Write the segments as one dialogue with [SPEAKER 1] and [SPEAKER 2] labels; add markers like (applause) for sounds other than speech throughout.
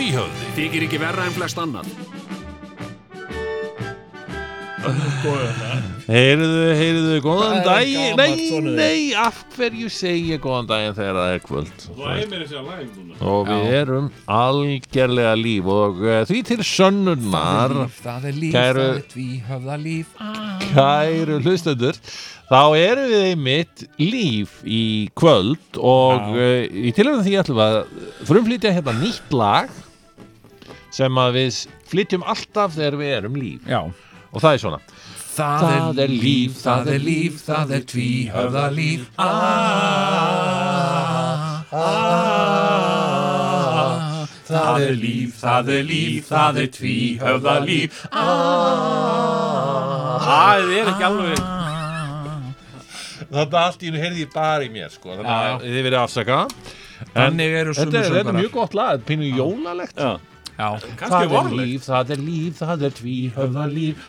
[SPEAKER 1] Þykir ekki verra en flest annað.
[SPEAKER 2] Heyrðu, heyrðu, góðan
[SPEAKER 3] Það er
[SPEAKER 2] daginn
[SPEAKER 3] gamalt
[SPEAKER 2] Nei,
[SPEAKER 3] svona.
[SPEAKER 2] nei, af hverju segi ég góðan daginn þegar það er kvöld
[SPEAKER 4] Þú ægir mér að segja læg núna
[SPEAKER 2] Og við erum algerlega líf og uh, því til sönnunar
[SPEAKER 3] Það er líf,
[SPEAKER 2] Kæru-
[SPEAKER 3] það er tvíhöfða líf
[SPEAKER 2] Kæru hlustendur Þá erum við einmitt líf í kvöld og uh, í tilhörðum því ætlum við að frumflytja hérna nýtt lag sem að við flytjum alltaf þegar við erum líf
[SPEAKER 3] Já
[SPEAKER 2] og það er svona
[SPEAKER 3] Það,
[SPEAKER 2] Það er líf,
[SPEAKER 3] það er líf, það er tvíhöfða líf Ah, ah. Það er líf, það er líf, það er tvíhöfða líf
[SPEAKER 4] Það er
[SPEAKER 2] Ah,
[SPEAKER 4] ekki alveg
[SPEAKER 2] Þetta allt í hennu heyrði ég bara í mér sko Þannig
[SPEAKER 3] Já, já.
[SPEAKER 2] að þið verið afsaka
[SPEAKER 3] Þannig
[SPEAKER 2] Þetta er,
[SPEAKER 3] eru sumu
[SPEAKER 2] þetta er
[SPEAKER 3] söngvarar.
[SPEAKER 2] mjög gott lag, þetta er pínu jólalegt
[SPEAKER 4] Já
[SPEAKER 3] Já,
[SPEAKER 4] Kannski
[SPEAKER 2] það er
[SPEAKER 4] vorlegt
[SPEAKER 2] líf, það er líf, það er tví höfða líf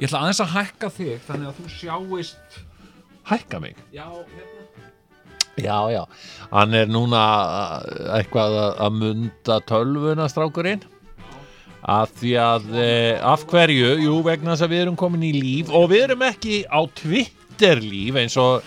[SPEAKER 3] Ég ætla aðeins að hækka þig þannig að þú sjáist
[SPEAKER 2] Hækka mig
[SPEAKER 3] Já, hérna
[SPEAKER 2] Já, já Hann er núna uh, eitthvað að- að munda tölvuna strákurinn að því að e, af hverju, jú, vegna þess að við erum komin í líf og við erum ekki á Twitter líf eins og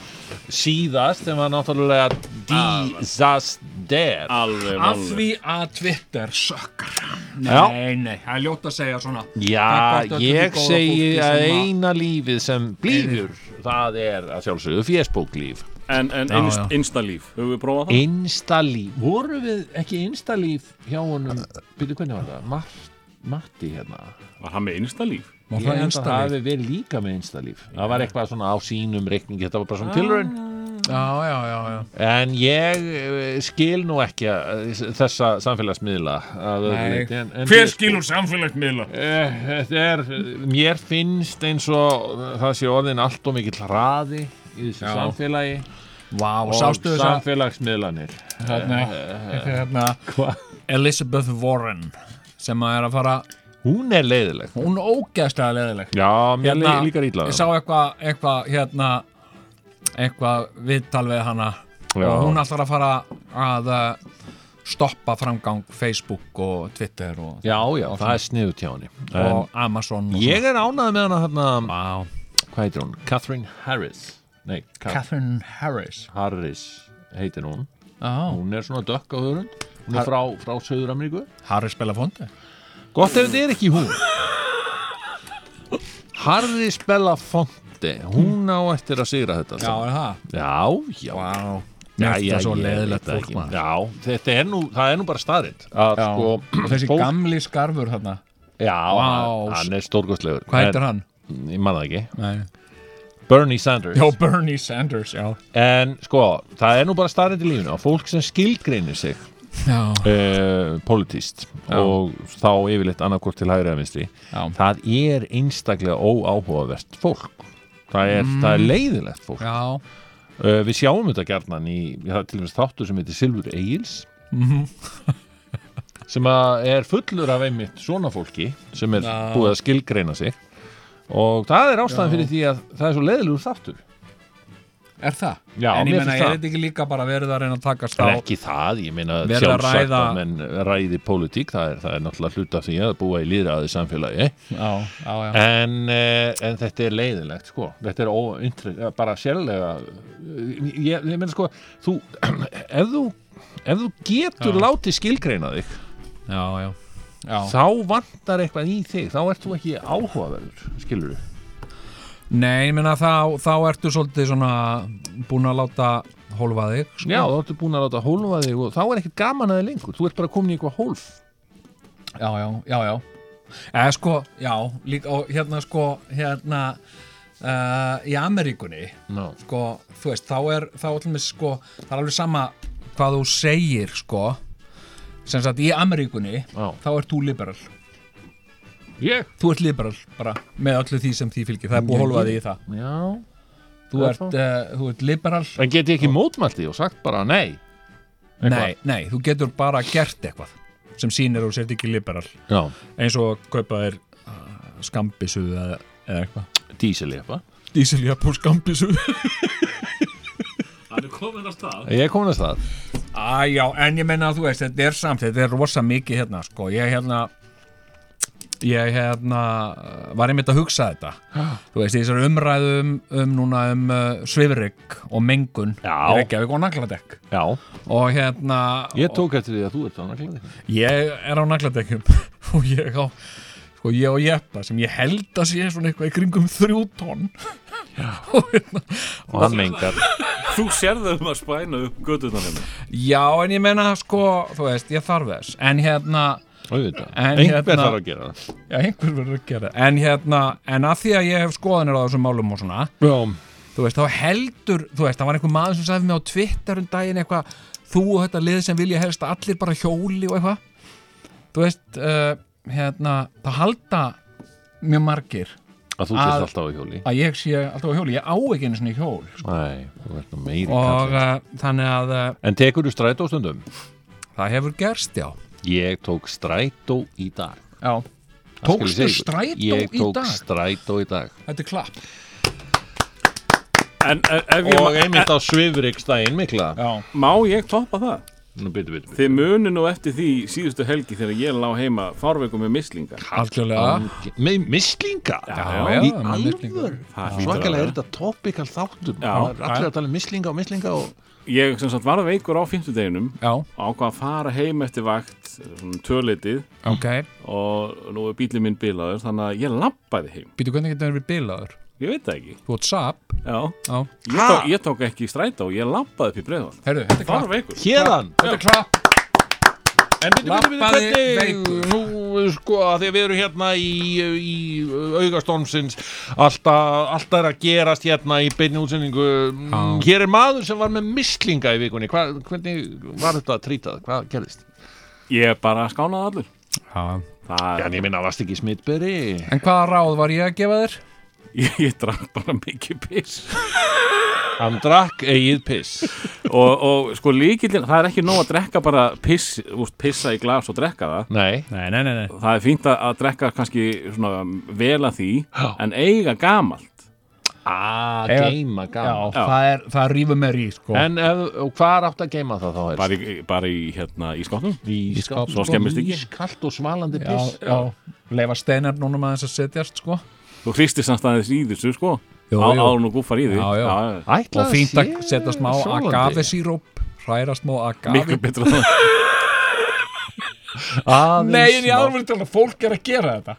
[SPEAKER 2] síðast sem var náttúrulega Ah, disaster
[SPEAKER 4] Alveg
[SPEAKER 3] Af
[SPEAKER 4] vorlegt
[SPEAKER 3] því að Twitter sökkar Nei,
[SPEAKER 2] Já.
[SPEAKER 3] nei, það er ljótt að segja svona
[SPEAKER 2] Já,
[SPEAKER 3] Gagnvart öllu því
[SPEAKER 2] ég
[SPEAKER 3] góða
[SPEAKER 2] segi
[SPEAKER 3] fólki
[SPEAKER 2] að
[SPEAKER 3] sem að-
[SPEAKER 2] eina lífið sem blíður, það er að sjálfsögðu fésbóklíf.
[SPEAKER 4] En, en
[SPEAKER 3] Já,
[SPEAKER 4] inst,
[SPEAKER 3] já.
[SPEAKER 4] instalíf, höfum við prófað það?
[SPEAKER 2] Instalíf, voru við ekki instalíf hjá honum, byrju hvernig var það, Mart, Matti hérna?
[SPEAKER 4] Var hann með instalíf?
[SPEAKER 3] Má
[SPEAKER 2] Ég held
[SPEAKER 3] það
[SPEAKER 2] að það
[SPEAKER 3] einstaklega
[SPEAKER 2] hafi verið líka með instalíf. Það var eitthvað svona á sínum reikningi, þetta var bara svona tilraun.
[SPEAKER 3] Já, já, já, já
[SPEAKER 2] En ég eh, skil nú ekki eh, þessa samfélagsmiðla að öðru
[SPEAKER 3] Nei.
[SPEAKER 2] leyti, en-
[SPEAKER 4] Hver
[SPEAKER 2] en Facebook-
[SPEAKER 4] skilur samfélagsmiðla?
[SPEAKER 2] Eh, Þetta er, mér finnst eins og það sé orðin allt og mikill hraði í þessu
[SPEAKER 3] Já.
[SPEAKER 2] samfélagi
[SPEAKER 3] Vá,
[SPEAKER 2] og
[SPEAKER 3] sástu þess að
[SPEAKER 2] samfélagsmiðlanir
[SPEAKER 3] hérna, hérna,
[SPEAKER 2] Hva?
[SPEAKER 3] Elizabeth Warren sem að er að fara
[SPEAKER 2] Hún er leiðileg
[SPEAKER 3] hún er ógeðslega leðileg
[SPEAKER 2] Já, mér hérna, líkar ítla
[SPEAKER 3] ég sá eitthvað eitthva, hérna, eitthvað viðtal við hana
[SPEAKER 2] Já.
[SPEAKER 3] og hún ætlar að fara að uh, stoppa framgang Facebook og Twitter og,
[SPEAKER 2] Já, já, það er sniðu hjá henni En
[SPEAKER 3] og Amazon og
[SPEAKER 2] Ég er ánað með hana hérna,
[SPEAKER 3] svona. Vá.
[SPEAKER 2] hvað heitir hún? Catherine Harris Nei, Kath
[SPEAKER 3] Catherine Harris
[SPEAKER 2] Harris heitir hún
[SPEAKER 3] oh.
[SPEAKER 2] Hún er svona dökk á hörund Hún er frá, frá Söður-Ameríku
[SPEAKER 3] Harris Belafonte
[SPEAKER 2] Gott ef þetta er ekki hún Harry Belafonte Hún á eftir að sigra þetta allt
[SPEAKER 3] er það
[SPEAKER 2] saman. já, já
[SPEAKER 3] Vá.
[SPEAKER 2] Já,
[SPEAKER 3] Mér finnst
[SPEAKER 2] já,
[SPEAKER 3] það svo
[SPEAKER 2] ég
[SPEAKER 3] leðilegt
[SPEAKER 2] veit það
[SPEAKER 3] fólk
[SPEAKER 2] ekki.
[SPEAKER 3] maður
[SPEAKER 2] Já, þetta er nú, það er nú bara staðrind að
[SPEAKER 3] Já.
[SPEAKER 2] sko
[SPEAKER 3] og (clears throat) þessi
[SPEAKER 2] fólk-
[SPEAKER 3] gamli skarfur þarna
[SPEAKER 2] Já,
[SPEAKER 3] Vá.
[SPEAKER 2] hann er stórkostlegur
[SPEAKER 3] hvað heitir hann?
[SPEAKER 2] En- Ég manna ekki
[SPEAKER 3] Nei.
[SPEAKER 2] Bernie Sanders
[SPEAKER 3] Já, Bernie Sanders, já
[SPEAKER 2] En sko, það er nú bara staðrind í lífinu að fólk sem skilgreinir sig
[SPEAKER 3] Já,
[SPEAKER 2] uh, politist og þá yfirleitt annarkort til hægri að vinstri
[SPEAKER 3] já,
[SPEAKER 2] það er einstaklega óáhugavert fólk það er, það er leiðilegt fólk uh,
[SPEAKER 3] Mm. já.
[SPEAKER 2] við sjáum þetta gerðan í það er til dæmis þáttur sem heitir Silfur Egils
[SPEAKER 3] Mhm.
[SPEAKER 2] (laughs) sem að er fullur af einmitt svona fólki sem er
[SPEAKER 3] Já.
[SPEAKER 2] búið að skilgreina sig og það er ástæðan fyrir því að það er svo leiðilegur þáttur
[SPEAKER 3] Er það?
[SPEAKER 2] Já,
[SPEAKER 3] en ég
[SPEAKER 2] mér finnst
[SPEAKER 3] meina, er
[SPEAKER 2] það.
[SPEAKER 3] þetta ekki líka bara verið að reyna að takast
[SPEAKER 2] Það
[SPEAKER 3] á
[SPEAKER 2] er ekki það, ég meina
[SPEAKER 3] Verið að
[SPEAKER 2] sjálfsagt
[SPEAKER 3] ræða-
[SPEAKER 2] að menn ræði pólitík, það er, það er náttúrulega hluta af því að búa í líðraði samfélagi
[SPEAKER 3] Já, já, já
[SPEAKER 2] En, eh, en þetta er leiðilegt sko, þetta er óintrið, bara sérlega, eh, ég, ég meina sko, þú, (clears throat) ef þú, ef þú getur látið skilgreina þig,
[SPEAKER 3] Já, já, já.
[SPEAKER 2] þá vantar eitthvað í þig, þá ert þú ekki áhugaverður, skilur þú?
[SPEAKER 3] Nei, ég meina, þá, þá ertu svolítið svona búin að láta hólfa þig sko.
[SPEAKER 2] Já, þá ertu búin að láta hólfa þig og þá er ekkert gaman að þig lengur, þú ert bara komin í eitthvað hólf.
[SPEAKER 3] já, já, já, já Eða sko, já, líka og hérna sko, hérna uh, í Ameríkunni
[SPEAKER 2] No.
[SPEAKER 3] sko, þú veist, þá er þá allir með sko, það er alveg sama hvað þú segir, sko sem sagt, í Ameríkunni
[SPEAKER 2] Já.
[SPEAKER 3] þá ert þú liberal
[SPEAKER 2] Ég?
[SPEAKER 3] þú ert liberal, bara, með öllu því sem því fylgir það er búið að hólfa þig í það
[SPEAKER 2] Já.
[SPEAKER 3] þú ert, uh, þú ert liberal
[SPEAKER 2] En get ég ekki mótmælt því og sagt bara nei?
[SPEAKER 3] nei, nei, þú getur bara gert eitthvað sem sýnir að þú sért ekki liberal
[SPEAKER 2] Já.
[SPEAKER 3] eins og kaupa þér uh, skambisuðu eða, eða eitthvað
[SPEAKER 2] Dísil ég eitthvað?
[SPEAKER 3] dísiljöp og skambisuðu
[SPEAKER 4] Það
[SPEAKER 1] hann er komin á stað
[SPEAKER 2] Ég er komin að stað
[SPEAKER 3] (laughs) Æjá, en ég menna að þú veist, þetta er samt, þetta er rosa mikið hérna, sko, ég hérna, ég hérna, uh, var einmitt að hugsa þetta, þú veist, í þessari umræðu um, um núna um uh, svifrygg og mengun,
[SPEAKER 2] Já.
[SPEAKER 3] er ekki að við góða nagladekk
[SPEAKER 2] Já
[SPEAKER 3] og hérna,
[SPEAKER 2] Ég tók eftir því að þú ert á naglaði
[SPEAKER 3] ég er á nagladekkjum (laughs) og ég á, sko, ég og Jeppa sem ég held að sé svona eitthvað í kringum þrjú tonn (laughs) og hérna,
[SPEAKER 2] Og hann mengar
[SPEAKER 4] Þú sérðu um að spæna upp hérna. göduðan henni
[SPEAKER 3] já, en ég menna, sko, þú veist, ég þarf þess, en hérna,
[SPEAKER 2] Auðvitað
[SPEAKER 3] En
[SPEAKER 2] Einhver
[SPEAKER 3] hérna-
[SPEAKER 2] þarf að gera það
[SPEAKER 3] Já, einhver verður að gera það. En hérna, en að því að ég hef skoðanir á þessum málum og svona,
[SPEAKER 2] Já
[SPEAKER 3] þú veist, þá heldur, þú veist, það var einhver maður sem sagði mig á Twitter um daginn eitthvað, þú og þetta lið sem vilja helst að allir bara hjóli og eitthvað. Þú veist, uh, hérna, það halda mjög margir
[SPEAKER 2] Að þú
[SPEAKER 3] Að-
[SPEAKER 2] sést alltaf á hjóli
[SPEAKER 3] að ég sé alltaf á hjóli. Ég á ekki einu svona hjól. sko,
[SPEAKER 2] Æ, þú ert nú meiri
[SPEAKER 3] Og
[SPEAKER 2] kallið
[SPEAKER 3] uh, þannig að uh,
[SPEAKER 2] En tekur þú strætó stundum?
[SPEAKER 3] það hefur gerst, já.
[SPEAKER 2] Ég tók strætó í dag
[SPEAKER 3] Já.
[SPEAKER 2] Það
[SPEAKER 3] Tókstu
[SPEAKER 2] skal ég segja ykkur.
[SPEAKER 3] strætó í
[SPEAKER 2] Ég tók
[SPEAKER 3] dag?
[SPEAKER 2] strætó í dag
[SPEAKER 3] Þetta er klapp.
[SPEAKER 4] En e- ef ég
[SPEAKER 2] Og
[SPEAKER 4] ma-
[SPEAKER 2] einmitt á svifrikstæðin mikla
[SPEAKER 3] Já.
[SPEAKER 4] Má ég toppa það?
[SPEAKER 2] Nú byttu, byttu, byttu
[SPEAKER 4] Þið muni nú eftir því síðustu helgi þegar ég lá heima fárveikum með mislingar
[SPEAKER 3] Algjörlega.
[SPEAKER 2] Um, Með mislinga?
[SPEAKER 4] Já,
[SPEAKER 3] já,
[SPEAKER 2] Í
[SPEAKER 3] með mislinga.
[SPEAKER 2] alvör?
[SPEAKER 4] Það hlýtur að
[SPEAKER 2] Svakalega
[SPEAKER 4] vera.
[SPEAKER 2] er þetta topical þáttur
[SPEAKER 4] Já.
[SPEAKER 2] Það er Allir að tala um mislinga og mislinga og
[SPEAKER 4] Ég sem sagt varð veikur á fimmtudeginum
[SPEAKER 3] Já,
[SPEAKER 2] um.
[SPEAKER 4] og ákvað að fara heim eftir vakt svona töleitið
[SPEAKER 3] ok.
[SPEAKER 4] og nú er bílið minn bilaður þannig að ég labbaði heim
[SPEAKER 3] Býtu hvernig getur það verið bilaður?
[SPEAKER 4] ég veit það ekki
[SPEAKER 3] Þú átt sap.
[SPEAKER 4] Já,
[SPEAKER 3] Já.
[SPEAKER 4] ég, tók, ég tók ekki stræta og ég labbaði upp í breiðan
[SPEAKER 3] Herru, þetta er klapp.
[SPEAKER 4] var veikur
[SPEAKER 2] Hérðan
[SPEAKER 3] Þetta er klapp.
[SPEAKER 2] En byrju, byrju, byrju,
[SPEAKER 3] Labbaði
[SPEAKER 2] hvernig
[SPEAKER 3] veikur.
[SPEAKER 2] Nú, sko, að því að við erum hérna í, í augastómsins alltaf, alltaf er að gerast hérna í beinni útsendingu Mm,
[SPEAKER 3] Já.
[SPEAKER 2] Hér er maður sem var með mislinga í vikunni Hva, Hvernig var þetta að trýta? Hvað gerðist?
[SPEAKER 4] Ég bara skánaði allur
[SPEAKER 3] Já.
[SPEAKER 4] Það,
[SPEAKER 2] Já, en ég minna, varst ekki smittberi
[SPEAKER 3] En hvaða ráð var ég að gefa þér?
[SPEAKER 4] ég, (laughs) ég drakk bara mikið piss
[SPEAKER 2] Hann drakk eigið piss
[SPEAKER 4] og, og sko líkillin, það er ekki nóg að drekka bara piss, úst, pissa í glas og drekka það
[SPEAKER 2] Nei
[SPEAKER 3] (laughs) Nei, nei, nei, nei.
[SPEAKER 4] Það er fínt að, að drekka kannski svona vel að því
[SPEAKER 2] Já.
[SPEAKER 4] en eiga gamalt
[SPEAKER 2] Ah,
[SPEAKER 3] Eiga-
[SPEAKER 2] geima
[SPEAKER 3] Já,
[SPEAKER 2] gaman
[SPEAKER 3] það er, það rýfur mér í, sko.
[SPEAKER 2] En ef, og hvað áttu að geima það þá helst?
[SPEAKER 4] bara í, bara í, hérna, í skottum
[SPEAKER 2] í
[SPEAKER 3] Í skápnum.
[SPEAKER 4] Svo skemmist ekki.
[SPEAKER 2] Ískalt og smalandi
[SPEAKER 3] já,
[SPEAKER 2] piss
[SPEAKER 3] já. Leifa steinar núna maður þess að setjast, sko.
[SPEAKER 4] Þú hristir samt aðeins í þessu sko
[SPEAKER 3] Jú,
[SPEAKER 4] Á-
[SPEAKER 3] jú.
[SPEAKER 4] áður nú gúffar í því
[SPEAKER 3] Já, já.
[SPEAKER 2] Ætla
[SPEAKER 3] Og fínt að
[SPEAKER 2] sé
[SPEAKER 3] setja smá
[SPEAKER 2] sólandi.
[SPEAKER 3] agavesíróp, hræra smá
[SPEAKER 4] Miklu
[SPEAKER 3] agavi.
[SPEAKER 4] betra það
[SPEAKER 2] Aðeins
[SPEAKER 3] Nei, en ég
[SPEAKER 2] smá-
[SPEAKER 3] alveg tala, fólk er að gera þetta.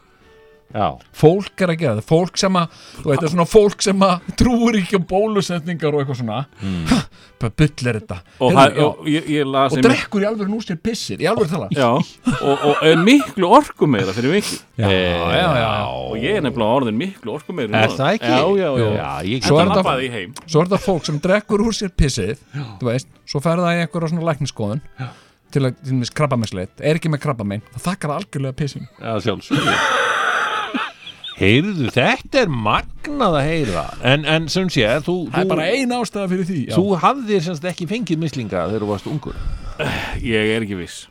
[SPEAKER 2] Já,
[SPEAKER 3] Fólk er að gera þetta, fólk sem að, þú veit, það er svona fólk sem að trúir ekki á bólusetningar og eitthvað svona. Mm. Bara byll er þetta.
[SPEAKER 4] Og,
[SPEAKER 3] Heyrðu,
[SPEAKER 4] það,
[SPEAKER 3] já.
[SPEAKER 4] og ég, ég las
[SPEAKER 3] og
[SPEAKER 4] einmitt-
[SPEAKER 3] drekkur í alveg nú sér pissir, í alveg tala.
[SPEAKER 4] Já, og, og er miklu orku meira fyrir vikið
[SPEAKER 3] Já, já, já.
[SPEAKER 4] Og ég er nefnilega orðin miklu orku meira
[SPEAKER 2] Er það ekki?
[SPEAKER 4] Já, já, já,
[SPEAKER 2] Já, ég
[SPEAKER 3] Svo
[SPEAKER 4] Það
[SPEAKER 3] er þetta-
[SPEAKER 4] labbaði ég heim
[SPEAKER 3] svo er þetta fólk sem drekkur úr sér pissið þú veist, svo fer það í einhverja svona lækniskoðun til að, til að krabbameinsleit er ekki með krabbamein, það þakkar það algjörlega pissin
[SPEAKER 2] að sjálfsögðu Heyrðu, þetta er magnað að heyra En, en sem sé, þú
[SPEAKER 3] það
[SPEAKER 2] þú,
[SPEAKER 3] er bara ein ástæða fyrir því já.
[SPEAKER 2] þú hafðir semst ekki fengið mislinga þegar þú varst ungur
[SPEAKER 4] Ég er ekki viss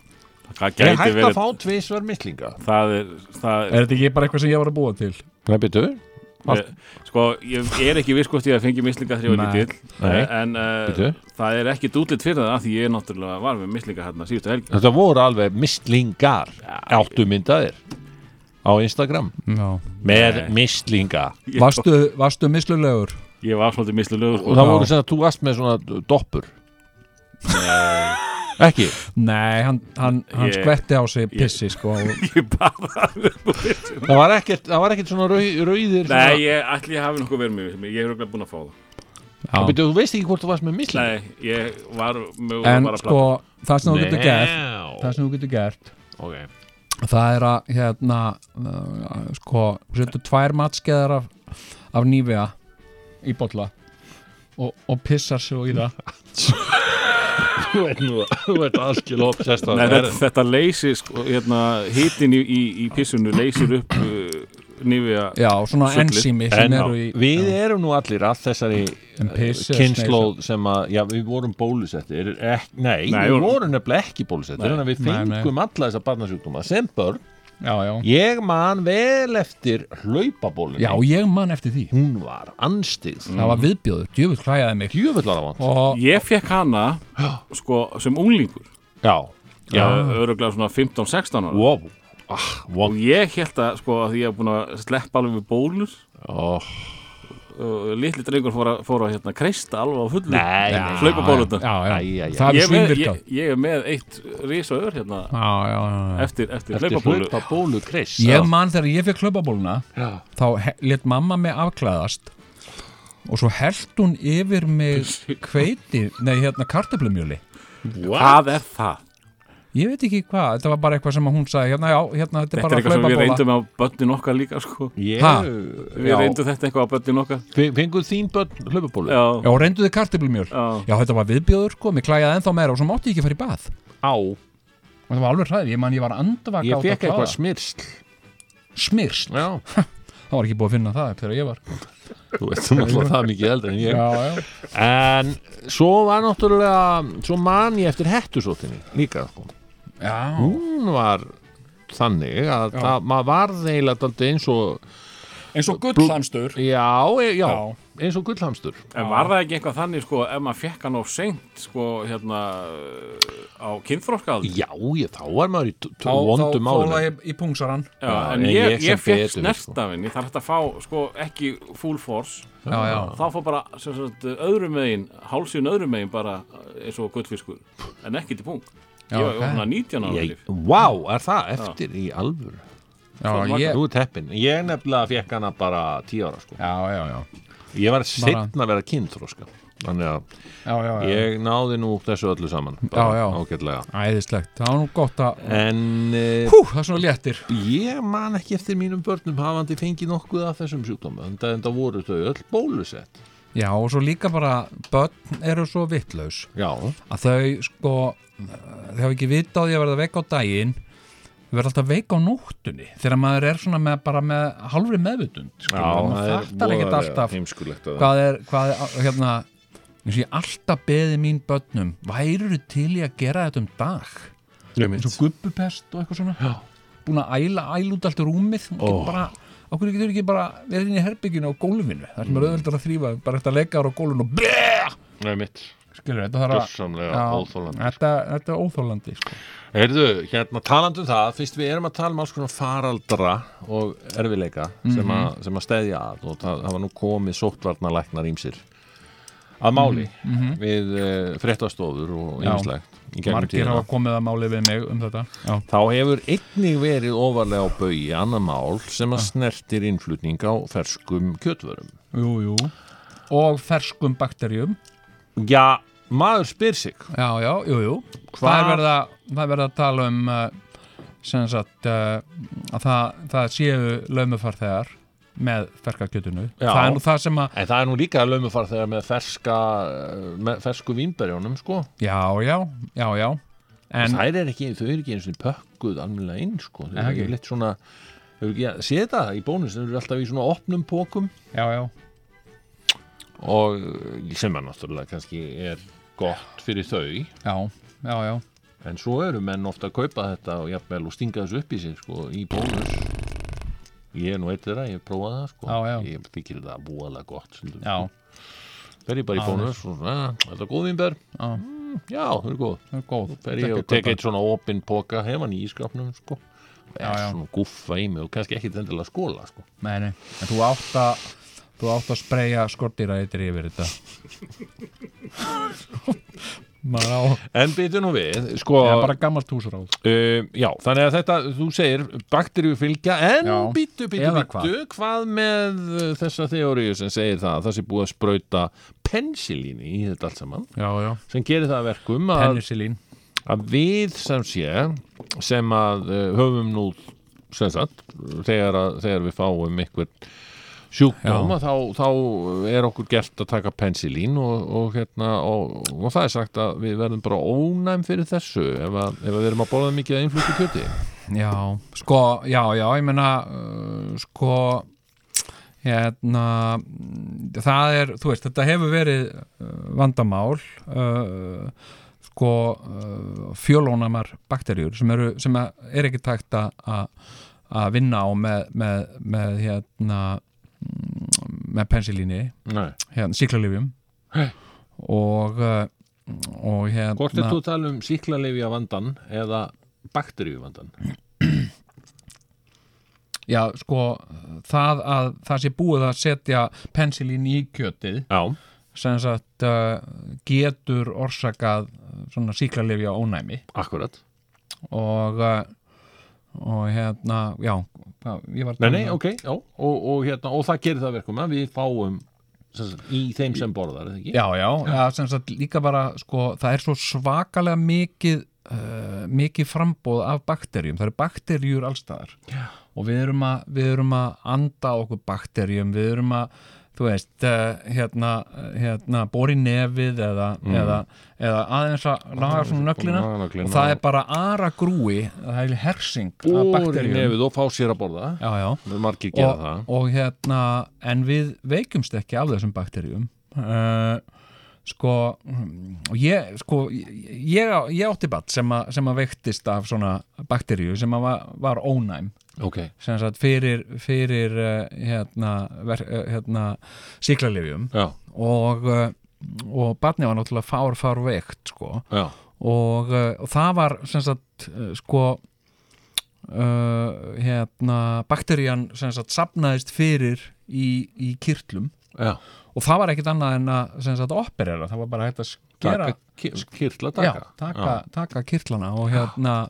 [SPEAKER 4] Það
[SPEAKER 2] Ég
[SPEAKER 4] gæti
[SPEAKER 2] hægt að
[SPEAKER 4] verið
[SPEAKER 2] fá tvisvar mislinga
[SPEAKER 4] Það er, það
[SPEAKER 3] er þetta ekki bara eitthvað sem ég var að búa til
[SPEAKER 2] Hvað betur?
[SPEAKER 4] er Sko, ég er ekki viss hvort ég að fengi mislinga þegar ég var
[SPEAKER 3] Nei.
[SPEAKER 4] lítill
[SPEAKER 2] Nei.
[SPEAKER 4] En uh,
[SPEAKER 2] Bíddu.
[SPEAKER 4] það er ekki dúllit fyrir það af Því ég náttúrulega var með mislinga hérna síðustu helgi
[SPEAKER 2] Þetta voru alveg mislingar áttu myndaðir á Instagram
[SPEAKER 3] já.
[SPEAKER 2] með mislinga
[SPEAKER 4] Ég-
[SPEAKER 3] varstu, varstu mislulegur
[SPEAKER 4] Ég var svolítið mislulegur sko.
[SPEAKER 2] og það
[SPEAKER 3] Já.
[SPEAKER 2] voru sem að þú varst með svona doppur ekki
[SPEAKER 3] nei, hann, hann, hann
[SPEAKER 4] Ég-
[SPEAKER 3] skvetti á sig pissi sko.
[SPEAKER 4] Ég baða upp og byrja
[SPEAKER 2] það var ekkert, það var ekkert svona rau- rauðir svona-
[SPEAKER 4] Nei, ég, ætli ég hafi nokkuð verið með Ég er okkur búin að fá það
[SPEAKER 2] Já,
[SPEAKER 3] já.
[SPEAKER 2] byrju, þú veist ekki hvort þú varst með mislinga
[SPEAKER 4] Nei, ég var mjög
[SPEAKER 3] en
[SPEAKER 4] bara að
[SPEAKER 3] sko, það sem þú getur gert það
[SPEAKER 2] gert
[SPEAKER 3] sem þú getur gert
[SPEAKER 2] okay.
[SPEAKER 3] það er að hérna, uh, sko, setur tvær matskeðar af, af nývega í bolla og, og pissar svo í það
[SPEAKER 2] (laughs) þú veit nú, þú veit allskil obsessed
[SPEAKER 4] Nei, þetta, þetta leysir, sko, hérna, hítin í, í, í pissunu leysir upp uh, nýfið að
[SPEAKER 3] já, svona
[SPEAKER 4] Sullið.
[SPEAKER 3] ensými sem
[SPEAKER 2] En
[SPEAKER 3] eru í
[SPEAKER 2] við erum nú allir að þessari eh,
[SPEAKER 3] En piss er
[SPEAKER 2] kynnslóð sem að, já við vorum bólusettir ek, nei,
[SPEAKER 4] Nei,
[SPEAKER 2] við
[SPEAKER 4] vorum-
[SPEAKER 2] vorum nefnilega ekki bólusettir
[SPEAKER 4] Nei.
[SPEAKER 2] þannig að við
[SPEAKER 3] Nei, nei.
[SPEAKER 2] fengum alla þessa barnasjúkdóma sem börn
[SPEAKER 3] já, já.
[SPEAKER 2] Ég man vel eftir hlaupabólunni
[SPEAKER 3] já, ég man eftir því
[SPEAKER 2] Hún var anstigð mm.
[SPEAKER 3] það var viðbjóður, djöfull klæjaði mig
[SPEAKER 2] Djöfullara vant
[SPEAKER 3] og
[SPEAKER 4] Ég fekk hana sko, sem unglingur
[SPEAKER 2] Já,
[SPEAKER 4] Já, öruglega svona 15-16 ára
[SPEAKER 2] wow ah, wow.
[SPEAKER 4] og ég held að sko að því ég hef búin að sleppa alveg við bólur
[SPEAKER 2] Oh.
[SPEAKER 4] og litli drengur fór að, fór að hérna kreista alveg á fullu
[SPEAKER 2] Nei, nei.
[SPEAKER 4] hlaupa bólutna
[SPEAKER 3] já, já,
[SPEAKER 2] Æ, æ, æ.
[SPEAKER 3] það er
[SPEAKER 4] ég, ég,
[SPEAKER 3] svínvirkað
[SPEAKER 4] ég, ég er með eitt risa ör hérna
[SPEAKER 3] já, já, já, já.
[SPEAKER 4] eftir, eftir,
[SPEAKER 2] Eftir
[SPEAKER 4] hlaupabólu
[SPEAKER 2] hlaupabólu Chris
[SPEAKER 3] ég man þegar ég fekk hlaupabóluna
[SPEAKER 2] Já.
[SPEAKER 3] þá he- let mamma mig afklæðast og svo held hún yfir mig hveiti, nei hérna kartöflumjöli
[SPEAKER 4] Hvað er það?
[SPEAKER 3] ég veit ekki hvað, þetta var bara eitthvað sem að hún sagði hérna, já, hérna, þetta er
[SPEAKER 4] Þetta er
[SPEAKER 3] bara
[SPEAKER 4] eitthvað sem við
[SPEAKER 3] hlaupabóla
[SPEAKER 4] reyndum á börnin okkar líka sko
[SPEAKER 2] Ég,
[SPEAKER 3] Ha?
[SPEAKER 4] Við reyndum þetta eitthvað á börnin okkar
[SPEAKER 2] Fe- Fenguð þín börn hlaupabólu
[SPEAKER 4] Já,
[SPEAKER 3] já, reyndu þið kartöflumjöl
[SPEAKER 4] já,
[SPEAKER 3] já, þetta var viðbjóður, sko, mér klæjaði ennþá meira og svo mátti ég ekki fara í bað
[SPEAKER 2] Á,
[SPEAKER 3] og það var alveg hræðið, ég man ég var andvaka á
[SPEAKER 2] ég
[SPEAKER 3] þetta
[SPEAKER 2] fekk eitthvað
[SPEAKER 3] klæða.
[SPEAKER 2] smyrsl
[SPEAKER 3] smyrst,
[SPEAKER 2] Já,
[SPEAKER 3] það var ekki búið að finna það upp þegar ég var
[SPEAKER 2] þú veist, þú náttúrulega það mikið eldri en ég
[SPEAKER 3] já, já,
[SPEAKER 2] En svo var náttúrulega Svo man ég eftir hettusóttinni Líka, sko
[SPEAKER 3] já.
[SPEAKER 2] Hún var þannig að það, maður varð eiginlega daldið eins og
[SPEAKER 3] eins og gullhamstur
[SPEAKER 2] Já, e- já,
[SPEAKER 3] Já.
[SPEAKER 2] eins og gullhamstur
[SPEAKER 4] En var það ekki eitthvað þannig sko ef maður fekk hann á seint sko hérna á kynþróskaldi
[SPEAKER 2] Já, ég, þá var maður í t- t-
[SPEAKER 3] þá, þá
[SPEAKER 2] vondum málum
[SPEAKER 3] fóla ég í pungsaran
[SPEAKER 4] Já,
[SPEAKER 2] Já,
[SPEAKER 4] en
[SPEAKER 2] en
[SPEAKER 4] ég,
[SPEAKER 2] ég
[SPEAKER 4] ég,
[SPEAKER 2] sem
[SPEAKER 4] fekk
[SPEAKER 2] betur,
[SPEAKER 4] snert af henni, það er hægt að fá sko, ekki full force
[SPEAKER 3] já, já,
[SPEAKER 4] þá fór bara sem sagt, öðrum megin, hálsinn öðrum megin bara eins og gullfiskur en ekki til punkt
[SPEAKER 3] Já,
[SPEAKER 4] ég var
[SPEAKER 3] ok.
[SPEAKER 4] okay. 19 ára
[SPEAKER 2] Ég,
[SPEAKER 4] líf
[SPEAKER 2] vá, er það eftir í alvöru
[SPEAKER 3] já, ég,
[SPEAKER 2] Þú er teppin, ég nefnilega fekk hana bara 10 ára sko
[SPEAKER 3] já, já, já.
[SPEAKER 2] Ég var setna að vera kynþróska Þannig að
[SPEAKER 3] Já, já, já.
[SPEAKER 2] ég náði nú þessu öllu saman
[SPEAKER 3] Já, já.
[SPEAKER 2] ágætlega
[SPEAKER 3] Æðislegt, það var nú gott að
[SPEAKER 2] Eh. En uh,
[SPEAKER 3] Hú, það er svona léttir
[SPEAKER 2] ég man ekki eftir mínum börnum hafandi fengið nokkuð af þessum sjúkdóma en það voru þau öll bólusett
[SPEAKER 3] Já, og svo líka bara, börn eru svo vittlaus
[SPEAKER 2] Já,
[SPEAKER 3] að þau, sko þau hafa ekki vita á því að verða veik á daginn þau verða alltaf veik á nóttunni þegar maður er svona með, bara með halvri meðvutund sko, maður þartar ekkert alltaf
[SPEAKER 2] heimskulegt að
[SPEAKER 3] hvað er, hvað er, hérna eins og ég alltaf beði mín börnum væru til í að gera þetta um dag
[SPEAKER 2] það
[SPEAKER 3] eins og gubbupest og eitthvað svona
[SPEAKER 2] Já.
[SPEAKER 3] búin að æla, æla út allt í rúmið og
[SPEAKER 2] Ó.
[SPEAKER 3] getur bara, okkur getur ekki bara verið inn í herbygginu á gólfinu þar
[SPEAKER 2] Mm.
[SPEAKER 3] sem er auðvitað að þrýfa, bara eftir að leika ára á gólfinu og bleh,
[SPEAKER 2] Nei mitt,
[SPEAKER 3] skilur, þetta þarf að
[SPEAKER 2] þessamlega óþólandi
[SPEAKER 3] þetta, þetta er óþólandi sko.
[SPEAKER 2] Heyrðu, hérna talandum það, fyrst við erum að tala um alls konar faraldra og erfileika
[SPEAKER 3] Mhm.
[SPEAKER 2] sem, að, sem að stæðja að og það hafa nú komið sóttvarnalæknar ímsir að máli við uh, fréttastofur og
[SPEAKER 3] Mhm, Já.
[SPEAKER 2] ímislegt í gegnum
[SPEAKER 3] margir
[SPEAKER 2] tíðina.
[SPEAKER 3] hafa komið að máli við mig um þetta já,
[SPEAKER 2] Þá hefur einnig verið ofarlega á baugi annar mál
[SPEAKER 3] Ah.
[SPEAKER 2] sem að snertir innflutning á ferskum kjötvörum.
[SPEAKER 3] jú, jú og ferskum bakterjum
[SPEAKER 2] Já, maður spyr sig.
[SPEAKER 3] já, já, jú, jú það
[SPEAKER 2] Hvað-
[SPEAKER 3] er verið að, það er verið að tala um uh, sem sagt uh, að það, það séu laumufarþegar með ferkakjötunu
[SPEAKER 2] Já.
[SPEAKER 3] það er nú það sem að
[SPEAKER 2] En það er nú líka að laumufar þegar með, ferska, eh, með fersku vínberjónum, sko.
[SPEAKER 3] Já, já, já, já En,
[SPEAKER 2] Þær er ekki, þau eru ekki eins og pökkuð almennilega inn, sko. Þau
[SPEAKER 3] Ekki.
[SPEAKER 2] eru ekki litt svona, þau eru ekki að sé það í bónus, þau eru alltaf í svona opnum pókum
[SPEAKER 3] já, já,
[SPEAKER 2] og eh, sem er náttúrulega kannski er gott fyrir þau.
[SPEAKER 3] já, já, já
[SPEAKER 2] En svo eru menn ofta að kaupa þetta og jafnvel og stinga þessu upp í sig sko, í bónus. Ég er nú eitt þeirra, ég prófaði það sko.
[SPEAKER 3] Já, já.
[SPEAKER 2] Ég þykir þetta voðalega gott. stundum, Sko.
[SPEAKER 3] Já,
[SPEAKER 2] Fer ég bara í bónus og svona, "Ah, er þetta góð vínber?
[SPEAKER 3] Já.
[SPEAKER 2] Mm, já, það er góð.
[SPEAKER 3] það er góð
[SPEAKER 2] Fer ég og tek eitt svona opinn poka, hef hann í ískapnum sko.
[SPEAKER 3] Já,
[SPEAKER 2] Er
[SPEAKER 3] já.
[SPEAKER 2] svona guffa í mig og kannski ekki endilega skóla sko.
[SPEAKER 3] Nei, nei, en þú átt að Þú átt að spreja skortýra eitir yfir (laughs) þetta Maður á
[SPEAKER 2] En byrju nú við, sko,
[SPEAKER 3] Það
[SPEAKER 2] já,
[SPEAKER 3] er bara gammalt húsráð
[SPEAKER 2] já, þannig að þetta, þú segir, bakteríu fylgja, en
[SPEAKER 3] Já.
[SPEAKER 2] byrju, byrju,
[SPEAKER 3] Eða hvað?
[SPEAKER 2] byrju, hvað með uh, þessa teóriu sem segir það, að það sé búið að sprauta pensilíni í þetta allt saman,
[SPEAKER 3] Já, já
[SPEAKER 2] sem gerir það að verkum að,
[SPEAKER 3] Penicillin
[SPEAKER 2] að við sem sé, sem að uh, höfum nú, sem sagt, þegar, að, þegar við fáum ykkur sjúkdóma, þá, þá er okkur gert að taka pensilín og, og, hérna, og, og það er sagt að við verðum bara ónæm fyrir þessu ef, að, ef að við erum að borða mikið að innflutu kjöti.
[SPEAKER 3] Já, sko, já, já, ég meina uh, Sko Hérna mm, Það er, þú veist, þetta hefur verið uh, vandamál uh, sko uh, fjölónamar bakterjur sem, eru, sem að- er ekki tækt að- að að vinna á með, með, með hérna mm, með pensilíni
[SPEAKER 2] Nei.
[SPEAKER 3] hérna, síklarlifjum
[SPEAKER 2] Hey.
[SPEAKER 3] og uh, og hérna
[SPEAKER 2] Hvort er þú að tala um síklarlifja vandan eða bakteríu vandan?
[SPEAKER 3] já, sko, það að það sé búið að setja pensilín í kjötið
[SPEAKER 2] Já,
[SPEAKER 3] sem sagt uh, getur orsakað uh, svona síklarlifja ónæmi
[SPEAKER 2] akkurat.
[SPEAKER 3] og uh, og hérna, já hvað- ég var að
[SPEAKER 2] Nei,
[SPEAKER 3] tala
[SPEAKER 2] nei,
[SPEAKER 3] um-
[SPEAKER 2] ok, já, Mhm. og, og, hérna, og það gerir það verkum að við fáum sem sagt, í þeim sem borðar, er það ekki?
[SPEAKER 3] Já, já, já sem sagt líka bara sko, það er svo svakalega mikið uh, mikið frambóð af bakterjum, það eru bakterjur allstaðar já. og við erum, að, við erum að anda á okkur bakterjum, við erum að þú veist, uh, hérna, hérna bori nefið eða, eða, eða Mm. aðeins að laga svona nöglina
[SPEAKER 2] laga nöglina.
[SPEAKER 3] og það er bara ara grúi, það er hersing af
[SPEAKER 2] Bóri
[SPEAKER 3] bakterjum
[SPEAKER 2] nefið og fá sér að borða.
[SPEAKER 3] já, já
[SPEAKER 2] Við margir gera
[SPEAKER 3] og,
[SPEAKER 2] það.
[SPEAKER 3] og hérna en við veikjumst ekki af þessum bakterjum uh, sko mm, og ég sko ég, ég ég átti batt sem, að- sem að veiktist af svona bakterju sem að var, var ónæm
[SPEAKER 2] Ok,
[SPEAKER 3] sem sagt fyrir, fyrir uh, hérna, ver, uh, hérna síklarlifjum
[SPEAKER 2] já,
[SPEAKER 3] og, uh, og batni var náttúrulega fár fár veikt sko
[SPEAKER 2] já,
[SPEAKER 3] og, uh, og það var sem sagt uh, sko uh, hérna bakterían sem sagt sapnaðist fyrir í, í kýrtlum
[SPEAKER 2] já.
[SPEAKER 3] og það var ekkit annað en að sem sagt operera, það var bara hægt að skera
[SPEAKER 2] Taka, ki- kyrla
[SPEAKER 3] já,
[SPEAKER 2] taka.
[SPEAKER 3] taka, taka kýrtlana og hérna uh,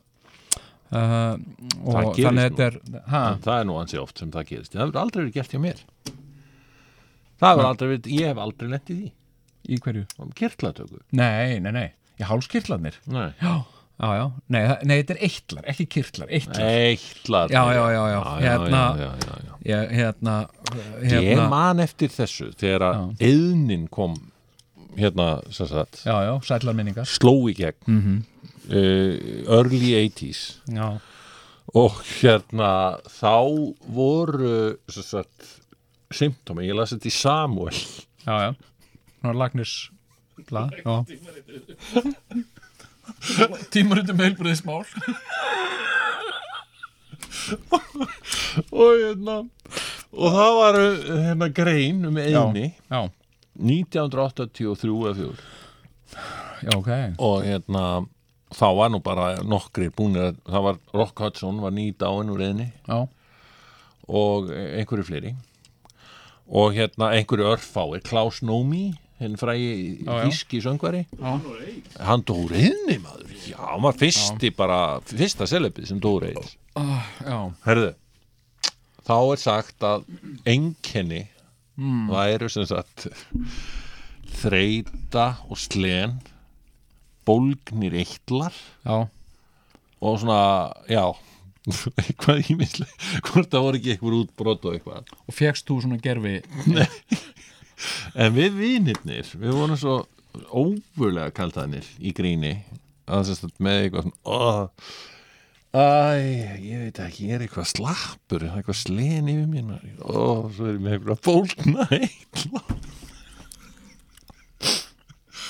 [SPEAKER 2] Það
[SPEAKER 3] og
[SPEAKER 2] gerist
[SPEAKER 3] þannig
[SPEAKER 2] nú.
[SPEAKER 3] þetta er ha,
[SPEAKER 2] En það er nú ansi oft sem það gerist. Það hefur aldrei verið gert hjá mér. Það hefur aldrei verið, ég hef aldrei lent í því.
[SPEAKER 3] í hverju?
[SPEAKER 2] Um kyrlatöku.
[SPEAKER 3] Nei, nei, nei, í hálskýrtlanir
[SPEAKER 2] Nei.
[SPEAKER 3] já, já, já, nei, það- nei, þetta er eitlar ekki kýrtlar, eitlar
[SPEAKER 2] Eitlar.
[SPEAKER 3] Já, já, já, já. Hérna-
[SPEAKER 2] já, já, já, já.
[SPEAKER 3] ég, hérna, uh,
[SPEAKER 2] Ég
[SPEAKER 3] hérna
[SPEAKER 2] man eftir þessu þegar að eðnin kom hérna, sem sagt,
[SPEAKER 3] já, já, sætlar minningar
[SPEAKER 2] sló í gegn mm
[SPEAKER 3] Mhm.
[SPEAKER 2] early 80s
[SPEAKER 3] já
[SPEAKER 2] og hérna þá voru sem sagt, symptomi, ég las þetta í Samuel
[SPEAKER 3] Já, já. Nú er lagnis blað. Já. Tímaritum heilbriðismál.
[SPEAKER 2] og hérna og það var uh, hérna grein um eðni
[SPEAKER 3] Já,
[SPEAKER 2] 1983 eða 4
[SPEAKER 3] já, ok.
[SPEAKER 2] og hérna þá var nú bara nokkri búinir að- það var Rock Hudson var nýt áinn úr eðni
[SPEAKER 3] Já,
[SPEAKER 2] og einhverju fleiri og hérna einhverju örfáir Klaus Nomi, hinn frægi
[SPEAKER 3] Já, já.
[SPEAKER 2] þíski söngvari
[SPEAKER 3] Já.
[SPEAKER 2] hann dó úr eðni maður já, hann var fyrsti bara, fyrsta selebið sem dó úr eðni
[SPEAKER 3] já,
[SPEAKER 2] Herðu, þá er sagt að einkenni
[SPEAKER 3] Hmm.
[SPEAKER 2] væru sem sagt þreita og slen bólgnir eitlar
[SPEAKER 3] já.
[SPEAKER 2] og svona, já (laughs) eitthvað ímislega, hvort það voru ekki eitthvað útbrot og eitthvað
[SPEAKER 3] Og fegst þú svona gerfi?
[SPEAKER 2] en við vinirnir, við vorum svo óvölega kaldanir í gríni að sem sagt með eitthvað svona oh, æ, ég veit ekki, ég er eitthvað slappur það er eitthvað slen yfir mér maður. ó, svo er ég með eitthvað (laughs) bólna eitla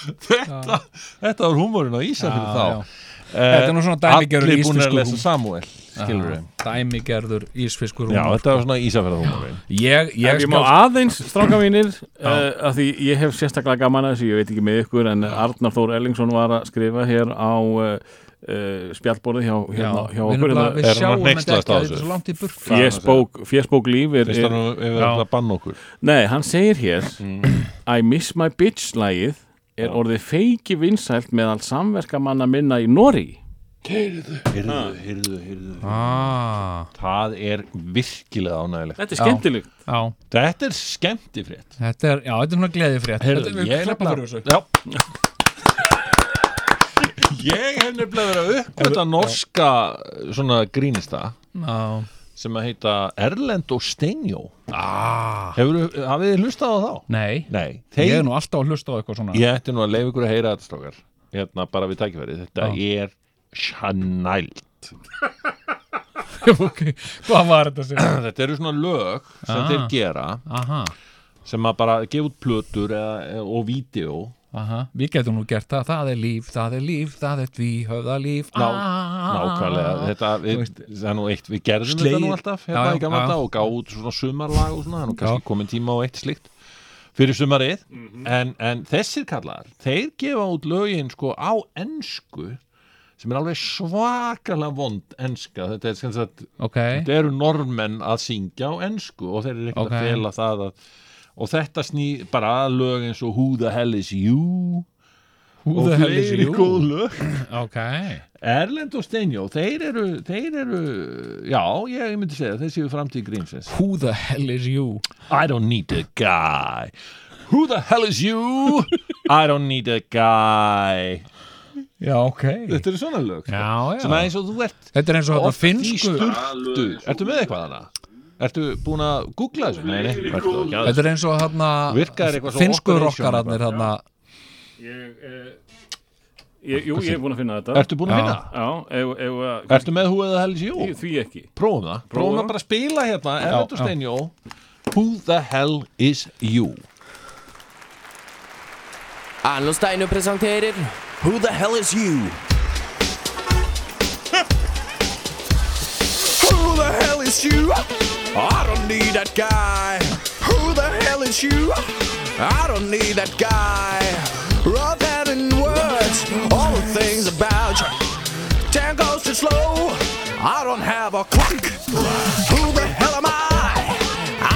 [SPEAKER 2] þetta þetta var húmórin á Ísafjörðu
[SPEAKER 3] Já,
[SPEAKER 2] þá
[SPEAKER 3] já.
[SPEAKER 2] Eh,
[SPEAKER 3] Þetta er nú svona dæmigerður
[SPEAKER 2] allir búnir að
[SPEAKER 3] íslenskur
[SPEAKER 2] lesa
[SPEAKER 3] húmor.
[SPEAKER 2] Samuel skilur við
[SPEAKER 3] Dæmigerður ísfiskur
[SPEAKER 2] Já, þetta var svona Ísafjörðahúmórin
[SPEAKER 3] Ég,
[SPEAKER 4] Ef
[SPEAKER 3] ég
[SPEAKER 4] ég má
[SPEAKER 3] skal...
[SPEAKER 4] aðeins, stráka mínir uh, að því ég hef sérstaklega gaman að þessu ég veit ekki með ykkur, en Arnar Þór Ellingsson var að skrifa hér á uh, uh, spjallborðið hjá, hérna, hjá
[SPEAKER 3] við,
[SPEAKER 4] okkur hérna.
[SPEAKER 3] nefnilega-
[SPEAKER 2] Er hann
[SPEAKER 3] við
[SPEAKER 2] að
[SPEAKER 3] sjáum þetta
[SPEAKER 2] hneykslast
[SPEAKER 3] ekki
[SPEAKER 2] á
[SPEAKER 3] að þetta
[SPEAKER 2] þessu?
[SPEAKER 3] er svo langt í burk
[SPEAKER 4] Fésbók, Fésbók líf er,
[SPEAKER 2] Fyrst
[SPEAKER 4] er,
[SPEAKER 2] hann um- við verðum að banna okkur
[SPEAKER 4] Nei, hann segir hér (clears throat) I miss my bitch lagið er orðið feiki vinsælt meðal samverkamanna minna í Nóri
[SPEAKER 2] Heyrðu, heyrðu, heyrðu, heyrðu
[SPEAKER 3] Ah,
[SPEAKER 2] Það er virkilega ánægilegt
[SPEAKER 4] Þetta er skemmtilegt
[SPEAKER 3] já,
[SPEAKER 2] Þetta er skemmtifrétt
[SPEAKER 3] þetta er, já, þetta er svona gleði frétt
[SPEAKER 2] ég,
[SPEAKER 3] klappa fyrir þessu
[SPEAKER 2] nefnilega- Já. (laughs) ég hef nefnilega verið að uppkvæta norska svona grínista
[SPEAKER 3] Já,
[SPEAKER 2] sem að heita Erlend og Steinjó
[SPEAKER 3] ah,
[SPEAKER 2] Hefur, hafið þið hlustað á þá?
[SPEAKER 3] nei
[SPEAKER 2] Nei,
[SPEAKER 3] Ég
[SPEAKER 2] þeir,
[SPEAKER 3] er nú alltaf að hlusta á eitthvað svona
[SPEAKER 2] ég ætti nú að leifa ykkur að heyra þetta strókar hérna bara við tækifæri, þetta er sjannælt
[SPEAKER 3] (laughs) Ok, hvað var þetta sem?
[SPEAKER 2] Þetta eru svona lög sem
[SPEAKER 3] Ah.
[SPEAKER 2] þeir gera
[SPEAKER 3] Aha,
[SPEAKER 2] sem að bara gefa út plötur eða, og vídeo
[SPEAKER 3] Aha, við getum nú gert það, það er líf, það er líf, það er því, höfða líf Ah.
[SPEAKER 2] Ná- Nákvæmlega, þetta, við, það er nú eitt, við gerðum þetta nú
[SPEAKER 3] Slegið.
[SPEAKER 2] alltaf
[SPEAKER 3] Já,
[SPEAKER 2] hérna
[SPEAKER 3] já,
[SPEAKER 2] í gamla
[SPEAKER 3] já.
[SPEAKER 2] dag og gáðu út svona sumarlag og svona, það er nú kannski komin tíma á eitt slíkt fyrir sumarið, en, en þessir kallar, þeir gefa út lögin sko á ensku sem er alveg svakalega vond enska, þetta er sem sagt
[SPEAKER 3] Ok,
[SPEAKER 2] þetta eru normenn að syngja á ensku og þeir eru ekkert
[SPEAKER 3] Ok.
[SPEAKER 2] að fela það að, og þetta sný bara að lög eins og Who the hell is you
[SPEAKER 3] who
[SPEAKER 2] og
[SPEAKER 3] the hell is
[SPEAKER 2] fleiri
[SPEAKER 3] you?
[SPEAKER 2] góð lög
[SPEAKER 3] Ok,
[SPEAKER 2] Erlend og Steinjó, þeir eru, þeir eru, já, ég myndi segja, þeir séu framtíð grínsins.
[SPEAKER 3] who the hell is you?
[SPEAKER 2] I don't need a guy. Who the hell is you? I don't need a guy.
[SPEAKER 3] Já, ok
[SPEAKER 2] Þetta eru svona lög. sko.
[SPEAKER 3] Já, já.
[SPEAKER 2] Sem aðeins og þú ert
[SPEAKER 3] Þetta er eins og þetta
[SPEAKER 2] oft í
[SPEAKER 3] finnsku
[SPEAKER 2] sturtu. Ertu með eitthvað þarna? Ertu búin að googla þessu? Nei, nei, ertu ekki að
[SPEAKER 3] Þetta er eins og þarna
[SPEAKER 2] Virkar eitthvað svo
[SPEAKER 3] finnsku
[SPEAKER 2] operation
[SPEAKER 3] rockararnir þarna
[SPEAKER 4] Ég, eh, ég, jú, ég er búin að finna þetta
[SPEAKER 2] Ertu búin að
[SPEAKER 3] Já.
[SPEAKER 2] finna það?
[SPEAKER 4] Já, ef, ef að
[SPEAKER 2] Ertu með Who the hell is you?
[SPEAKER 4] Því ekki
[SPEAKER 2] Prófum það. Prófum
[SPEAKER 4] það.
[SPEAKER 2] það bara að spila hérna, Erlend og
[SPEAKER 3] já.
[SPEAKER 2] Steinjó. Who the hell is you?
[SPEAKER 1] Arnlund Steinu presenterer Who the hell is you? Who the hell is you? I don't need that guy. Who the hell is you? I don't need that guy. Rather that in words, all the things about you. Time goes too slow. I don't have a clock. Who the hell am I?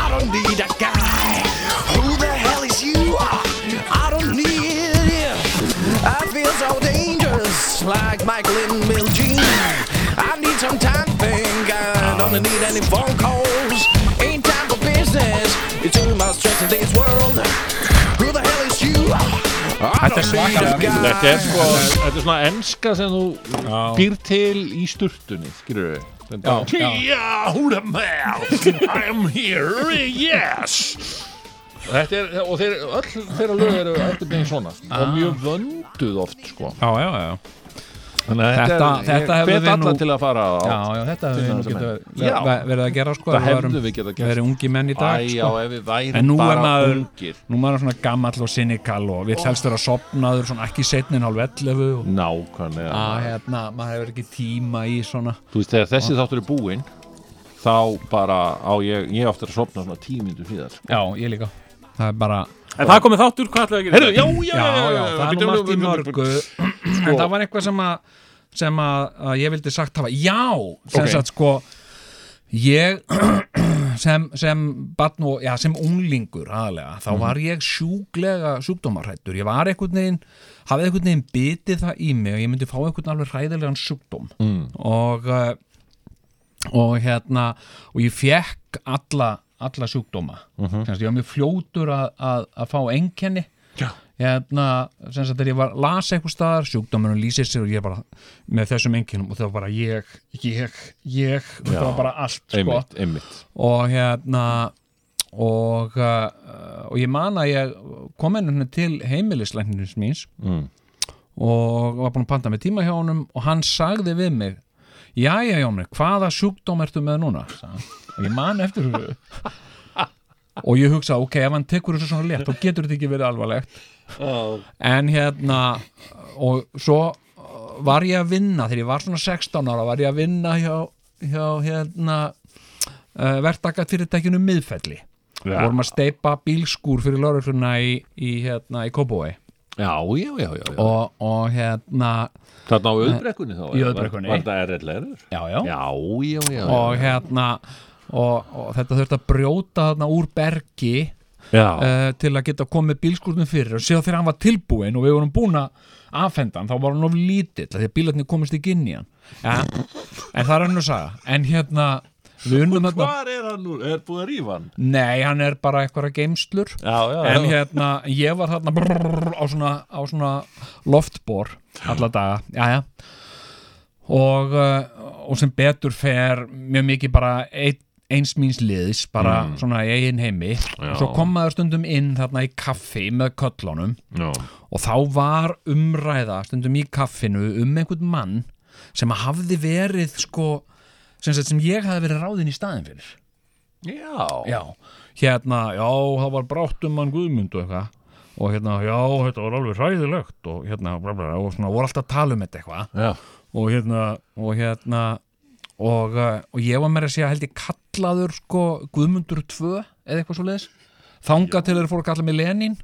[SPEAKER 1] I don't need that guy. Who the hell is you? I don't need you. I feel so dangerous, like Michael in Bill Jean. I need some time to think. I don't need any phone calls. Ain't time for business. It's too much stress in this world. Who the hell is you? I
[SPEAKER 3] Þetta er svakalega
[SPEAKER 1] guy.
[SPEAKER 2] Þetta er sko, þetta er svona enska sem þú býr til í sturtunni, skilur við
[SPEAKER 3] Já, já.
[SPEAKER 2] yeah, who the hell I'm here, yes Þetta er, og þeir, öll þeirra lög eru eftir byrjum svona sko, og
[SPEAKER 3] Ah.
[SPEAKER 2] mjög vönduð oft sko
[SPEAKER 3] Já, já, já
[SPEAKER 2] Þannig að
[SPEAKER 3] Þetta- þetta
[SPEAKER 2] ég
[SPEAKER 3] hefðu
[SPEAKER 2] hvet
[SPEAKER 3] við
[SPEAKER 2] alla
[SPEAKER 3] nú-
[SPEAKER 2] til að fara á
[SPEAKER 3] Já, já, þetta hefði við nú
[SPEAKER 2] þessa
[SPEAKER 3] getað
[SPEAKER 2] menn.
[SPEAKER 3] ver-
[SPEAKER 2] Já.
[SPEAKER 3] ver- verið að gera sko
[SPEAKER 2] Það
[SPEAKER 3] ef
[SPEAKER 2] hefðum
[SPEAKER 3] værum-
[SPEAKER 2] við getað gert.
[SPEAKER 3] Verið ungi menn í dag
[SPEAKER 2] Æ, já,
[SPEAKER 3] sko
[SPEAKER 2] ef við
[SPEAKER 3] En
[SPEAKER 2] værum
[SPEAKER 3] nú er
[SPEAKER 2] bara
[SPEAKER 3] maður,
[SPEAKER 2] ungir
[SPEAKER 3] nú er maður svona gamall og sinikal og við helst vera sopnaður svona ekki setnin hálf 11 og
[SPEAKER 2] Nákvæmlega
[SPEAKER 3] að hérna, maður hefur ekki tíma í svona
[SPEAKER 2] Þú veist, þegar þessi
[SPEAKER 3] Ah.
[SPEAKER 2] þáttur er búinn þá bara á ég, ég ofta að sopna svona tímyndum síðar sko.
[SPEAKER 3] Já, ég líka Það er bara,
[SPEAKER 4] En það komið þáttur, hvað ætlaði að gera?
[SPEAKER 2] Herru, já, já,
[SPEAKER 3] já, já, um það er nú margt í mörgu En það var eitthvað sem að sem að, að ég vildi sagt hafa Já, sem
[SPEAKER 2] Ok.
[SPEAKER 3] sagt sko ég sem, sem barn og, já, sem unglingur
[SPEAKER 2] Mhm.
[SPEAKER 3] aðalega, þá var ég sjúklega sjúkdómarhættur, ég var einhvern veginn hafði einhvern veginn bitið það í mig og ég myndi fá einhvern alveg hræðilegan sjúkdóm mm. og uh, og hérna og ég fekk alla, alla sjúkdóma mm
[SPEAKER 2] Mhm.
[SPEAKER 3] -hmm. ég var mjög fljótur að, að, að fá enkenni
[SPEAKER 2] Já.
[SPEAKER 3] hérna, sem sagt þegar ég var las eitthvað staðar, sjúkdómunum lýsir sér og ég bara með þessum enkinnum og það var bara ég, ég, ég og það var bara allt sko
[SPEAKER 2] Einmitt, einmitt
[SPEAKER 3] og hérna og, uh, og ég man að ég kom henni til heimilislæknirins míns
[SPEAKER 2] Mm.
[SPEAKER 3] og var búin að panta með tíma hjá honum og hann sagði við mig Jæja Jóni, hvaða sjúkdóm ertu með núna? sagði hann. og ég man eftir
[SPEAKER 2] (laughs)
[SPEAKER 3] þessu og ég hugsa, ok, ef hann tekur þessu svona létt þá getur þetta ekki verið alvarlegt en hérna og svo uh, var ég að vinna þegar ég var svona 16 ára var ég að vinna hjá, hjá hérna uh, verktakat fyrirtækjunum miðfelli
[SPEAKER 2] Já.
[SPEAKER 3] vorum að steipa bílskúr fyrir laurugluna í, í, hérna, í Kóbói
[SPEAKER 2] Já, já, já, já, já.
[SPEAKER 3] og, og hérna
[SPEAKER 2] Þarna á auðbrekkunni þá
[SPEAKER 3] Í
[SPEAKER 2] eða?
[SPEAKER 3] auðbrekkunni.
[SPEAKER 2] Var þetta erðlegur?
[SPEAKER 3] já,
[SPEAKER 2] Já,
[SPEAKER 3] já.
[SPEAKER 2] já, já, já
[SPEAKER 3] og hérna og, og þetta þurfti að brjóta þarna úr bergi
[SPEAKER 2] já.
[SPEAKER 3] uh, til að geta komið bílskúrnum fyrir og séð þegar hann var tilbúin og við vorum búin að afhenda hann, þá var hann of lítill af því að bílarnir komist ekki inn í hann en, en það er hann að saga en hérna, við unnum þarna
[SPEAKER 2] Hvar er hann nú? Er búið að rífa hann?
[SPEAKER 3] nei, hann er bara eitthvað geimslur
[SPEAKER 2] Já, já,
[SPEAKER 3] en
[SPEAKER 2] já
[SPEAKER 3] hérna, ég var þarna brrrr, á, svona, á svona loftbor alla daga, jæja og, uh, og sem betur fer mjög mikið bara ein, eins míns liðs, bara
[SPEAKER 2] Mm.
[SPEAKER 3] svona í eigin heimi og svo kom maður stundum inn þarna í kaffi með köllunum
[SPEAKER 2] Já,
[SPEAKER 3] og þá var umræða stundum í kaffinu um einhvern mann sem að hafði verið sko, sem, sagt, sem ég hafði verið ráðin í staðin fyrir
[SPEAKER 2] já.
[SPEAKER 3] já, hérna, já, það var brátt um hann Guðmund og eitthvað og hérna, já, þetta var alveg hræðilegt og hérna, bla, bla, bla, og svona voru alltaf að tala um þetta eitthvað
[SPEAKER 2] já,
[SPEAKER 3] og hérna, og hérna og, uh, og ég var meira að segja held ég kallaður sko Guðmundur 2 eða eitthvað svo leðis þangað til þeir fóru að kalla mig Lenin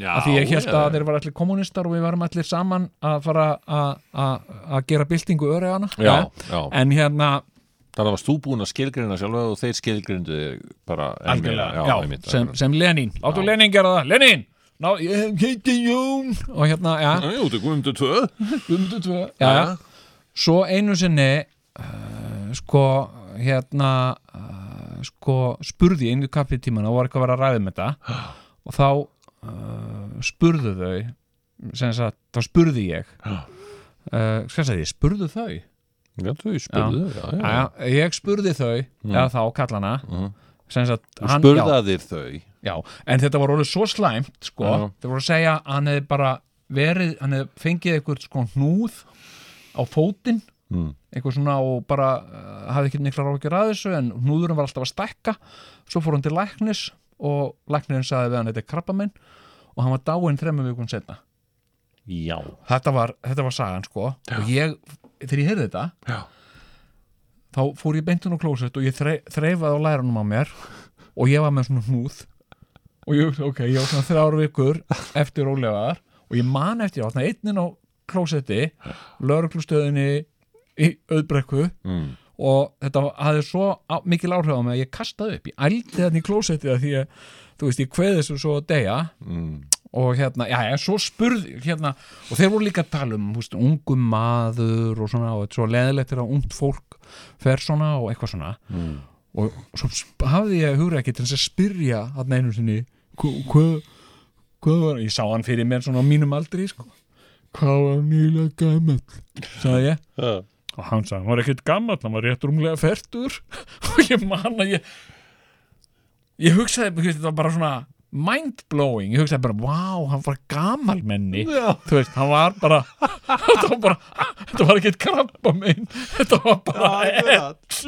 [SPEAKER 2] já
[SPEAKER 3] af því ég held að þeir var allir kommunistar og við varum allir saman að fara að- að að gera byltingu öreðana
[SPEAKER 2] já, já,
[SPEAKER 3] en hérna,
[SPEAKER 2] þannig varst þú búin að skilgrina sjálf og þeir skilgrindu þig bara enn meira.
[SPEAKER 3] Algjörlega,
[SPEAKER 2] já,
[SPEAKER 3] já,
[SPEAKER 2] einmitt,
[SPEAKER 3] sem,
[SPEAKER 2] akkurat.
[SPEAKER 3] sem Lenin Láttu Lenin gera það, Lenin Ná, ég heiti Jón Og hérna, já,
[SPEAKER 2] Já, Jú, þú komum til tvö
[SPEAKER 3] (laughs) Guðmundur tvö já, já. Svo einu sinni uh, sko, hérna uh, sko, spurði ég einu kaffið tíman og var eitthvað að vera að
[SPEAKER 2] (gasps)
[SPEAKER 3] ræða með þetta og þá uh, spurðu þau sem sagt, þá spurði ég uh, hvað sagði ég, spurðu þau
[SPEAKER 2] Já, þú spurðu já, já. Mm. Mm-hmm.
[SPEAKER 3] já, ég spurði þau, eða þá kallana sem sagt,
[SPEAKER 2] Þú
[SPEAKER 3] hann- já.
[SPEAKER 2] spurðaðir þau
[SPEAKER 3] Já, en þetta var orðið svo slæmt sko,
[SPEAKER 2] Já.
[SPEAKER 3] þeir voru að segja að hann hefði bara verið, hann hefði fengið eitthvað sko hnúð á fótinn
[SPEAKER 2] Mm.
[SPEAKER 3] eitthvað svona og bara uh, hafði ekki mikla ráðgjör að þessu en hnúðurinn var alltaf að stækka svo fór hann til læknis og læknirinn sagði við hann þetta er krabba minn og hann var dáinn þremmum vikun setna
[SPEAKER 2] Já,
[SPEAKER 3] þetta var, þetta var sagan sko og ég, þegar ég heyrði þetta
[SPEAKER 2] Já.
[SPEAKER 3] þá fór ég beintun á klósett og ég þre, þreifaði á lærunum á mér og ég var með svona hnúð og ég, hugsaði, ok, ég var svona þrjár vikur eftir rólegaðar og ég man eftir, ég var svona einninn á klósetti lauruglustöðinni í auðbrekku
[SPEAKER 2] Mm.
[SPEAKER 3] og þetta hafði svo á, mikil áhrif á mig að ég kastaði upp, ég ældi þarna í klósetti því að, þú veist, ég kveði þessu svo að deyja
[SPEAKER 2] mm.
[SPEAKER 3] og hérna, já, já, svo spurði hérna, og þeir voru líka að tala um húst, ungum maður og svona og þetta er svo leðilegt er að ungt fólk fer svona og eitthvað svona mm. og svo sp- hafði ég hugra ekki til þess að spyrja hann einu sinni hvað hva, hva var, ég sá hann fyrir mér svona á mínum aldri, sko hvað var nýlega gamall sagði ég
[SPEAKER 2] Já.
[SPEAKER 3] og hann sagði, hann var ekkert gammal, hann var rétt rúmlega fertur (laughs) og ég man að ég ég hugsaði, þú veist, þetta var bara svona mindblowing, ég hugsaði bara, wow, hann var gammal menni,
[SPEAKER 2] Já.
[SPEAKER 3] þú veist, hann var bara (laughs) þetta var bara (laughs) þetta var ekkert krabba minn þetta var bara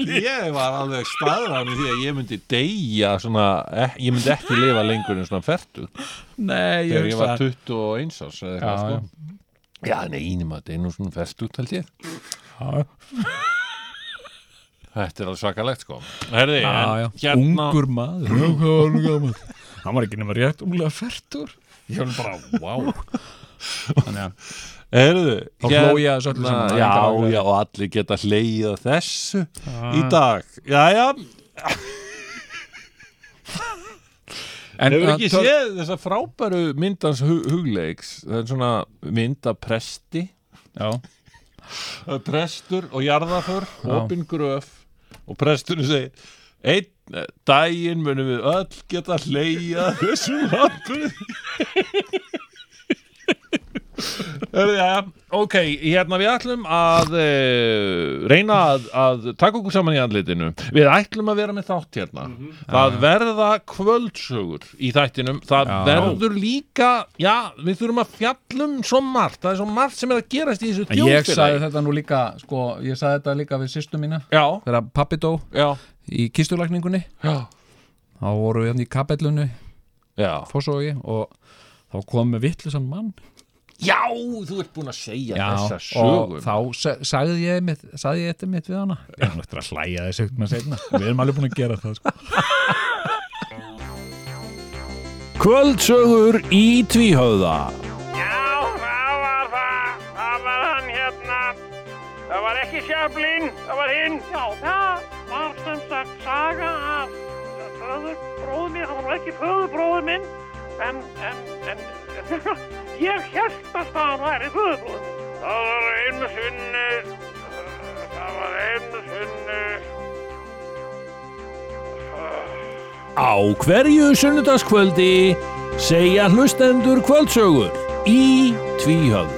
[SPEAKER 2] Ég var alveg staðræðan því að ég myndi deyja svona, eh, ég myndi ekki lifa lengur en svona fertu
[SPEAKER 3] nei, ég
[SPEAKER 2] þegar ég var
[SPEAKER 3] hugsaði
[SPEAKER 2] 21 árs eða eitthvað
[SPEAKER 3] Já,
[SPEAKER 2] sko. Já, nei, einum að þetta er nú svona fertu held ég
[SPEAKER 3] Já,
[SPEAKER 2] Þetta er alveg svakalegt sko Herði,
[SPEAKER 3] já, já,
[SPEAKER 2] en hérna
[SPEAKER 3] ungur maður já, hvað var hann gammal hann var ekki nema rétt rúmlega fertur ég var bara, wow þannig að
[SPEAKER 2] Herðu,
[SPEAKER 3] Þá hló ég að þessu öllu saman.
[SPEAKER 2] Já, hérna- já, og allir geta hlegið að þessu í dag Jæja,
[SPEAKER 3] en,
[SPEAKER 2] hefur ekki
[SPEAKER 3] en-
[SPEAKER 2] séð þessa frábæru myndans hu hugleiks Það er svona mynd af presti
[SPEAKER 3] já
[SPEAKER 2] Það er prestur og jarðaför
[SPEAKER 3] Já.
[SPEAKER 2] opin gröf og presturinn segir einn eh, daginn munum við öll geta hleyja þessum hapur Ok, hérna við ætlum að e, reyna að, að taka okkur saman í andlitinu Við ætlum að vera með þátt hérna
[SPEAKER 3] Mhm.
[SPEAKER 2] Það verða kvöldsögur í þættinum Það
[SPEAKER 3] Já.
[SPEAKER 2] verður líka, já, við þurfum að fjallum svo margt Það er svo margt sem er að gerast í þessu
[SPEAKER 3] En ég sagði
[SPEAKER 2] þjóðfélagi
[SPEAKER 3] þetta nú líka, sko, ég sagði þetta líka við sýstu mína
[SPEAKER 2] Já,
[SPEAKER 3] þegar pappi dó
[SPEAKER 2] já,
[SPEAKER 3] í kistulagningunni
[SPEAKER 2] já,
[SPEAKER 3] þá voru við hann í kapellunni,
[SPEAKER 2] já
[SPEAKER 3] fórsói og þá kom með vittlusan mann
[SPEAKER 2] Já, þú ert búin að segja þessa
[SPEAKER 3] og
[SPEAKER 2] sögur
[SPEAKER 3] þá sa- sagði ég, mitt, sagði ég þetta mitt við hana ég er náttúrulega að hlæja þessu ykkur með segna við erum alveg búin að gera það, sko
[SPEAKER 2] Kvöldsögur í tvíhöða
[SPEAKER 5] Já, það var það. Það var hann hérna. Það var ekki Sjöflin, það var hinn. Já, það var sem sagt saga af föðurbróðu minn. Það var nú ekki föðurbróðu minn, en, en, en, (laughs) ég held að það væri föðurbróðu minn. Það var einu sinni, eh, það var einu sinni.
[SPEAKER 2] Á hverju sunnudaskvöldi segja hlustendur kvöldsögur í tvíhöða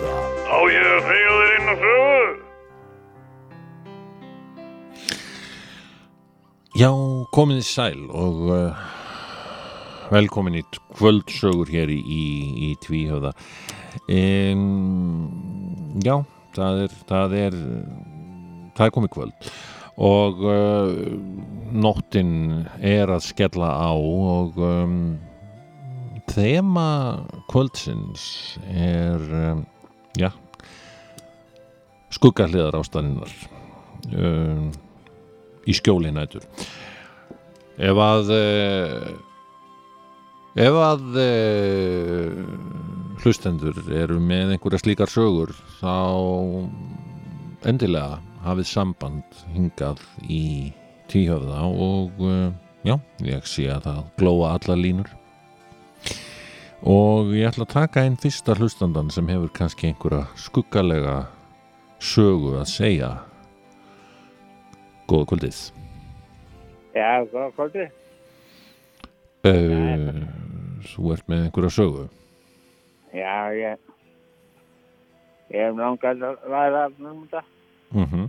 [SPEAKER 5] Á ég að segja þér inn á sögu?
[SPEAKER 2] Já, komin í sæl og uh, velkomin í t- kvöldsögur hér í, í, í tvíhöða um, Já, það er, það er það er komið kvöld og uh, nóttin er að skella á og um, þema kvöldsins er um, já skuggahliðar ástæðinnar um, í skjóli nætur ef að uh, ef að uh, hlustendur eru með einhverja slíkar sögur þá endilega hafið samband hingað í tíhöfða og uh, já, ég sé að það glóa allar línur og ég ætla að taka einn fyrsta hlustandan sem hefur kannski einhverja skuggalega sögu að segja Góða kvöldið
[SPEAKER 6] Já, góða kvöldi.
[SPEAKER 2] uh, Þú ert með einhverja sögu
[SPEAKER 6] Já, ég, ég hef langað að ræða um þetta.
[SPEAKER 2] mm
[SPEAKER 6] Mhm.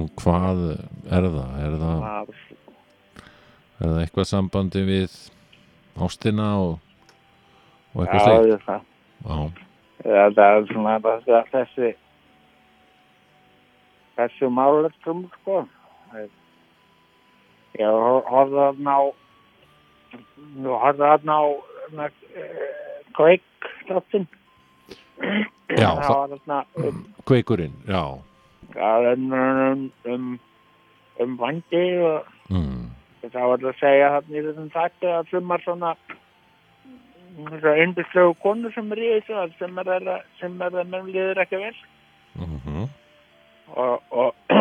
[SPEAKER 2] Og hvað er það? Er það,
[SPEAKER 6] Að
[SPEAKER 2] er það eitthvað sambandi við ástina og, og eitthvað
[SPEAKER 6] Já,
[SPEAKER 2] slíkt?
[SPEAKER 6] ég það.
[SPEAKER 2] Já,
[SPEAKER 6] Já, það er svona bara þessi, þessi málertum, sko. Ég hor- horfði þarna á, nú horfði þarna á, na, kveik, þáttinn.
[SPEAKER 2] já
[SPEAKER 6] það
[SPEAKER 2] það,
[SPEAKER 6] var þarna um,
[SPEAKER 2] kveikurinn, já
[SPEAKER 6] það er um, um, um, um vandi og
[SPEAKER 2] mm.
[SPEAKER 6] Það var að segja þarna í þessum þætti að sumar svona svona yndislegu konur sem er í þessu að sem er þeirra, sem er þeirra menn liður ekki vel
[SPEAKER 2] Mm
[SPEAKER 6] og og (clears throat)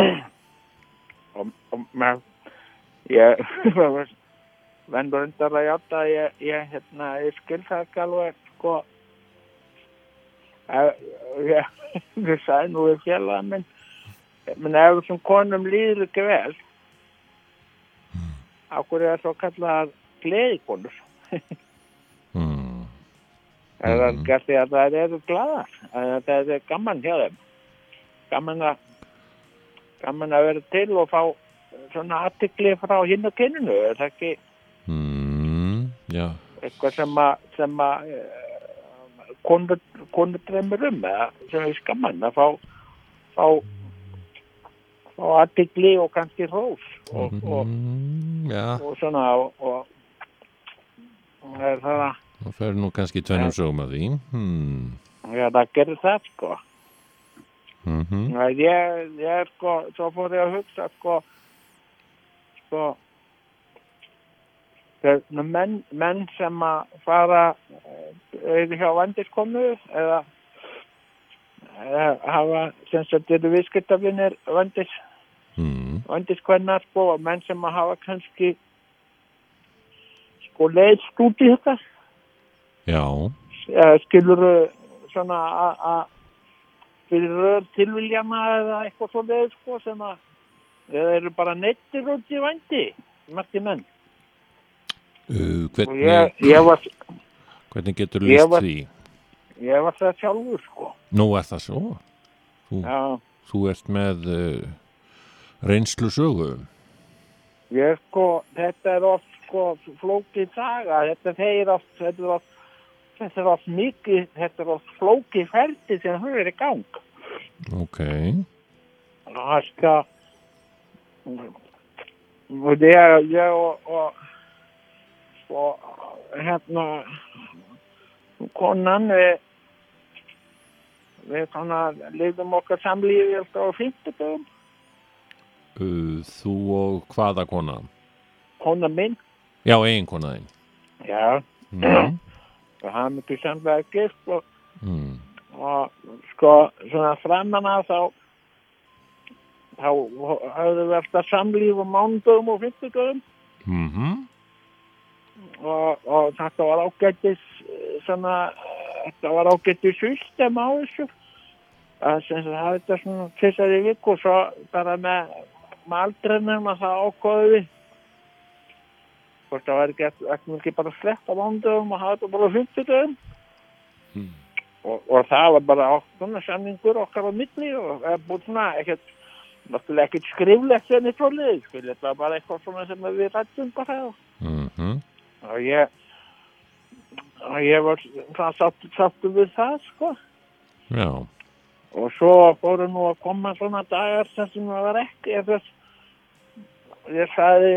[SPEAKER 6] og, og með ég (laughs) vendur undar að játa að ég, ég hérna, ég skil það ekki alveg sko að, ég, (laughs) ég sagði nú við félaga minn menn ef þessum konum líður ekki vel af hverju er svo kallað gleðikonur
[SPEAKER 2] mm.
[SPEAKER 6] Það er
[SPEAKER 2] Mhm.
[SPEAKER 6] gert því að það eru glaðar. að Það er gaman hjá þeim. Gaman að, gaman að vera til og fá svona aðtikli frá hinn og kyninu. Er það ekki
[SPEAKER 2] Mm. Já,
[SPEAKER 6] eitthvað sem að, sem að eh, konur, konur dreymir um eða sem er gaman að fá, fá, fá aðtikli og kannski hrós og, og,
[SPEAKER 2] mm, já,
[SPEAKER 6] og svona og, og, og það er það að
[SPEAKER 2] það fer nú kannski tvennum sögum að því mm.
[SPEAKER 6] já, það gerir það sko.
[SPEAKER 2] Mm
[SPEAKER 6] Nei, ég, ég er sko, svo fór ég að hugsa sko, sko, þegar menn, menn sem að fara auðvitað hjá vandiskonu eða, eða hafa, sem sagt, eru viðskiptafinir vandis,
[SPEAKER 2] Mm.
[SPEAKER 6] vandiskvenna sko og menn sem að hafa kannski sko leiðst út í þetta
[SPEAKER 2] Já,
[SPEAKER 6] eða skilur Eh, svona að- að fyrir rör tilviljana eða eitthvað svo leið sko sem að eða eru bara neittir út í vandi margir menn
[SPEAKER 2] uh,
[SPEAKER 6] og
[SPEAKER 2] hvernig,
[SPEAKER 6] ég, ég var
[SPEAKER 2] hvernig getur
[SPEAKER 6] ég
[SPEAKER 2] lýst
[SPEAKER 6] var-
[SPEAKER 2] því?
[SPEAKER 6] ég var það sjálfur sko
[SPEAKER 2] Nú er það svo,
[SPEAKER 6] já,
[SPEAKER 2] þú ert með uh, reynslu sögu
[SPEAKER 6] ég sko þetta er oft sko flókið saga þetta þeir oft þetta er oft þetta er oft mikið þetta er oft flókið ferdi sem þau eru í gang
[SPEAKER 2] Ok,
[SPEAKER 6] Það skal og það er ég og, og, og hérna konan við við svona lifum okkar samlífi alltaf á fimmtudum
[SPEAKER 2] uh, þú og hvaða kona?
[SPEAKER 6] konan minn
[SPEAKER 2] Já, eiginkona þín
[SPEAKER 6] já,
[SPEAKER 2] mm.
[SPEAKER 6] við hafum ekki samlega gift og,
[SPEAKER 2] Mm.
[SPEAKER 6] og sko svona framan að þá þá höfðum við alltaf samlíf á mánudum og fimmtudum
[SPEAKER 2] Mm
[SPEAKER 6] Mhm. og, og þetta var ágættis eh, svona, eh, þetta var ágættis system á þessu að sem sagt hafa þetta svona tvisar í viku og svo bara með með aldrinum að það ákóðu við hvort það var ekki, ekki, ekki bara slett á mándöfum og hafa þetta bara á 50 döfum og, og það var bara okkurna samningur okkar á milli og eh, búið svona ekkert náttúrulega ekkert skriflegt enn í tólið, skil, þetta var bara eitthvað svona sem við rættum bara og og ég og ég var það sáttu, sáttu við það sko
[SPEAKER 2] Já,
[SPEAKER 6] og svo fóru nú að koma svona dagar sem sem það var ekki ég, þess, ég sagði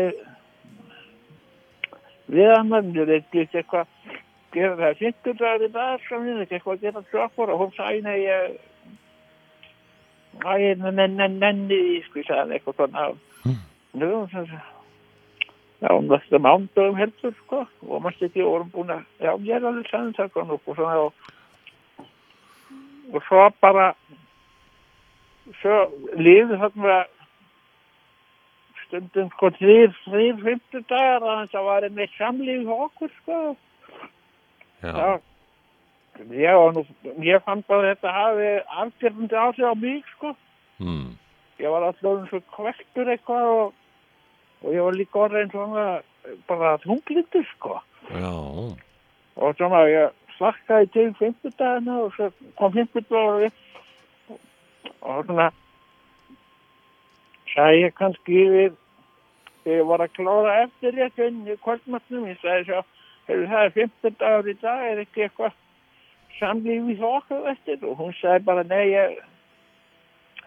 [SPEAKER 6] við hann að mér er ekki eitthvað gera það fimmtudagur í dagarskraminu, ekki eitthvað að gera sjokkvar og hún sagði, nei, ég, æ, nenn, nenn, nenn, nenni því, sko, ég sagði hann eitthvað svona, nú, sem sagt, já, hún var þetta mándagum heldur, sko, og maður ekki, og vorum búin að, já, ég er alveg sann, sagði hann, og svona, og, og svo bara, svo liði þarna stundum, sko, þrýr, þrýr, fimmtudagar, þannig að það var einmitt samlíf hjá okkur, sko,
[SPEAKER 2] já,
[SPEAKER 6] Já, já og nú, ég fann bara að þetta hafi afgjörðandi áhrif á mig, sko.
[SPEAKER 2] mm,
[SPEAKER 6] Ég var alltaf orðinn svo kvektur eitthvað og, og ég var líka orðin svona bara þunglindur, sko.
[SPEAKER 2] já,
[SPEAKER 6] Og svona ég slakkaði til fimmtudagina og svo kom fimmtudagur upp og svona sagði ég kannski yfir þegar ég var að klára eftir réttun í kvöldmatnum, ég sagði svo hefur það er fimmtudagur í dag, er ekki eitthvað samlífi hjá okkur eftir og hún sagði bara nei, ég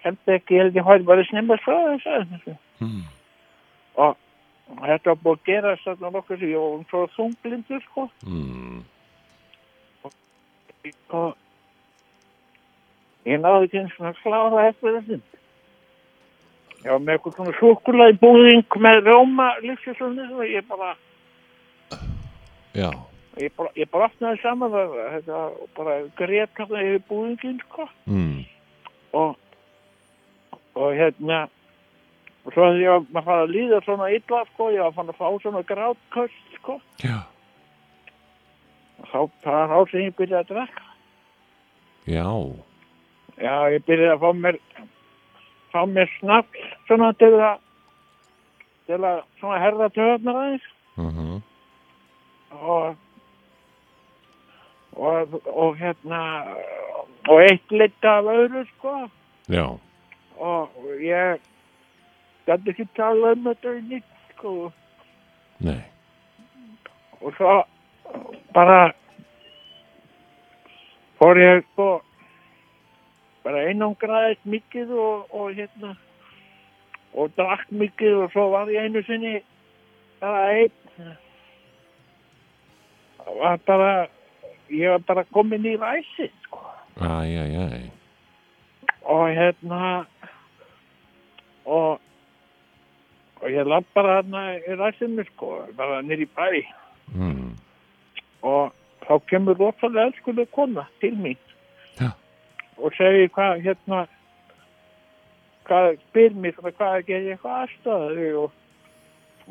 [SPEAKER 6] held ekki, ég held ég hóði bara snemma svo þess að þessu
[SPEAKER 2] mm,
[SPEAKER 6] og þetta var búið að gera þarna nokkuð sem ég var orðinn svo þunglindur sko
[SPEAKER 2] mm,
[SPEAKER 6] og ég náði ekki eins og að klára eftir þessum. Ég var með eitthvað svona súkulæði búðing með róma lífsjössonni og ég bara,
[SPEAKER 2] já,
[SPEAKER 6] ég bara, ég bara opnaði saman það, þetta var bara greið kannar yfir búðingin, sko.
[SPEAKER 2] mm,
[SPEAKER 6] Og, og hérna, og svo þegar ég var maður farið að líða svona illa, sko, ég var fann að fá svona grátköst, sko.
[SPEAKER 2] já,
[SPEAKER 6] Og Þá, það var þá sem ég byrjaði að drekka.
[SPEAKER 2] já,
[SPEAKER 6] Já, ég byrjaði að fá mér fá mér snabbt svona til að til að svona herða töðunar aðeins
[SPEAKER 2] mhm,
[SPEAKER 6] og og, og hérna og eitt lita af öðru sko
[SPEAKER 2] já,
[SPEAKER 6] og ég gæti ekki tala um þetta í nýtt sko
[SPEAKER 2] nei,
[SPEAKER 6] og svo bara fór ég sko bara einangraðist mikið og, og hérna og drakk mikið og svo var ég einu sinni bara einn var bara ég var bara komin í ræsi sko
[SPEAKER 2] æj, æj, æj,
[SPEAKER 6] og hérna og og ég lapp bara hérna í ræsinu sko bara nýr í bæ
[SPEAKER 2] mm,
[SPEAKER 6] og þá kemur rosalega elskuleg kona til mín
[SPEAKER 2] Já.
[SPEAKER 6] og segir hvað hérna hvað spyr mér svona, hvað ger ég eitthvað aðstæðu og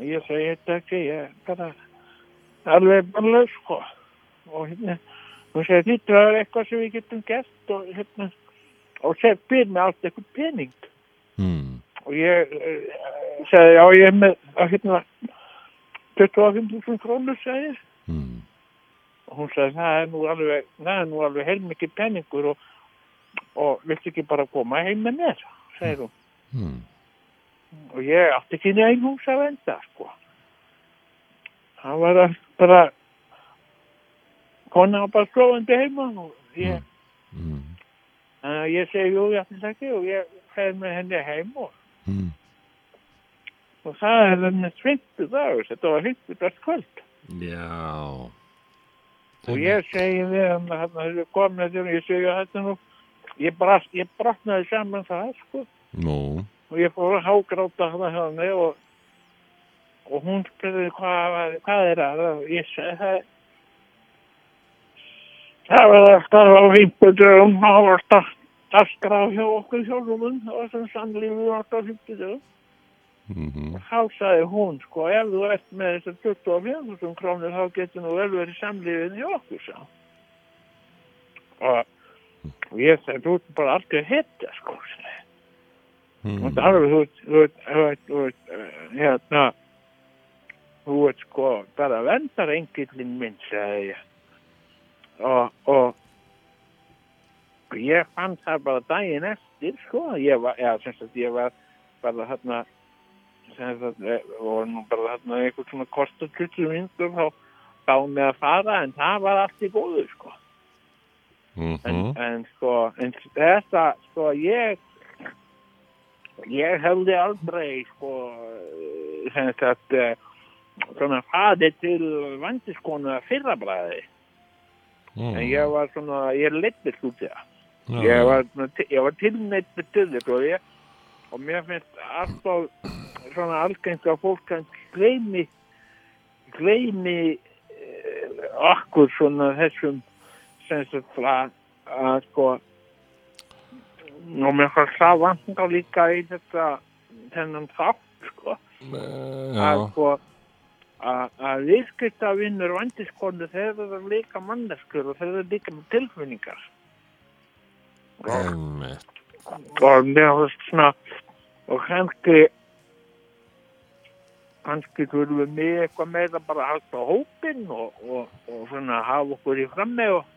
[SPEAKER 6] ég segi þetta ekki ég er bara alveg bara sko og hérna hún segir þetta er eitthvað sem við getum gert og hérna og segir spyr mér allt eitthvað pening
[SPEAKER 2] mm,
[SPEAKER 6] og ég uh, segi já ég er með að hérna 25.000 krónur segir
[SPEAKER 2] mm,
[SPEAKER 6] og hún sagði það er nú alveg, það er nú alveg heilmikið penningur og, og viltu ekki bara koma heim með mér, segir hún.
[SPEAKER 2] mm,
[SPEAKER 6] Og ég átti ekki neginn hús að venda, sko. Það var að- bara, konan var bara slóðandi heima og ég,
[SPEAKER 2] mm,
[SPEAKER 6] þannig að ég segi jú, ég ætti það ekki og ég fer með henni heim og,
[SPEAKER 2] mm,
[SPEAKER 6] og það er henni svintu dagur, þetta var hintu dært kvöld.
[SPEAKER 2] já,
[SPEAKER 6] og ég segi við hann að hann hefur komið til og ég segi að þetta nú ég, brast, ég brotnaði saman það sko
[SPEAKER 2] nú,
[SPEAKER 6] og ég fór að hágráta hann að hann og, og hún spurði hvað, var- hvað er það og ég segi það það var alltaf á fimmtudögum það var alltaf dagskrá hjá okkur hjálfum það var sem sannlífið var alltaf fimmtudögum
[SPEAKER 2] mhm,
[SPEAKER 6] þá sagði hún sko ef þú ert með þessar 25.000 krónir þá getur nú vel verið samlífin í okkur sá og, og ég sagði þú ert bara algjör hitta sko sagði.
[SPEAKER 2] mm,
[SPEAKER 6] og það er alveg, þú ert- þú ert- þú ert- þú ert eh, hérna þú ert sko bara vendar engillin minn sagði ég og, og ég fann það bara daginn eftir sko ég var, já, sem sagt ég var bara þarna sem sagt, eh, og nú bara þarna einhvern svona kostar 20 minnur þá þá með að fara en það var allt í góðu sko en,
[SPEAKER 2] mhm,
[SPEAKER 6] en sko en þetta sko ég ég hefði aldrei sko eh, sem sagt eh, svona fadi til vandiskonu að fyrrabræði
[SPEAKER 2] Mm.
[SPEAKER 6] en ég var svona, ég leittist út í það
[SPEAKER 2] Já.
[SPEAKER 6] ég var, svona til- ég var tilneitt með döðlur og sko, ég og mér finnst alltaf svona algengt að fólk kann gleymi gleymi eh, okkur svona þessum sem sagt að, að sko og mér finnst það vantar líka í þetta þennan þátt sko að
[SPEAKER 2] Já.
[SPEAKER 6] sko að- að viðskiptavinnur og vandiskonu þeir eru líka manneskur og þeir eru líka með tilfinningar
[SPEAKER 2] Einmitt.
[SPEAKER 6] og mér finnst svona og kannski kannski þurfum við mig eitthvað meira bara að halda hópinn og, og, og svona hafa okkur í frammi og,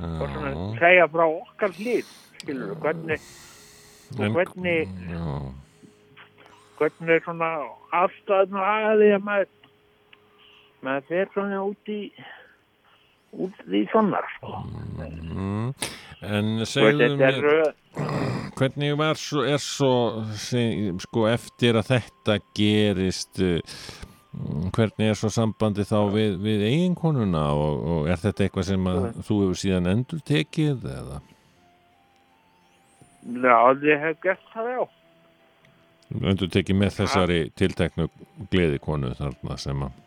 [SPEAKER 6] og svona
[SPEAKER 2] Já.
[SPEAKER 6] segja frá okkar hlýð skilur við hvernig og hvernig
[SPEAKER 2] Já.
[SPEAKER 6] hvernig svona afstæðn og aðið að maður maður fer svona út í út í svona sko.
[SPEAKER 2] Mm. En
[SPEAKER 6] Þú
[SPEAKER 2] segðu
[SPEAKER 6] veist, Sko, þetta
[SPEAKER 2] mér,
[SPEAKER 6] er,
[SPEAKER 2] hvernig var svo, er svo seg, sko, eftir að þetta gerist, uh, mm, hvernig er svo sambandi þá við, við eiginkonuna og, og er þetta eitthvað sem að
[SPEAKER 6] Mm.
[SPEAKER 2] þú hefur síðan endur tekið eða?
[SPEAKER 6] já, ég hef gert það já
[SPEAKER 2] Endur tekið með þessari
[SPEAKER 6] Ah.
[SPEAKER 2] tilteknu gleðikonu þarna sem að...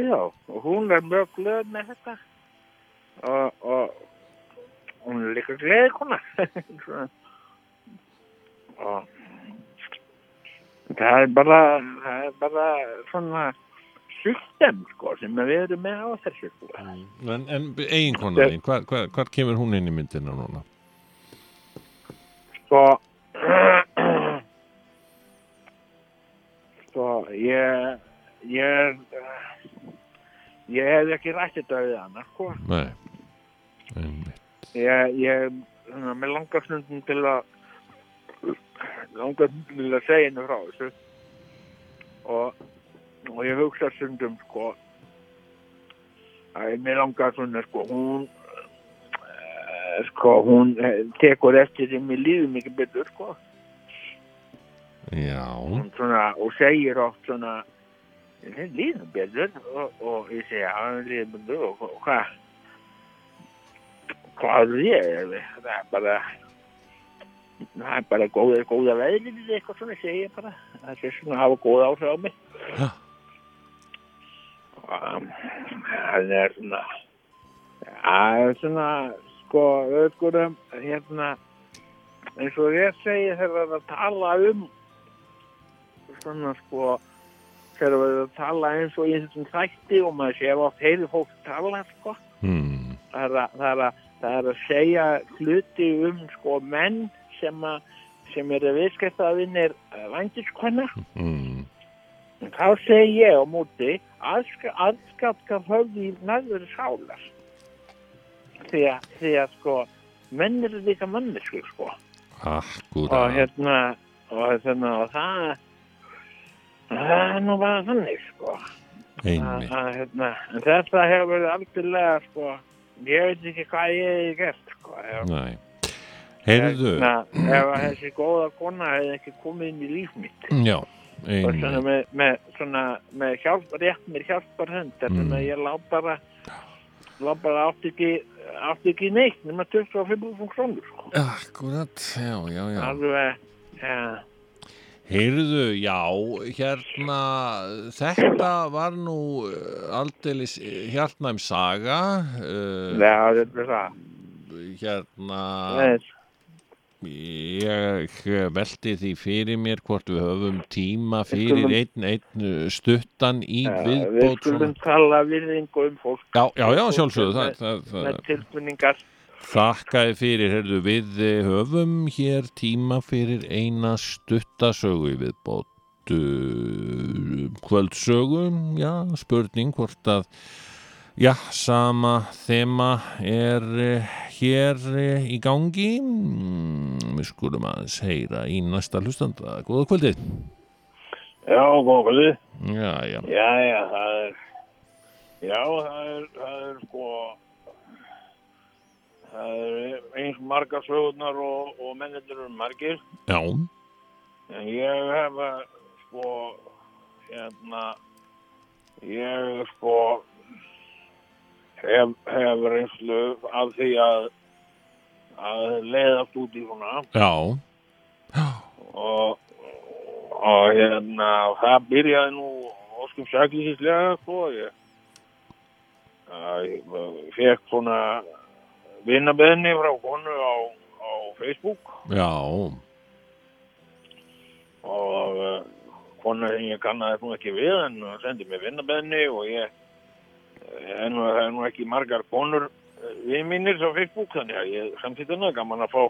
[SPEAKER 6] já, og hún er mjög glöð með þetta og, og hún er líka gleði kona Svona. (laughs) og það er bara það er bara svona system sko sem við erum með á þessu sko.
[SPEAKER 2] En, en eiginkona þín, hvar, hvar, hvar kemur hún inn í myndina núna?
[SPEAKER 6] (clears throat) sko sko ég ég ég hef ekki rætt þetta við hana sko
[SPEAKER 2] Nei, einmitt.
[SPEAKER 6] ég, ég svona, með langar stundum til að langar stundum til að segja henni frá þessu og, og ég hugsa stundum sko að mér langar svona sko hún eh, sko hún eh, tekur eftir því mér líður mikið betur sko
[SPEAKER 2] Já,
[SPEAKER 6] hún svona, og segir oft svona henni líður betur og, og ég segja hann líður betur og og hvað hvað er ég það er bara það er bara góða, góða veðrið eða eitthvað svona segi ég bara það sé svona að hafa góða áhrif á mig
[SPEAKER 2] Já.
[SPEAKER 6] Um, hann er svona það er svona sko öðgurum hérna eins og ég segi þegar það er að tala um svona sko þegar við erum að tala eins og í þessum þætti og maður sé oft heyri fólk tala sko
[SPEAKER 2] hmm.
[SPEAKER 6] það er að, það er að, það er að segja hluti um sko menn sem að sem eru viðskiptaðvinir vandiskvenna
[SPEAKER 2] Hmm.
[SPEAKER 6] þá segi ég á móti aðskapka höfði í næður sálar því að, því að sko menn eru líka manneskur sko
[SPEAKER 2] Akkúrat.
[SPEAKER 6] og hérna og, hérna, og það það er nú bara þannig sko að,
[SPEAKER 2] Einmitt.
[SPEAKER 6] að, hérna, en þetta hefur verið algjörlega sko ég veit ekki hvað ég hef gert sko ef,
[SPEAKER 2] Nei. Heyrðu,
[SPEAKER 6] hérna, ef að þessi góða kona hefði ekki komið inn í líf mitt
[SPEAKER 2] já,
[SPEAKER 6] og svona
[SPEAKER 2] einmitt.
[SPEAKER 6] með, með, svona, með hjálp, rétt mér hjálpar hönd þannig
[SPEAKER 2] Mm.
[SPEAKER 6] að ég lá bara lá bara átti ekki átti ekki neitt nema 25.000 krónur sko.
[SPEAKER 2] Akkúrat, já, já, já.
[SPEAKER 6] alveg eh, ja,
[SPEAKER 2] Heyrðu, já, hérna, þetta var nú eh, aldeilis eh, hjartnæm saga, uh,
[SPEAKER 6] ja, þetta er það
[SPEAKER 2] hérna,
[SPEAKER 6] Nei,
[SPEAKER 2] ég eh, velti því fyrir mér hvort við höfum tíma fyrir einn, einn eh, stuttan í
[SPEAKER 6] Ja, við
[SPEAKER 2] viðbót.
[SPEAKER 6] skulum
[SPEAKER 2] svona.
[SPEAKER 6] tala virðingu um fólk
[SPEAKER 2] Já, já, já, sjálfsögðu, það, það, það,
[SPEAKER 6] með tilfinningar
[SPEAKER 2] Þakkaði fyrir, herðu, við eh, höfum hér tíma fyrir eina stuttasögu í viðbót uh, kvöldsögu, já, spurning hvort að, já, sama þema er eh, hér eh, í gangi, Mm, við skulum aðeins heyra í næsta hlustanda, góða kvöldið,
[SPEAKER 6] Já, góðkvöldi.
[SPEAKER 2] já, já,
[SPEAKER 6] Já, já, það er, já, það er, það er sko, það er eins margar sögurnar og, og mennir eru margir.
[SPEAKER 2] já,
[SPEAKER 6] En ég hef, eh, sko, hérna, ég, sko, hef, hef reynslu af því að, að leiðast út í svona
[SPEAKER 2] Já,
[SPEAKER 6] og, og hérna, það byrjaði nú óskum sæklingslega sko ég, að ég fekk svona vinnabeðni frá konu á, á Facebook
[SPEAKER 2] já,
[SPEAKER 6] og uh, konu sem ég kannaði nú ekki við en hún sendi mér vinnabeðni og ég eh, en það er nú ekki margar konur eh, við mínir á Facebook þannig að ég samtitt hana gaman að fá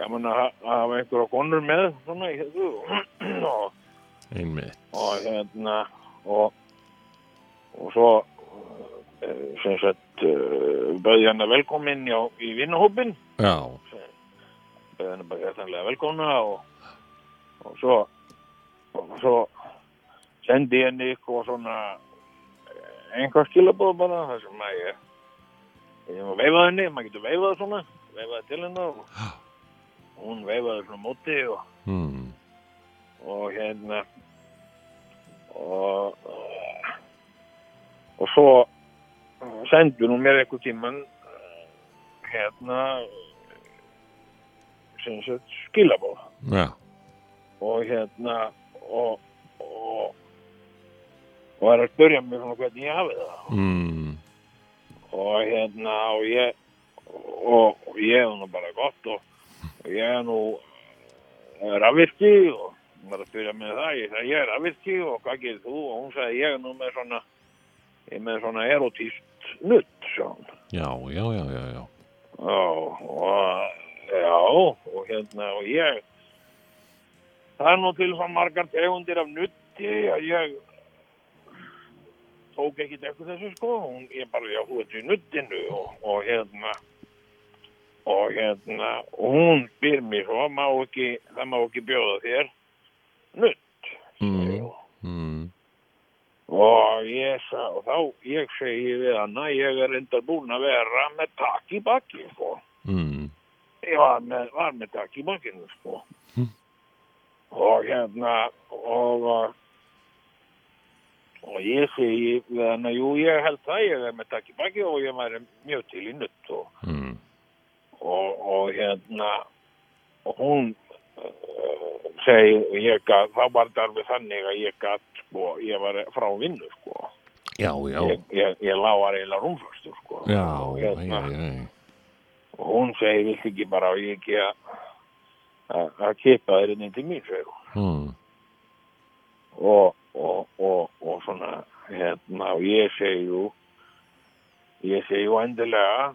[SPEAKER 6] gaman að ha- að hafa einhverja konur með svona í þessu og, (clears throat)
[SPEAKER 2] einmitt
[SPEAKER 6] og hérna og, og svo eh, sem sagt eh, bauð ég hana velkomin hjá, í vinnahópin
[SPEAKER 2] Já,
[SPEAKER 6] beðið henni bara hjertanlega velkomna og, og svo og svo sendi ég henni eitthvað svona eh, einhver skilabóð bara þar sem að ég ég var veifað henni, maður getur veifað svona veifaði til hennar og hún veifaði svona á móti og,
[SPEAKER 2] hmm.
[SPEAKER 6] og hérna og og, og svo sendur hún mér einhver tíman hérna sem sagt skilabóð
[SPEAKER 2] já,
[SPEAKER 6] og hérna og, og og var að spyrja mig svona hvernig ég hafi það
[SPEAKER 2] hmm.
[SPEAKER 6] og hérna og ég og, og ég hef nú bara gott og, og ég er nú eh, rafvirki og hún var að spyrja mig um það ég sagði ég er rafvirki og hvað gerir þú og hún sagði ég er nú með svona ég er með svona erotíst nutt sá hún
[SPEAKER 2] já, já, já, já, já.
[SPEAKER 6] Já, og, já, og hérna, og ég, það er nú til svo margar tegundir af nutti að ég tók ekkit eftir þessu sko, hún, ég bara, já, þú ert í nuttinu og, og hérna, og hérna, og hún spyr mér svo, má ekki, það má ekki bjóða þér nutt,
[SPEAKER 2] Mm.
[SPEAKER 6] mm.
[SPEAKER 2] Hmm.
[SPEAKER 6] og ég sa, og þá, ég segi við hana, ég er reyndar búin að vera með takk í baki, sko.
[SPEAKER 2] Mm.
[SPEAKER 6] ég var með, var með takk í bakinu sko
[SPEAKER 2] Hm.
[SPEAKER 6] og hérna og uh, og ég segi við hana, jú ég held það ég er með takk í baki og ég væri mjög til í sko." nutt og,
[SPEAKER 2] Mm.
[SPEAKER 6] og, og hérna og hún uh, segi ég gat, þá var þetta alveg þannig að ég gat sko, ég var frá vinnu sko
[SPEAKER 2] Já, já,
[SPEAKER 6] ég, ég, ég lágar eiginlega rúmfastur sko
[SPEAKER 2] já,
[SPEAKER 6] og,
[SPEAKER 2] já,
[SPEAKER 6] hérna,
[SPEAKER 2] já, já.
[SPEAKER 6] og hún segi, viltu ekki bara og ég ekki að- að að kippa þér inn til mín, segir hún.
[SPEAKER 2] Hmm.
[SPEAKER 6] Og, og, og, og svona, hérna, og ég segi jú, ég segi jú endilega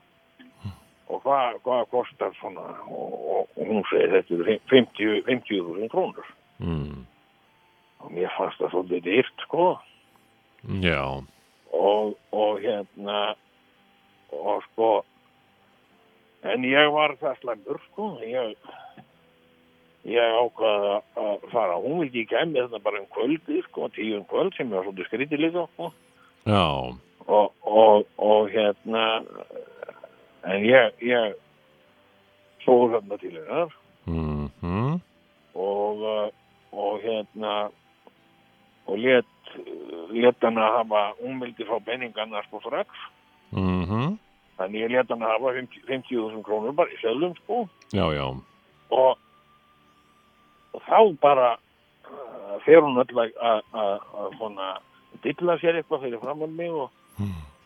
[SPEAKER 6] og hvað, hvað kostar svona, og, og, og hún segi þetta eru fimm- 50 50.000 krónur.
[SPEAKER 2] Mm.
[SPEAKER 6] Og mér fannst það svolítið dyrt, sko.
[SPEAKER 2] Já,
[SPEAKER 6] og, og hérna og sko en ég var það slæmur sko ég, ég ákvaði að fara hún vildi ekki kemja þetta bara um kvöldi sko, tíu um kvöld sem ég var svolítið skrítið líka sko.
[SPEAKER 2] já,
[SPEAKER 6] og, og, og hérna en ég, ég fór þarna til hennar
[SPEAKER 2] mm -hmm.
[SPEAKER 6] og, uh, og hérna og let let hana hafa, hún vildi fá peningana sko strax
[SPEAKER 2] Mm -hmm.
[SPEAKER 6] Þannig ég let hann hafa 50 50.000 krónur bara í sjálfum sko
[SPEAKER 2] já, já,
[SPEAKER 6] og, og þá bara uh, fer hún öll að- að að- að svona dilla sér eitthvað fyrir framann mig og,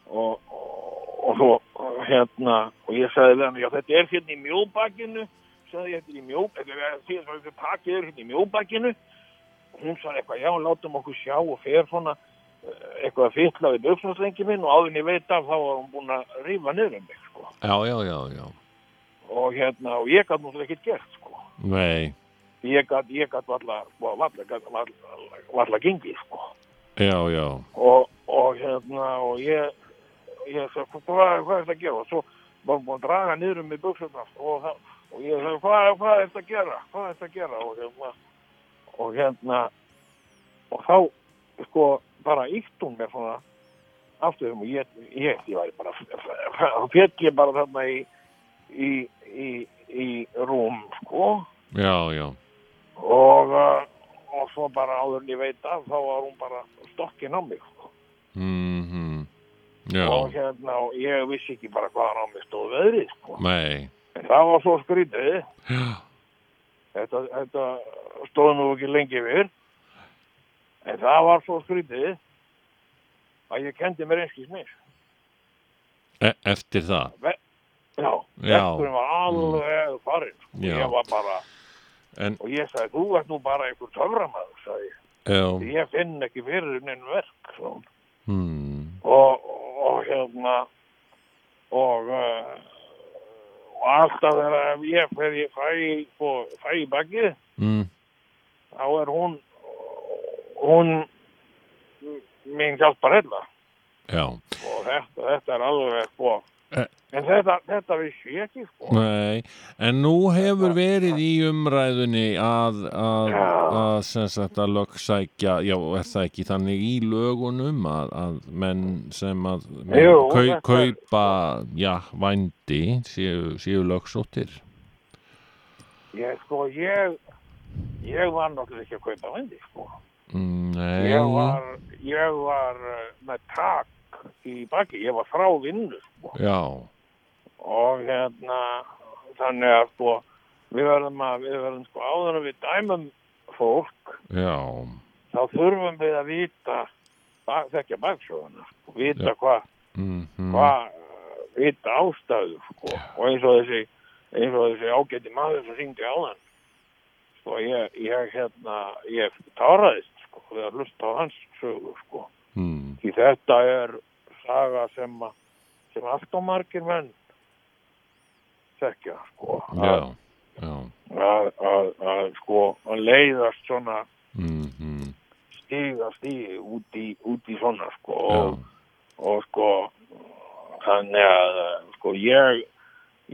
[SPEAKER 6] og, og, og, og hérna og ég sagði við hann, já þetta er hérna í mjóbakinu sagði ég þetta er í mjó þetta er síðan svo við pakið er hérna í mjóbakinu hún sagði eitthvað, já látum okkur sjá og fer svona uh, eitthvað að fylla við buksnarslengi minn og áðin ég veit af þá var hún búin að rífa niður um mig sko
[SPEAKER 2] já, já, já, já,
[SPEAKER 6] og hérna, og ég gæti náttúrulega ekkert gert, sko.
[SPEAKER 2] nei,
[SPEAKER 6] Ég gæti, ég gæti varla, sko, varla, gat- varla, varla gengið, sko.
[SPEAKER 2] já, já,
[SPEAKER 6] Og, og hérna, og ég, ég sagði, "Hva- hvað, hvað er þetta að gera? Og svo var hún búin að draga niður um í buksuna og, það- og ég sagði, hvað, hvað er þetta að gera? Hvað er þetta að gera? Og hérna, og hérna, og þá, sko, bara ítt hún mér svona aftur um og ég, ég, ég væri bara, þá fekk ég bara þarna í, í, í, í rúm, sko.
[SPEAKER 2] já, já,
[SPEAKER 6] og, uh, og svo bara áður en ég veit af þá var hún bara stokkin á mig sko.
[SPEAKER 2] mm -hmm. já,
[SPEAKER 6] og hérna og ég vissi ekki bara hvaðan á mig stóð veðrið sko.
[SPEAKER 2] nei,
[SPEAKER 6] en það var svo skrítið
[SPEAKER 2] já,
[SPEAKER 6] þetta, þetta stóð nú ekki lengi yfir en það var svo skrítið að ég kendi mér einskis mér
[SPEAKER 2] e eftir það,
[SPEAKER 6] já,
[SPEAKER 2] Já. Mm.
[SPEAKER 6] vekkurinn var alveg farinn sko.
[SPEAKER 2] Já.
[SPEAKER 6] ég var bara
[SPEAKER 2] En-
[SPEAKER 6] og ég sagði, þú ert nú bara einhver töframæður sagði ég,
[SPEAKER 2] já,
[SPEAKER 6] ég finn ekki fyrir neinn verk sko. svona
[SPEAKER 2] hmm,
[SPEAKER 6] og, og hérna og uh, og alltaf þegar ég fer ég fæ, fæ, fæ í bakið
[SPEAKER 2] mm,
[SPEAKER 6] þá er hún hún mín hjálpar hella
[SPEAKER 2] já,
[SPEAKER 6] og þetta, þetta er alveg sko
[SPEAKER 2] Eh.
[SPEAKER 6] en þetta, þetta vissi ég ekki sko
[SPEAKER 2] nei, en nú hefur verið í umræðunni að, að, að sem sagt að lögsækja, já, er það ekki þannig í lögunum að, að menn sem að menn
[SPEAKER 6] Jú,
[SPEAKER 2] kau,
[SPEAKER 6] þetta er-
[SPEAKER 2] kaupa, já, vændi séu, séu lögsóttir,
[SPEAKER 6] ég sko ég ég var náttúrulega ekki að kaupa vendi sko
[SPEAKER 2] Mm, nei,
[SPEAKER 6] ég var, ég var eh, með tak í baki ég var frá vinnu sko
[SPEAKER 2] já,
[SPEAKER 6] og hérna þannig að sko við verðum að við verðum sko áður að við dæmum fólk
[SPEAKER 2] já,
[SPEAKER 6] þá þurfum við að vita bak- þekkja baksjóðuna sko, vita hvað
[SPEAKER 2] mhm,
[SPEAKER 6] hva, vita ástæðu sko og eins og þessi eins og þessi ágæti maður sem syngdi á þann sko ég, ég hérna ég táraðist sko við að hlusta á hans sögu sko
[SPEAKER 2] mhm,
[SPEAKER 6] því þetta er saga sem að sem allt og margir menn þekkja sko að,
[SPEAKER 2] já, já,
[SPEAKER 6] að, að, að sko að leiðast svona
[SPEAKER 2] mhm,
[SPEAKER 6] stíga stígi út í, út í svona sko
[SPEAKER 2] já,
[SPEAKER 6] og, og sko þannig að eh, sko ég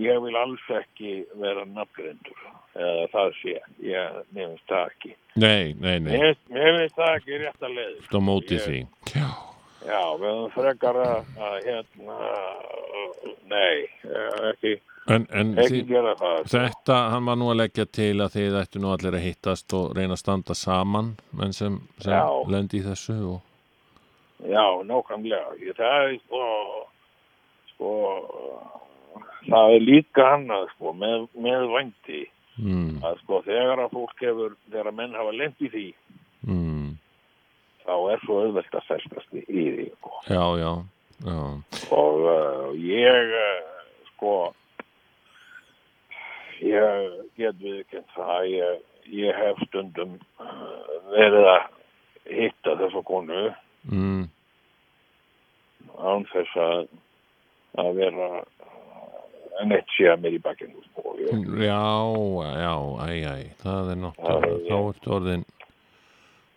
[SPEAKER 6] ég vil alls ekki vera nafngrindur eða það sé ég mér finnst það ekki
[SPEAKER 2] nei, nei, nei,
[SPEAKER 6] mér, finnst- mér finnst það ekki rétt að leiði
[SPEAKER 2] þetta á móti
[SPEAKER 6] Ég-
[SPEAKER 2] því, já,
[SPEAKER 6] Já, við höfum frekar að, að hérna, nei, eh, ekki,
[SPEAKER 2] en, en
[SPEAKER 6] ekki
[SPEAKER 2] þið,
[SPEAKER 6] gera það.
[SPEAKER 2] þetta, hann var nú að leggja til að þið ættu nú allir að hittast og reyna að standa saman, menn sem,
[SPEAKER 6] Já.
[SPEAKER 2] sem lendi í þessu og,
[SPEAKER 6] Já, nákvæmlega. Ég, það er sko, sko, það er líka annað, sko, með, með vandi,
[SPEAKER 2] mhm,
[SPEAKER 6] að sko, þegar að fólk hefur, þegar að menn hafa lent í því,
[SPEAKER 2] mhm,
[SPEAKER 6] þá er svo auðvelt að sælstast í, í því, sko.
[SPEAKER 2] já, já, já,
[SPEAKER 6] og uh, ég uh, sko ég get viðkjönd það ég, ég hef stundum uh, verið að hitta þessa konu
[SPEAKER 2] mhm,
[SPEAKER 6] án þess að að vera uh, neitt sé að mér í bakkinu sko. ég,
[SPEAKER 2] já, já, æ, æ, það er náttúrulega,
[SPEAKER 6] Já,
[SPEAKER 2] þá
[SPEAKER 6] já.
[SPEAKER 2] ertu orðin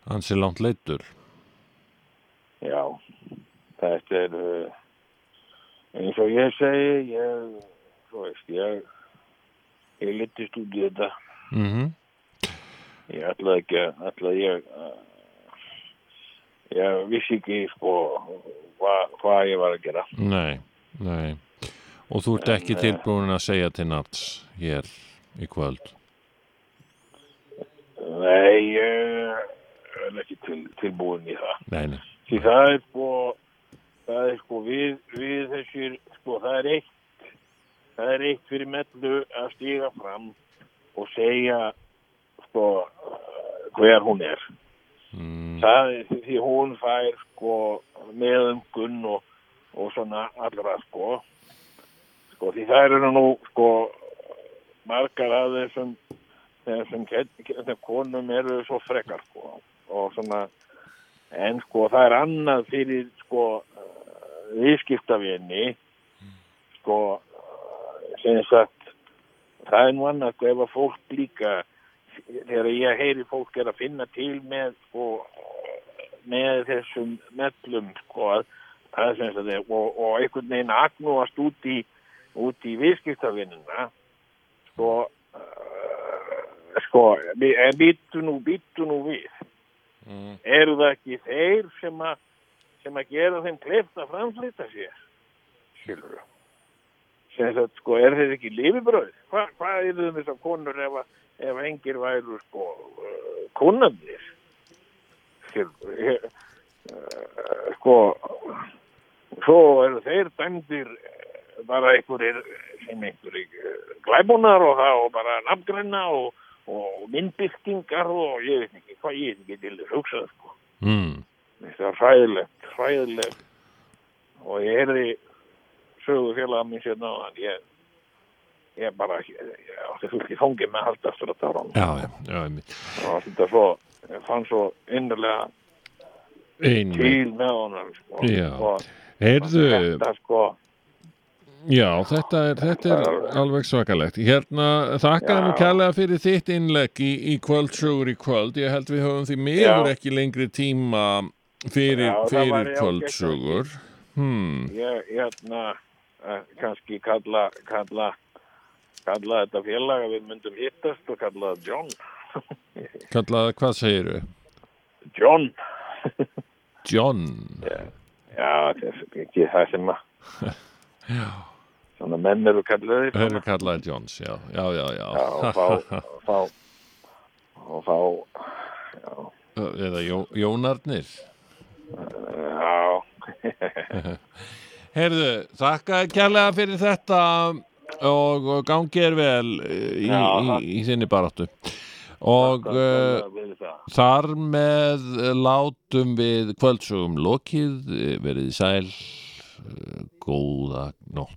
[SPEAKER 2] hansi langt leittur,
[SPEAKER 6] já þetta er uh, eins og ég segi ég, þú veist ég ég litist út í þetta
[SPEAKER 2] mhm,
[SPEAKER 6] Ég ætlaði ekki að, ætlaði ég, uh, ég vissi ekki sko hvað hva ég var að gera.
[SPEAKER 2] Nei, nei Og þú ert ekki
[SPEAKER 6] eh,
[SPEAKER 2] tilbúin að segja til nats hér í kvöld
[SPEAKER 6] Nei, ég er ekki til, tilbúin í það.
[SPEAKER 2] Nei, nei,
[SPEAKER 6] Því það er sko, það er sko við, við þessir, sko það er eitt, það er eitt fyrir mellu að stíga fram og segja sko uh, hver hún er.
[SPEAKER 2] mm,
[SPEAKER 6] Það er því hún fær sko meðumgun og, og svona allra sko. Sko því það eru nú sko margar af þessum, þessum, ket- þessum konum eru svo frekar sko. Og svona, en sko það er annað fyrir sko eh, viðskiptavinni sko eh, sem sagt það er nú annað sko ef að fólk líka þegar ég heyri fólk er að finna til með sko, með þessum mellum sko, að- að sem sagt er- og, og einhvern veginn agnúast út í út í viðskiptavinnuna sko uh, sko, bi- en býttu nú býttu nú við eru það ekki þeir sem að sem að gera þeim kleift að framflýta sér skilur við sem sagt, sko, er þeir ekki lifibröð Hva, hvað eru þeim þessar konur ef, að- ef engir væru sko uh, konandir uh, skilur við, eh, eh, sko
[SPEAKER 7] svo eru þeir dæmdir eh, bara einhverjir sem einhverjir
[SPEAKER 6] eh,
[SPEAKER 7] glæbúnar og, það- og bara nafngrenna og, og myndbyrtingar og ég veit ekki hvað ég get til þess hugsað sko.
[SPEAKER 2] Mm.
[SPEAKER 7] Þetta er hræðilegt, hræðilegt og ég heyrði sögu félaga mín sérna og ég, ég bara ég, ég átti fullt í fangi með að halda aftur að um tára
[SPEAKER 2] Já, já, já, einmitt.
[SPEAKER 7] og þetta svo, ég fann svo innlega
[SPEAKER 2] einmitt.
[SPEAKER 7] til með honum sko.
[SPEAKER 2] Já.
[SPEAKER 7] og
[SPEAKER 2] Heyrðu,
[SPEAKER 7] þetta sko
[SPEAKER 2] Já, þetta er, þetta er alveg svakalegt. Hérna, þakkaði nú kærlega fyrir þitt innlegg í, í kvöldsögur í kvöld. Ég held við höfum því miður
[SPEAKER 7] Já.
[SPEAKER 2] ekki lengri tíma fyrir,
[SPEAKER 7] Já, það
[SPEAKER 2] fyrir
[SPEAKER 7] væri ágætt.
[SPEAKER 2] kvöldsögur. Hmm,
[SPEAKER 7] ég hérna eh, kannski kalla kalla, kalla þetta félag að við myndum hittast og kalla það John
[SPEAKER 2] kallaði, hvað segiru?
[SPEAKER 7] John,
[SPEAKER 2] John.
[SPEAKER 7] já þetta er ekki það sem að svona menn eru kallaðir
[SPEAKER 2] Það
[SPEAKER 7] svona.
[SPEAKER 2] eru kallaði Johns, já, já, já, já.
[SPEAKER 7] Já, og
[SPEAKER 2] (laughs)
[SPEAKER 7] fá, fá og fá
[SPEAKER 2] Eða Jó, Jónarnir.
[SPEAKER 7] já,
[SPEAKER 2] Heyrðu, þakkaði kærlega fyrir þetta og, og gangi er vel í,
[SPEAKER 7] Já,
[SPEAKER 2] í, í þinni baráttu. Og... Uh,
[SPEAKER 7] það verður það
[SPEAKER 2] Þar með eh, látum við kvöldsögum lokið, eh, verið þið sæl, eh, góða nótt.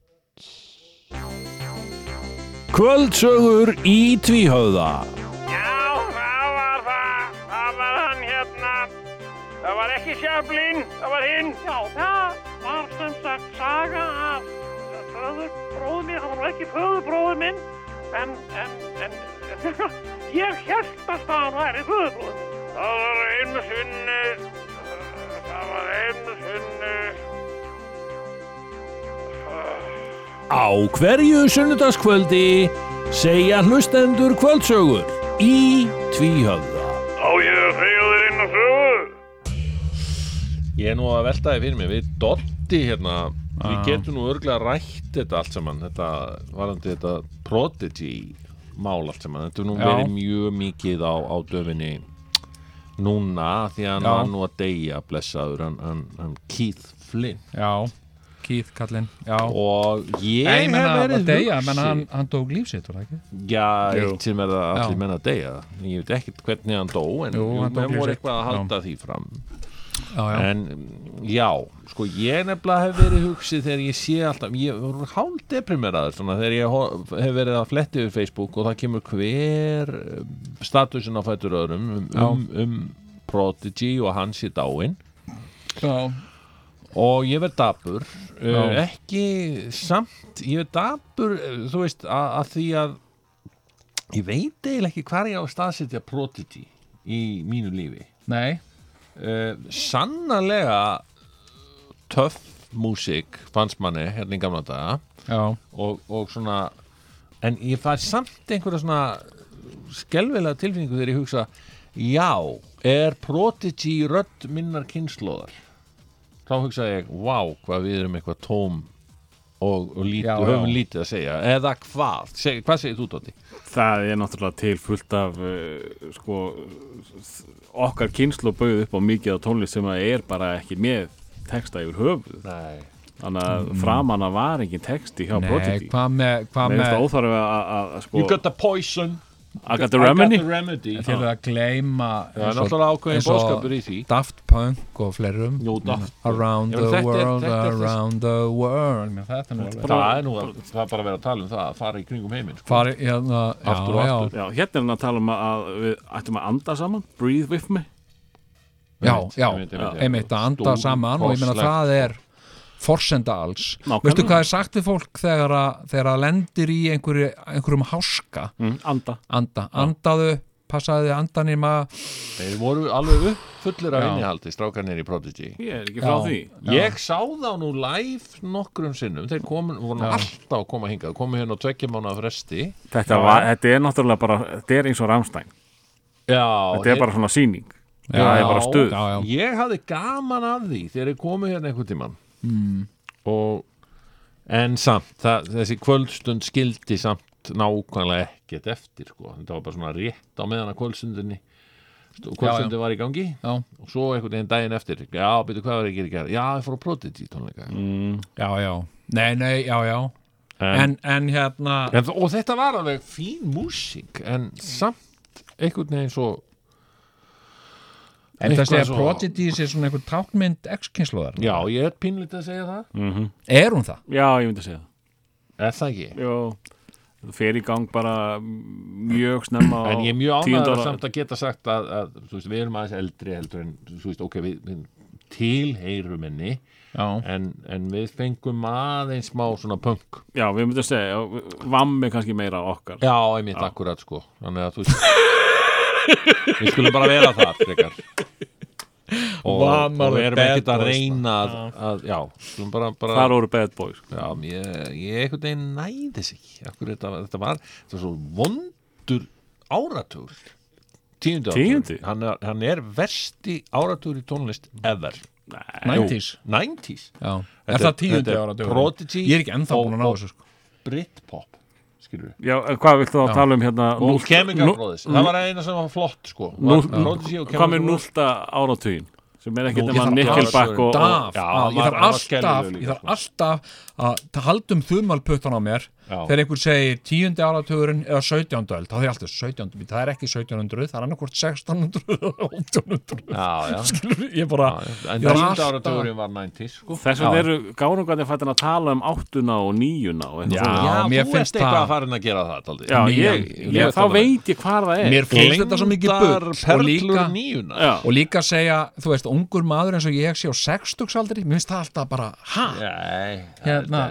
[SPEAKER 3] Kvöldsögur í tvíhöða
[SPEAKER 5] Já, það var það. Það var hann hérna. Það var ekki sjöflin, það var hinn. Já, það var sem sagt saga af föðurbróðu mér. Það var nú ekki föðurbróðu minn, en, en, en, (laughs) ég held að það væri föðurbróðu minn. Það var einu sinni, það var einu sinni.
[SPEAKER 3] Á hverju sunnudagskvöldi segja hlustendur kvöldsögur í tvíhöða
[SPEAKER 5] Á ég að segja þér einu sögu?
[SPEAKER 2] Ég er nú að velta þið fyrir mig, við dotti hérna, við getum nú örglega rætt þetta allt saman, þetta varandi þetta prodigy mál allt saman, þetta er nú
[SPEAKER 3] Já.
[SPEAKER 2] verið mjög mikið á, á döfinni núna, því að hann
[SPEAKER 3] Já.
[SPEAKER 2] var nú að deyja blessaður, hann, hann, hann Keith Flynn
[SPEAKER 3] Já, Keith kallinn Já
[SPEAKER 2] og ég
[SPEAKER 3] Nei, ég menna,
[SPEAKER 2] hef
[SPEAKER 3] að
[SPEAKER 2] verið
[SPEAKER 3] deyja,
[SPEAKER 2] hugsi-
[SPEAKER 3] menna, hann, hann tók lífsitt, var það ekki?
[SPEAKER 2] Já,
[SPEAKER 3] Jú.
[SPEAKER 2] eitt sem er að allir
[SPEAKER 3] Já.
[SPEAKER 2] menna að deyja Ég veit ekkert hvernig hann dó En
[SPEAKER 3] Jú,
[SPEAKER 2] jú,
[SPEAKER 3] hann dó
[SPEAKER 2] menn
[SPEAKER 3] lífsins.
[SPEAKER 2] voru eitthvað að halda því fram
[SPEAKER 3] Já, já,
[SPEAKER 2] En mm, já, sko ég nefnilega hef verið hugsið Þegar ég sé alltaf Ég voru hálf deprimeraður svona, Þegar ég ho- hef verið að fletti yfir Facebook Og það kemur hver eh, statusin á fætur öðrum Um, um, um Prodigy og hans í dáin
[SPEAKER 3] já,
[SPEAKER 2] og ég verð dapur uh,
[SPEAKER 3] Já.
[SPEAKER 2] ekki samt ég verð dapur, uh, þú veist að, að því að ég veit eiginlega ekki hvað ég á að staðsetja prodigy í mínu lífi
[SPEAKER 3] nei
[SPEAKER 2] uh, sannarlega töff músík fannst manni hérna í gamla daga
[SPEAKER 3] Já,
[SPEAKER 2] og, og svona en ég fær samt einhverja svona skelvilega tilfinningu þegar ég hugsa já, er Prodigy rödd minnar kynnslóðar þá hugsa ég, vá, hvað við erum eitthvað tóm og, og lít,
[SPEAKER 3] Já,
[SPEAKER 2] og höfum
[SPEAKER 3] já.
[SPEAKER 2] lítið að segja eða hvað, Seg, hvað segir þú Dóti?
[SPEAKER 4] Það er náttúrulega til fullt af uh, sko s- okkar kynslu bauð upp á mikið af tónlist sem að er bara ekki með texta yfir höfuð
[SPEAKER 2] Nei
[SPEAKER 4] þannig að framan að var engin texti hjá
[SPEAKER 3] nei,
[SPEAKER 4] Prodigy
[SPEAKER 3] hvað með,
[SPEAKER 4] Mér
[SPEAKER 3] hvað
[SPEAKER 4] finnst það
[SPEAKER 3] með
[SPEAKER 4] óþarf að- að að- að sko
[SPEAKER 2] You got the poison,
[SPEAKER 4] I got the remedy
[SPEAKER 2] I got the remedy
[SPEAKER 3] til
[SPEAKER 2] Það
[SPEAKER 3] að gleyma
[SPEAKER 2] er náttúrulega ákveðin bóðskapur í því
[SPEAKER 3] Daft Punk og fleirum
[SPEAKER 2] Jú, Daft Punk.
[SPEAKER 3] Around
[SPEAKER 2] Já,
[SPEAKER 3] the
[SPEAKER 2] þetta er-
[SPEAKER 3] world,
[SPEAKER 2] þetta er þess-
[SPEAKER 3] around the world Mér, Þetta er nú alveg
[SPEAKER 2] Það er nú að, það er bara að vera að tala um það að fara í kringum heiminn sko.
[SPEAKER 3] Fari, hérna, já,
[SPEAKER 2] Aftur og
[SPEAKER 3] já,
[SPEAKER 2] aftur.
[SPEAKER 4] Já, hérna er hann að tala um að- að við ættum að anda saman Breathe with me
[SPEAKER 3] já,
[SPEAKER 2] Einmitt,
[SPEAKER 3] já,
[SPEAKER 2] einmitt, einmitt, já.
[SPEAKER 3] einmitt að anda
[SPEAKER 2] Stór sko.
[SPEAKER 3] saman og ég meina
[SPEAKER 2] kostlegt.
[SPEAKER 3] það er forsenda alls
[SPEAKER 4] Nákvæmlega.
[SPEAKER 3] veistu hvað er sagt við fólk þegar að, þegar að lendir í einhverju, einhverjum háska
[SPEAKER 4] mm. Anda
[SPEAKER 3] anda, andaðu, passaðu þig andan í maður
[SPEAKER 2] Þeir voru alveg upp fullir af
[SPEAKER 3] Já.
[SPEAKER 2] innihaldi strákanir í Prodigy
[SPEAKER 4] Ég er ekki frá
[SPEAKER 3] Já.
[SPEAKER 4] því
[SPEAKER 2] Ég sá þá nú live nokkrum sinnum þeir komin, voru nú alltaf að koma hingað komu hérna á tveggja mánu fresti
[SPEAKER 4] þetta, var, þetta er náttúrulega bara Þetta er eins og Ramstein
[SPEAKER 2] Já,
[SPEAKER 4] Þetta er bara svona sýning Það er bara stuð
[SPEAKER 3] já, já.
[SPEAKER 2] Ég hafði gaman af því þegar ég komu hérna einhvern tímann mm.
[SPEAKER 3] Hmm.
[SPEAKER 2] og en samt, það, þessi kvöldstund skildi samt nákvæmlega ekkert eftir sko. þetta var bara svona rétt á meðan að kvöldstundinni st- hvað
[SPEAKER 3] Já,
[SPEAKER 2] sem
[SPEAKER 3] já.
[SPEAKER 2] þau var í gangi
[SPEAKER 3] Já.
[SPEAKER 2] og svo einhvern veginn daginn eftir já, betur hvað var ég að gera í gær? já, ég fór á Prodigy tónleika
[SPEAKER 3] já, já, nei, nei, já, já en, en hérna
[SPEAKER 2] En, þó- og þetta var alveg fín músík en samt einhvern veginn svo
[SPEAKER 3] en það
[SPEAKER 2] eitthvað
[SPEAKER 3] segja
[SPEAKER 2] svo-
[SPEAKER 3] Prodigy sé svona einhver tákmynd ex-kynsluðar,
[SPEAKER 2] já, ég er pínlítið að segja það
[SPEAKER 3] er hún það?
[SPEAKER 4] Já, ég myndi að segja það
[SPEAKER 2] er það ekki
[SPEAKER 4] Jó, þú fer í gang bara mjög snemma á
[SPEAKER 2] en ég er mjög
[SPEAKER 4] tíunda
[SPEAKER 2] ánægður
[SPEAKER 4] ára-
[SPEAKER 2] samt að geta sagt að, að þú veist, við erum aðeins eldri heldur en þú veist, ok, við, við tilheyrum henni
[SPEAKER 3] Já,
[SPEAKER 2] en, en við fengum aðeins smá svona punk
[SPEAKER 4] Já, við myndum að segja, já, vamm er kannski meira okkar
[SPEAKER 2] já, einmitt akkurat sko þannig að þú veist við skulum bara vera það frekar og,
[SPEAKER 3] Vam
[SPEAKER 2] og
[SPEAKER 3] are
[SPEAKER 2] við erum
[SPEAKER 3] bad
[SPEAKER 2] ekkert að
[SPEAKER 3] boys,
[SPEAKER 2] reyna að, að já, skulum bara, bara
[SPEAKER 4] Þar voru bad boys
[SPEAKER 2] Já, ég, ég einhvern veginn næði sig Akkur þetta, þetta var þetta var svo vondur áratúr Tíundi áratúr
[SPEAKER 4] Tíundi?
[SPEAKER 2] Hann er, hann er versti áratúr í tónlist ever
[SPEAKER 3] 90s
[SPEAKER 2] 90s Þetta
[SPEAKER 3] Já, er það
[SPEAKER 2] þetta
[SPEAKER 3] tíundi
[SPEAKER 2] er
[SPEAKER 3] ára
[SPEAKER 2] Prodigy
[SPEAKER 3] Ég er ekki ennþá
[SPEAKER 2] og-
[SPEAKER 3] búin að ná
[SPEAKER 2] og
[SPEAKER 3] þessu sko.
[SPEAKER 2] Britpop, skilur við
[SPEAKER 4] Já, en hvað viltu þá að tala um hérna
[SPEAKER 2] Og
[SPEAKER 4] núll-
[SPEAKER 2] Chemical
[SPEAKER 4] nú-
[SPEAKER 2] Brothers, það var eina sem var flott sko
[SPEAKER 4] núll-
[SPEAKER 2] Var Prodigy og
[SPEAKER 4] Hvað með
[SPEAKER 2] Chemical Brothers
[SPEAKER 4] núlta áratugin sem er ekkert nema
[SPEAKER 2] Núll- Ég þarf að
[SPEAKER 4] Nickelback
[SPEAKER 2] tala um
[SPEAKER 4] og, og
[SPEAKER 3] Daf,
[SPEAKER 2] Já,
[SPEAKER 3] á, ég
[SPEAKER 2] hann
[SPEAKER 3] þarf
[SPEAKER 2] var
[SPEAKER 3] alltaf
[SPEAKER 2] skelfilegur
[SPEAKER 3] ég
[SPEAKER 2] líka,
[SPEAKER 3] þarf
[SPEAKER 2] sko.
[SPEAKER 3] alltaf að ta- halda um þumalputtan á mér
[SPEAKER 2] Já.
[SPEAKER 3] þegar einhver segir tíundi áratugurinn eða 17. öld, þá er ég alltaf 17. bíddu, það er ekki 1700, það er annarkvort 1600 og 1800
[SPEAKER 2] Já, já
[SPEAKER 3] Skilur, ég bara,
[SPEAKER 2] En
[SPEAKER 3] ég var
[SPEAKER 2] tíundi
[SPEAKER 3] alltaf-
[SPEAKER 2] áratúrin var 90s sko
[SPEAKER 4] þess vegna eru gárungarnir fættin að tala um áttuna og níuna og eitthvað
[SPEAKER 3] Já,
[SPEAKER 4] svoleiðis.
[SPEAKER 3] mér
[SPEAKER 2] þú
[SPEAKER 3] finnst
[SPEAKER 2] ert eitthvað
[SPEAKER 3] það-
[SPEAKER 2] að farin að gera það, Taldi
[SPEAKER 4] Já,
[SPEAKER 3] Nýjan-
[SPEAKER 4] ég, ég,
[SPEAKER 3] nýja
[SPEAKER 4] þá
[SPEAKER 3] tónleika.
[SPEAKER 4] veit ég hvað það er
[SPEAKER 3] mér finnst þetta svo mikið bull og líka,
[SPEAKER 2] Perlur níuna
[SPEAKER 4] Já,
[SPEAKER 3] og líka segja, þú veist, ungur maður eins og ég sé á sextugsaldri, mér finnst það alltaf bara ha,
[SPEAKER 2] Nei,
[SPEAKER 3] Hérna.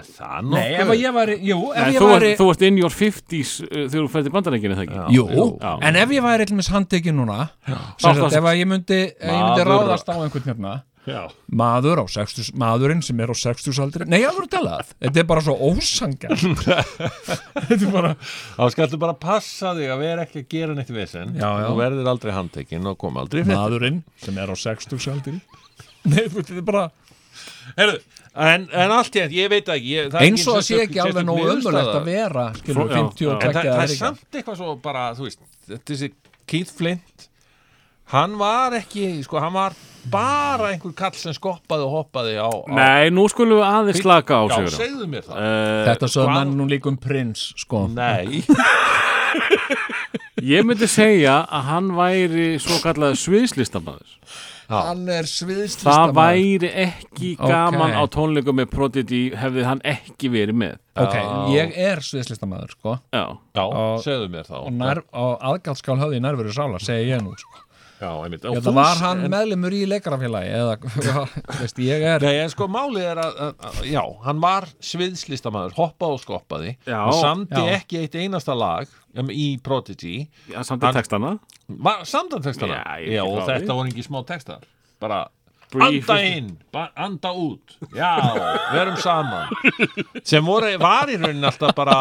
[SPEAKER 2] það er það
[SPEAKER 3] nei,
[SPEAKER 2] nokkuð
[SPEAKER 3] ef að ég væri jú, ef
[SPEAKER 4] en
[SPEAKER 3] ég
[SPEAKER 4] þú,
[SPEAKER 3] væri
[SPEAKER 4] ert, þú ert in your 50s uh, þegar þú fættir bandarækina það ekki
[SPEAKER 3] Jú,
[SPEAKER 4] Já.
[SPEAKER 3] en ef ég væri eitthvað handtekinn núna sem sagt,
[SPEAKER 4] Ráðast.
[SPEAKER 3] ef að ég myndi, ef ég myndi
[SPEAKER 2] Maður-
[SPEAKER 3] ráðast á einhvern hérna
[SPEAKER 2] Já.
[SPEAKER 3] maður á 60, maðurinn sem er á 60 aldri, nei ég voru talað þetta er bara svo ósangar (laughs)
[SPEAKER 4] (laughs)
[SPEAKER 3] þetta er bara,
[SPEAKER 2] Þá skaltu bara passa þig að vera ekki að gera neitt vesen
[SPEAKER 3] Já, já.
[SPEAKER 2] Þú verðir aldrei handtekinn og kom aldrei fyrir
[SPEAKER 3] maðurinn sem er á 60 aldri
[SPEAKER 4] (laughs)
[SPEAKER 3] nei, þú veist, þetta er bara
[SPEAKER 2] Heru, en, en allt í enn, ég veit ekki ég, það er
[SPEAKER 3] eins og það sé
[SPEAKER 2] sérstök-
[SPEAKER 3] ekki alveg
[SPEAKER 2] sérstök
[SPEAKER 3] nógu
[SPEAKER 2] niðurstaða.
[SPEAKER 3] ömulegt að vera skilur
[SPEAKER 4] Já,
[SPEAKER 3] 50 og
[SPEAKER 2] En það,
[SPEAKER 3] tvekja
[SPEAKER 2] það er samt eitthvað svo bara, þú veist þetta er þessi Keith Flint Hann var ekki, sko, hann var bara einhver kall sem skoppaði og hoppaði á, á
[SPEAKER 4] Nei, nú skulum við aðeins slaka á
[SPEAKER 2] Já,
[SPEAKER 4] sigur
[SPEAKER 2] segðu mér það
[SPEAKER 3] þetta sögðu
[SPEAKER 2] hvað-
[SPEAKER 3] mann nú líka um prins sko,
[SPEAKER 2] Nei,
[SPEAKER 4] Ég myndi segja að hann væri svo kallaði sviðslistamæður
[SPEAKER 3] hann er sviðslista
[SPEAKER 4] Það væri ekki
[SPEAKER 3] Ok.
[SPEAKER 4] gaman á tónleikum með Prodigy hefði hann ekki verið með
[SPEAKER 3] ok, ég er sviðslista maður sko
[SPEAKER 4] Já,
[SPEAKER 2] já,
[SPEAKER 3] Og-
[SPEAKER 2] segðu mér þá
[SPEAKER 3] og, nær, og aðgaldskál höfði í nærveru sála segi ég nú sko.
[SPEAKER 2] Já, einmitt
[SPEAKER 3] Ég, það var hann meðlumur í leikarafélagi eða, (laughs) þú veist, ég er
[SPEAKER 2] Nei, en sko málið er að, að, að já, hann var sviðslistamæður, hoppaði og skoppaði
[SPEAKER 4] Já.
[SPEAKER 2] hann samdi
[SPEAKER 3] Já.
[SPEAKER 2] ekki eitt einasta lag um, í Prodigy
[SPEAKER 4] já samt að textana
[SPEAKER 2] var, samdan textana
[SPEAKER 4] Já, ég
[SPEAKER 2] já,
[SPEAKER 4] veit
[SPEAKER 2] og
[SPEAKER 4] það
[SPEAKER 2] þetta
[SPEAKER 4] við.
[SPEAKER 2] voru ekki smá textar bara
[SPEAKER 4] Brief-
[SPEAKER 2] anda inn, ba- anda út já, verum saman sem voru, var í raunin alltaf bara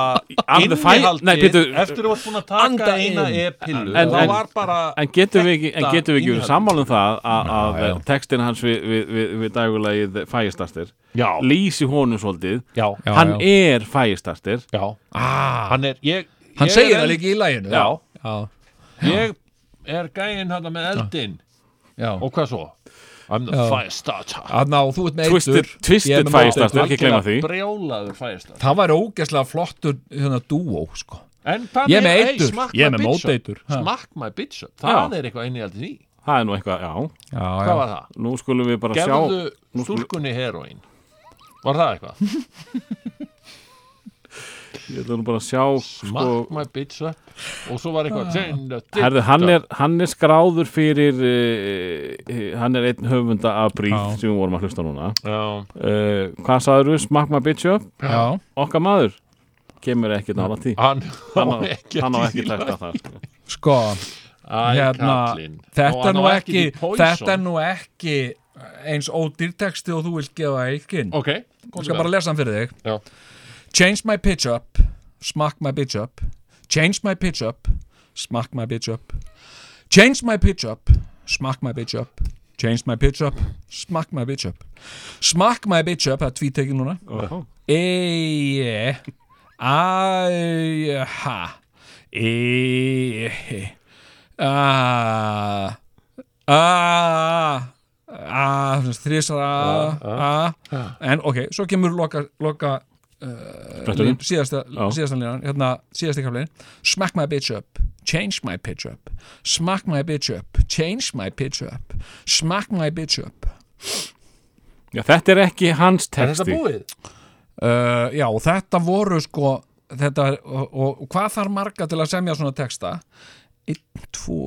[SPEAKER 4] Under fire-
[SPEAKER 2] innihaldi
[SPEAKER 4] Nei, bíddu.
[SPEAKER 2] eftir þú varst búin að taka
[SPEAKER 3] Anda
[SPEAKER 2] eina
[SPEAKER 3] inn.
[SPEAKER 2] e-pillu
[SPEAKER 4] En-
[SPEAKER 2] þá
[SPEAKER 4] en-
[SPEAKER 2] var bara
[SPEAKER 4] En getum við ekki, en
[SPEAKER 2] Þetta
[SPEAKER 4] getum við ekki
[SPEAKER 2] innihaldið.
[SPEAKER 4] verið sammálum það að, að
[SPEAKER 3] Já, já.
[SPEAKER 4] textin hans við, við, við, við dagulagið Fægistartir
[SPEAKER 2] já,
[SPEAKER 4] lýsi honum svolítið
[SPEAKER 2] já,
[SPEAKER 3] Já,
[SPEAKER 4] Hann
[SPEAKER 3] já.
[SPEAKER 4] er Fægistartir
[SPEAKER 2] já
[SPEAKER 3] ah,
[SPEAKER 2] hann er, ég
[SPEAKER 3] hann
[SPEAKER 2] ég
[SPEAKER 3] segir
[SPEAKER 2] er
[SPEAKER 3] það
[SPEAKER 2] enn-
[SPEAKER 3] líka í læginu
[SPEAKER 2] já,
[SPEAKER 3] já,
[SPEAKER 2] ég er gæinn hann með eldinn
[SPEAKER 3] já.
[SPEAKER 2] og hvað svo? I'm the
[SPEAKER 3] Já.
[SPEAKER 2] firestarter
[SPEAKER 3] Ná, þú ert með
[SPEAKER 4] Twisted-
[SPEAKER 3] eitur
[SPEAKER 4] Twisted
[SPEAKER 3] ég er með
[SPEAKER 4] Fire
[SPEAKER 3] eitur.
[SPEAKER 4] Starter. ekki gleyma því.
[SPEAKER 2] brjálaður firestarter
[SPEAKER 3] það væri ógeðslega flottur hérna, dúó sko.
[SPEAKER 2] en hvað
[SPEAKER 3] Ég er með
[SPEAKER 2] hey,
[SPEAKER 3] eitur.
[SPEAKER 2] smakk
[SPEAKER 3] Ég er
[SPEAKER 2] my
[SPEAKER 3] með
[SPEAKER 2] bitch up.
[SPEAKER 3] móteitur. Ha.
[SPEAKER 2] smakk my bitch up það er eitthvað inn í aldrei því
[SPEAKER 4] Það er nú eitthvað, já
[SPEAKER 3] já,
[SPEAKER 2] hvað var það?
[SPEAKER 4] Nú skulum við bara
[SPEAKER 2] gefðu
[SPEAKER 4] sjá nú skulum-
[SPEAKER 2] stúlkunni heroin var það eitthvað?
[SPEAKER 4] Ég ætla nú bara að sjá
[SPEAKER 2] smakk
[SPEAKER 4] sko, Ah.
[SPEAKER 2] my bitch up og svo var eitthvað Turn the dick
[SPEAKER 4] Herðu, hann
[SPEAKER 2] up.
[SPEAKER 4] er, hann er skráður fyrir uh, hann er einn höfunda af bríð
[SPEAKER 3] Já.
[SPEAKER 4] sem við vorum að hlusta núna
[SPEAKER 2] Já.
[SPEAKER 4] uh, Hvað sagður við? Smakk maður bitch up?
[SPEAKER 3] já.
[SPEAKER 4] Okkar maður? Kemur ekki nála tí
[SPEAKER 2] (laughs) hann
[SPEAKER 4] Hann á
[SPEAKER 2] á ekki
[SPEAKER 4] hann á ekki tækta það sko.
[SPEAKER 3] sko hérna,
[SPEAKER 2] hérna,
[SPEAKER 3] þetta, er nú ekki, þetta er nú ekki eins ódýrteksti og þú vilt gefa eikinn
[SPEAKER 2] ok,
[SPEAKER 3] Ég skal bara lesa hann fyrir þig
[SPEAKER 2] Já.
[SPEAKER 3] Change my pitch up Smack my bitch up Change my pitch up Smack my bitch up Change my pitch up Smack my bitch up Change my pitch up Smack my bitch up Smack my bitch up Það er tvítekin núna eh,
[SPEAKER 4] Óhó.
[SPEAKER 3] Eie Æja Ha Eie eh, Ah a þrísar a ah, en ok, svo kemur loka, loka
[SPEAKER 4] Spretturinn.
[SPEAKER 3] lín- síðasta, síðasta línan hérna, síðasta kaflin smack my bitch up, change my pitch up smack my bitch up, change my pitch up smack my bitch up
[SPEAKER 4] Já, þetta er ekki hans
[SPEAKER 2] Er þetta
[SPEAKER 4] texti
[SPEAKER 2] búið?
[SPEAKER 3] uh, já, og þetta voru sko þetta, er- og, og, og hvað þarf marga til að semja svona texta 1, 2,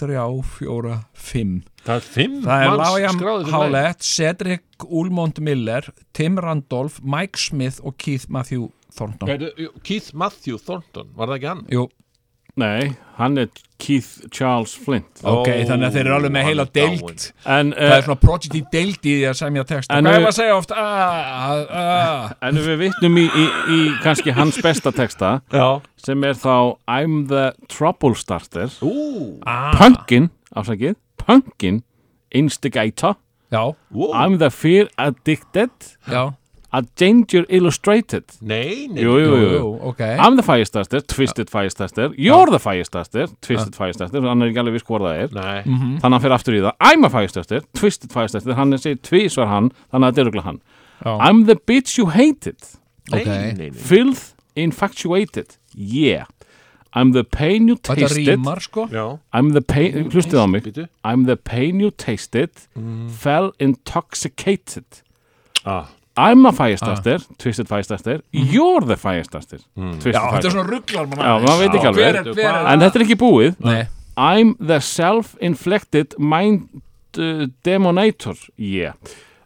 [SPEAKER 3] 3, 4, 5
[SPEAKER 2] Það er fimm
[SPEAKER 3] Það er
[SPEAKER 2] manns
[SPEAKER 3] Lájam
[SPEAKER 2] skráðir fyrir lagið.
[SPEAKER 3] Hálett, Cedric Ulmont Miller, Tim Randolph, Mike Smith og Keith Matthew Thornton.
[SPEAKER 2] Heyrðu, jú, Keith Matthew Thornton, var það ekki hann?
[SPEAKER 3] Jú,
[SPEAKER 4] Nei, hann er Keith Charles Flint
[SPEAKER 3] ok,
[SPEAKER 2] Ó,
[SPEAKER 3] þannig að þeir eru alveg með
[SPEAKER 2] hann
[SPEAKER 3] heila
[SPEAKER 2] er dáinn.
[SPEAKER 3] deild.
[SPEAKER 4] En,
[SPEAKER 3] Það
[SPEAKER 4] uh,
[SPEAKER 3] er svona prodigy deild í því að semja text.
[SPEAKER 4] En
[SPEAKER 3] Hvað er
[SPEAKER 4] við-
[SPEAKER 3] maður að segja oft? Ah, ah,
[SPEAKER 4] en við vitnum í, í, í kannski hans besta texta
[SPEAKER 2] Já
[SPEAKER 4] sem er þá I'm the Trouble Starter
[SPEAKER 2] Ú,
[SPEAKER 4] Ah. Punkin, ásakið, Punkin Instigator
[SPEAKER 3] Já,
[SPEAKER 2] wow.
[SPEAKER 4] Oh. I'm the Fear Addicted
[SPEAKER 3] já,
[SPEAKER 4] A Danger Illustrated
[SPEAKER 2] Nei, nei
[SPEAKER 4] Jú, jú, jú,
[SPEAKER 3] jú,
[SPEAKER 4] jú. Ah.
[SPEAKER 3] ok.
[SPEAKER 4] I'm the Firestarter, Twisted Firestarter You're the Firestarter, Twisted Firestarter hann er ekki alveg viss hvað það er
[SPEAKER 2] Nei,
[SPEAKER 3] Mhm.
[SPEAKER 4] þannig að hann fyrir aftur í það I'm a Firestarter, Twisted Firestarter hann er segið tvísvar hann, þannig að þetta er örugglega hann
[SPEAKER 3] Já,
[SPEAKER 4] I'm the bitch you hated
[SPEAKER 2] nei,
[SPEAKER 3] Ok.
[SPEAKER 2] nei, nei.
[SPEAKER 4] Filth infatuated Yeah I'm the pain you
[SPEAKER 3] Þetta
[SPEAKER 4] tasted
[SPEAKER 3] rýmar sko.
[SPEAKER 2] Já,
[SPEAKER 4] I'm the pain, hlustið á mig
[SPEAKER 2] býtu
[SPEAKER 4] I'm the pain you tasted
[SPEAKER 3] Mm.
[SPEAKER 4] Fell intoxicated
[SPEAKER 2] ah.
[SPEAKER 4] I'm a Firestarter, Twisted Firestarter You're the Firestarter Twisted
[SPEAKER 3] Mm. Já, þetta er
[SPEAKER 4] Firestarter
[SPEAKER 3] svona rugglar mann.
[SPEAKER 4] Já, maður veit ekki
[SPEAKER 3] Hver
[SPEAKER 4] alveg
[SPEAKER 3] er, hver er?
[SPEAKER 4] En þetta er ekki búið
[SPEAKER 3] Nei,
[SPEAKER 4] I'm the self-inflected mind uh, demonator yeah.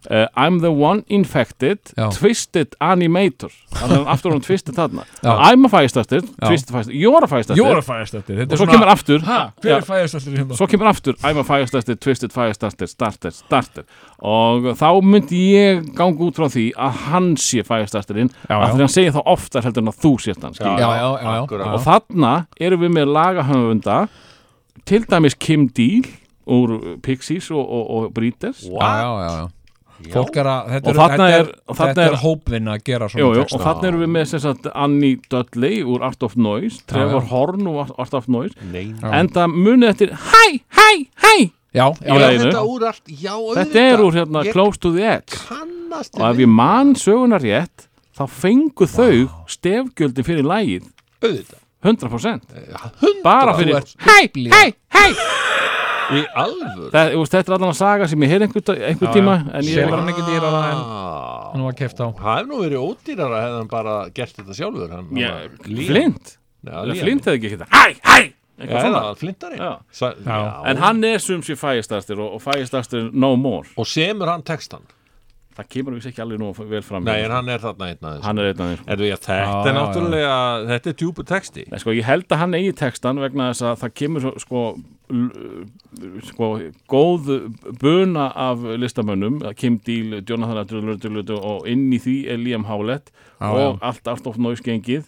[SPEAKER 4] uh, I'm the one infected
[SPEAKER 3] Já.
[SPEAKER 4] twisted animator þannig að aftur hún twisted þarna
[SPEAKER 3] Já.
[SPEAKER 4] I'm a fægistastir, twisted fægistastir You're a fægistastir,
[SPEAKER 3] jórafæðistöttir.
[SPEAKER 4] og
[SPEAKER 3] Þetta er
[SPEAKER 4] svo kemur
[SPEAKER 3] svona,
[SPEAKER 4] aftur
[SPEAKER 3] ha,
[SPEAKER 4] Já.
[SPEAKER 3] hver er fæðistöttir hérna?
[SPEAKER 4] Svo kemur aftur, I'm a fægastastir, twisted fægastastir, starter, starter og þá myndi ég ganga út frá því að hann sé fægastastirinn
[SPEAKER 3] Já,
[SPEAKER 4] af
[SPEAKER 3] já.
[SPEAKER 4] því hann segir þá oftar heldur en að þú sért hann skilur.
[SPEAKER 3] Já, já, já, já.
[SPEAKER 2] Akkurat.
[SPEAKER 4] og þarna erum við með lagahöfunda til dæmis Kim Deal úr uh, Pixies og, og, og Breeders
[SPEAKER 3] Já, já, já, já. Fólk er að, þetta
[SPEAKER 4] Og
[SPEAKER 3] er,
[SPEAKER 4] þarna
[SPEAKER 3] þetta
[SPEAKER 4] er- og þarna
[SPEAKER 3] þetta er
[SPEAKER 4] er-
[SPEAKER 3] hópvinna að gera svona
[SPEAKER 4] Jú, jú,
[SPEAKER 3] texta.
[SPEAKER 4] og þarna erum við með sem sagt, Annie Dudley úr Art of Noise Trevor Horn úr Art- Art of Noise
[SPEAKER 2] Nei,
[SPEAKER 3] Já.
[SPEAKER 4] en það munið eftir hæ, hæ, hæ
[SPEAKER 3] Já, já,
[SPEAKER 4] Í
[SPEAKER 2] Er
[SPEAKER 3] já,
[SPEAKER 4] lagi. einu.
[SPEAKER 2] þetta úr allt, já, auðvitað
[SPEAKER 4] þetta er úr hérna
[SPEAKER 2] Ég
[SPEAKER 4] Close to the Edge
[SPEAKER 2] kannast
[SPEAKER 4] og ef
[SPEAKER 2] við
[SPEAKER 4] ég man sögunar rétt þá fengu þau stefgjöldin fyrir lægið
[SPEAKER 2] auðvitað
[SPEAKER 4] 100%
[SPEAKER 2] Eh,
[SPEAKER 4] bara
[SPEAKER 3] þú
[SPEAKER 4] fyrir
[SPEAKER 3] ert hei, hei
[SPEAKER 2] Í alvöru
[SPEAKER 4] Það, þú veist, þetta er allan að saga sem ég heyrði einhver, einhver
[SPEAKER 3] já.
[SPEAKER 4] tíma en ég
[SPEAKER 3] Selur
[SPEAKER 4] var
[SPEAKER 3] hann ekki dýrar en
[SPEAKER 2] Ah.
[SPEAKER 3] hann var keft á
[SPEAKER 2] Það hef nú verið ódýrara hefði hann bara gert þetta sjálfur hann,
[SPEAKER 4] Já,
[SPEAKER 2] hann var- Liam.
[SPEAKER 4] Flint
[SPEAKER 2] Já,
[SPEAKER 4] Eða
[SPEAKER 2] Liam.
[SPEAKER 4] Flint hefði ekki hitt Hæ, hæ
[SPEAKER 2] Já,
[SPEAKER 4] Eitthvað
[SPEAKER 2] eða
[SPEAKER 4] svona.
[SPEAKER 2] flintari
[SPEAKER 4] Já.
[SPEAKER 2] Sa- já.
[SPEAKER 4] En hann er sum sér fægistastir og, og fægistastir no more
[SPEAKER 2] Og semur hann textan
[SPEAKER 4] Það kemur vissi ekki alveg nú vel fram
[SPEAKER 2] Nei, en hann er þarna einn aðeins
[SPEAKER 4] Hann er einn af þeim sko.
[SPEAKER 2] Er því að
[SPEAKER 3] Já,
[SPEAKER 2] þetta
[SPEAKER 3] já,
[SPEAKER 2] er
[SPEAKER 3] já.
[SPEAKER 2] náttúrulega Þetta er djúpu texti
[SPEAKER 4] Nei, sko, ég held að hann eigi textan vegna þess að það kemur svo, sko, l- sko góð buna af listamönnum Kim Deal, Jonathan Adler og inn í því er Liam Howlett og allt allt of noise gengið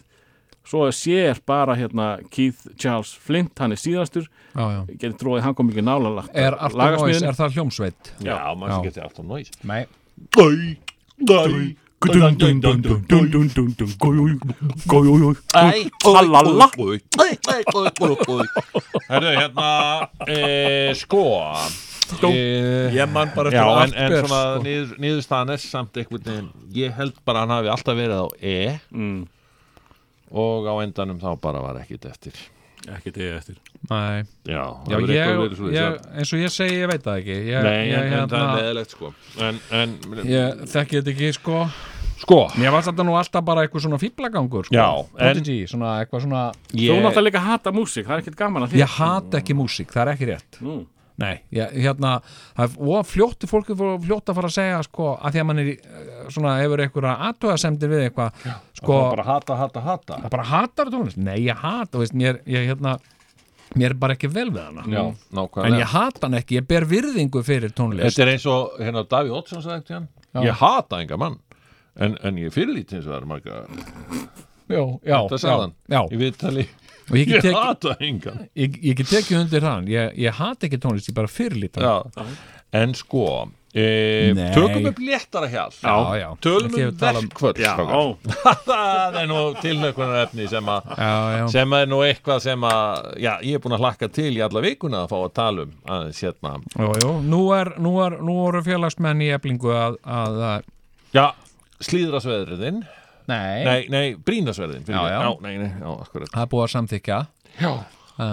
[SPEAKER 4] svo að sér bara hérna Keith Charles Flint, hann er síðastur
[SPEAKER 3] já, já.
[SPEAKER 4] ég geti tróðið, hann kom ekki nála lagt
[SPEAKER 3] Er Artur Nóis, er það hljómsveit?
[SPEAKER 2] Já, maður
[SPEAKER 3] Já.
[SPEAKER 2] sem getur alltaf nóis
[SPEAKER 3] Nei
[SPEAKER 2] Æ, æ
[SPEAKER 4] Talala.
[SPEAKER 2] Herru, hérna e, Sko e,
[SPEAKER 3] Ég man bara
[SPEAKER 2] Já, en, en svona niður, niðurstaðan er samt einhvern veginn Ég held bara að hann hafi alltaf verið á E
[SPEAKER 4] Mm.
[SPEAKER 2] Og á endanum þá bara var ekkit eftir
[SPEAKER 4] ekki þig eftir
[SPEAKER 3] Nei,
[SPEAKER 2] Já,
[SPEAKER 3] já,
[SPEAKER 2] hefur eitthvað
[SPEAKER 3] ég,
[SPEAKER 2] verið svoleiðis, já.
[SPEAKER 3] ég, eins og ég segi, ég veit það ekki ég,
[SPEAKER 2] Nei,
[SPEAKER 3] ég,
[SPEAKER 2] en, en það er
[SPEAKER 3] hérna,
[SPEAKER 2] leðilegt sko En, en
[SPEAKER 3] ég þekki þetta ekki, sko
[SPEAKER 2] sko
[SPEAKER 3] Mér var þetta nú alltaf bara eitthvað svona fýblagangur, sko
[SPEAKER 2] Já, en-
[SPEAKER 3] Prodigy, svona eitthvað svona
[SPEAKER 2] ég,
[SPEAKER 4] þú náttúrulega líka hata músík, það er ekkert gaman að því
[SPEAKER 3] Ég hata ekki músík, það er ekki rétt
[SPEAKER 4] Nú.
[SPEAKER 3] Nei, ég, hérna, það er og fljóttu fólki fór fljótt að fara að segja, sko að því að mann er, í, eh, svona, hefur eitthvað aðtöðasemdir við eitthvað, sko
[SPEAKER 2] bara hata, hata, hata
[SPEAKER 3] Það bara hatar tónlist? Nei, ég hata, þú veist, mér, ég, hérna, mér er bara ekki vel við hana.
[SPEAKER 2] Já,
[SPEAKER 3] En
[SPEAKER 2] nákvæmlega
[SPEAKER 3] ég hata hann ekki, ég ber virðingu fyrir tónlist.
[SPEAKER 2] Þetta er eins og hérna Daví Oddsson sagði eftir hann Ég hata enga mann En, en ég fyrirlít hins vegar marga
[SPEAKER 3] Já, já,
[SPEAKER 2] Þetta
[SPEAKER 3] já,
[SPEAKER 2] sagði hann
[SPEAKER 3] já.
[SPEAKER 2] Í viðtali
[SPEAKER 3] Og ég
[SPEAKER 2] Ég
[SPEAKER 3] get tekið
[SPEAKER 2] hata engan
[SPEAKER 3] ég, ég get tekið undir hann, ég, ég hata ekki tónlist, ég bara fyrirlít hann.
[SPEAKER 2] Já En sko e,
[SPEAKER 3] Nei.
[SPEAKER 2] Tökum upp léttara hjal
[SPEAKER 3] Já, já.
[SPEAKER 2] Tölum
[SPEAKER 3] Ekki
[SPEAKER 2] um
[SPEAKER 3] tala um-
[SPEAKER 2] verkvöld
[SPEAKER 4] Já,
[SPEAKER 2] strákar. (laughs) Það er nú tilnökunar efni sem að
[SPEAKER 3] já, já.
[SPEAKER 2] sem er nú eitthvað sem að já, ég er búin að hlakka til í alla vikuna að fá að tala um aðeins hérna
[SPEAKER 3] Jú, jú. Nú, er, nú, er, nú voru félagsmenn í eblingu að, að, að
[SPEAKER 2] já, slíðrasveðriðin
[SPEAKER 3] nei.
[SPEAKER 2] nei, nei, brínasveðriðin
[SPEAKER 3] Já, já.
[SPEAKER 2] nei, nei, já, akkurat
[SPEAKER 3] það er búið að samþykja
[SPEAKER 2] já,
[SPEAKER 3] uh,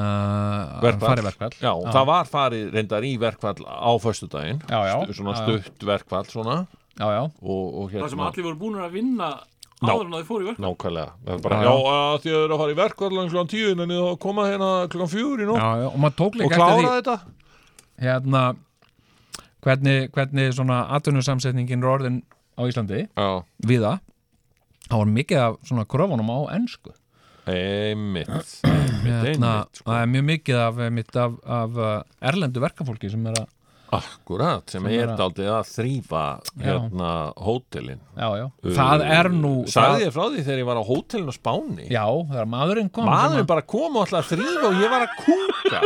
[SPEAKER 2] Verkfall.
[SPEAKER 3] farið verkvall
[SPEAKER 2] já, það var farið reyndar í verkvall á föstudaginn
[SPEAKER 3] Já, já.
[SPEAKER 2] Stu- svona
[SPEAKER 3] Já, já.
[SPEAKER 2] stutt verkvall svona
[SPEAKER 3] já, já.
[SPEAKER 2] og, og
[SPEAKER 4] Það sem
[SPEAKER 2] hérna
[SPEAKER 4] allir voru búin að vinna
[SPEAKER 2] Ná.
[SPEAKER 4] áður en að þið fóru í verkefni
[SPEAKER 2] nákvæmlega, það er bara, já,
[SPEAKER 3] Já, já.
[SPEAKER 2] að þið eru að fara í verkvall klokkan tíu, en þið koma hérna klokkan fjúr í nótt
[SPEAKER 3] Já, já. og maður tók
[SPEAKER 2] og
[SPEAKER 3] líka eftir
[SPEAKER 2] klára
[SPEAKER 3] því
[SPEAKER 2] þetta
[SPEAKER 3] hérna, hvernig, hvernig svona atvinnusamsetningin er orðin á Íslandi
[SPEAKER 2] já,
[SPEAKER 3] viða það var mikið af svona kröfunum á ensku
[SPEAKER 2] einmitt einmitt, einmitt, sko
[SPEAKER 3] Hérna, það er mjög mikið af, einmitt, af, af uh, erlendu verkafólki sem er að
[SPEAKER 2] Akkurat, sem
[SPEAKER 3] Sem er
[SPEAKER 2] er
[SPEAKER 3] að-
[SPEAKER 2] daldið að þrýfa hérna hótelin
[SPEAKER 3] já, já. það er nú
[SPEAKER 2] Uh, Sagði
[SPEAKER 3] það,
[SPEAKER 2] ég frá því þegar ég var á hótelin á Spáni
[SPEAKER 3] já, þegar maðurinn kom
[SPEAKER 2] Maðurinn
[SPEAKER 3] sem
[SPEAKER 2] bara kom og alltaf að þrýfa og ég var að kúka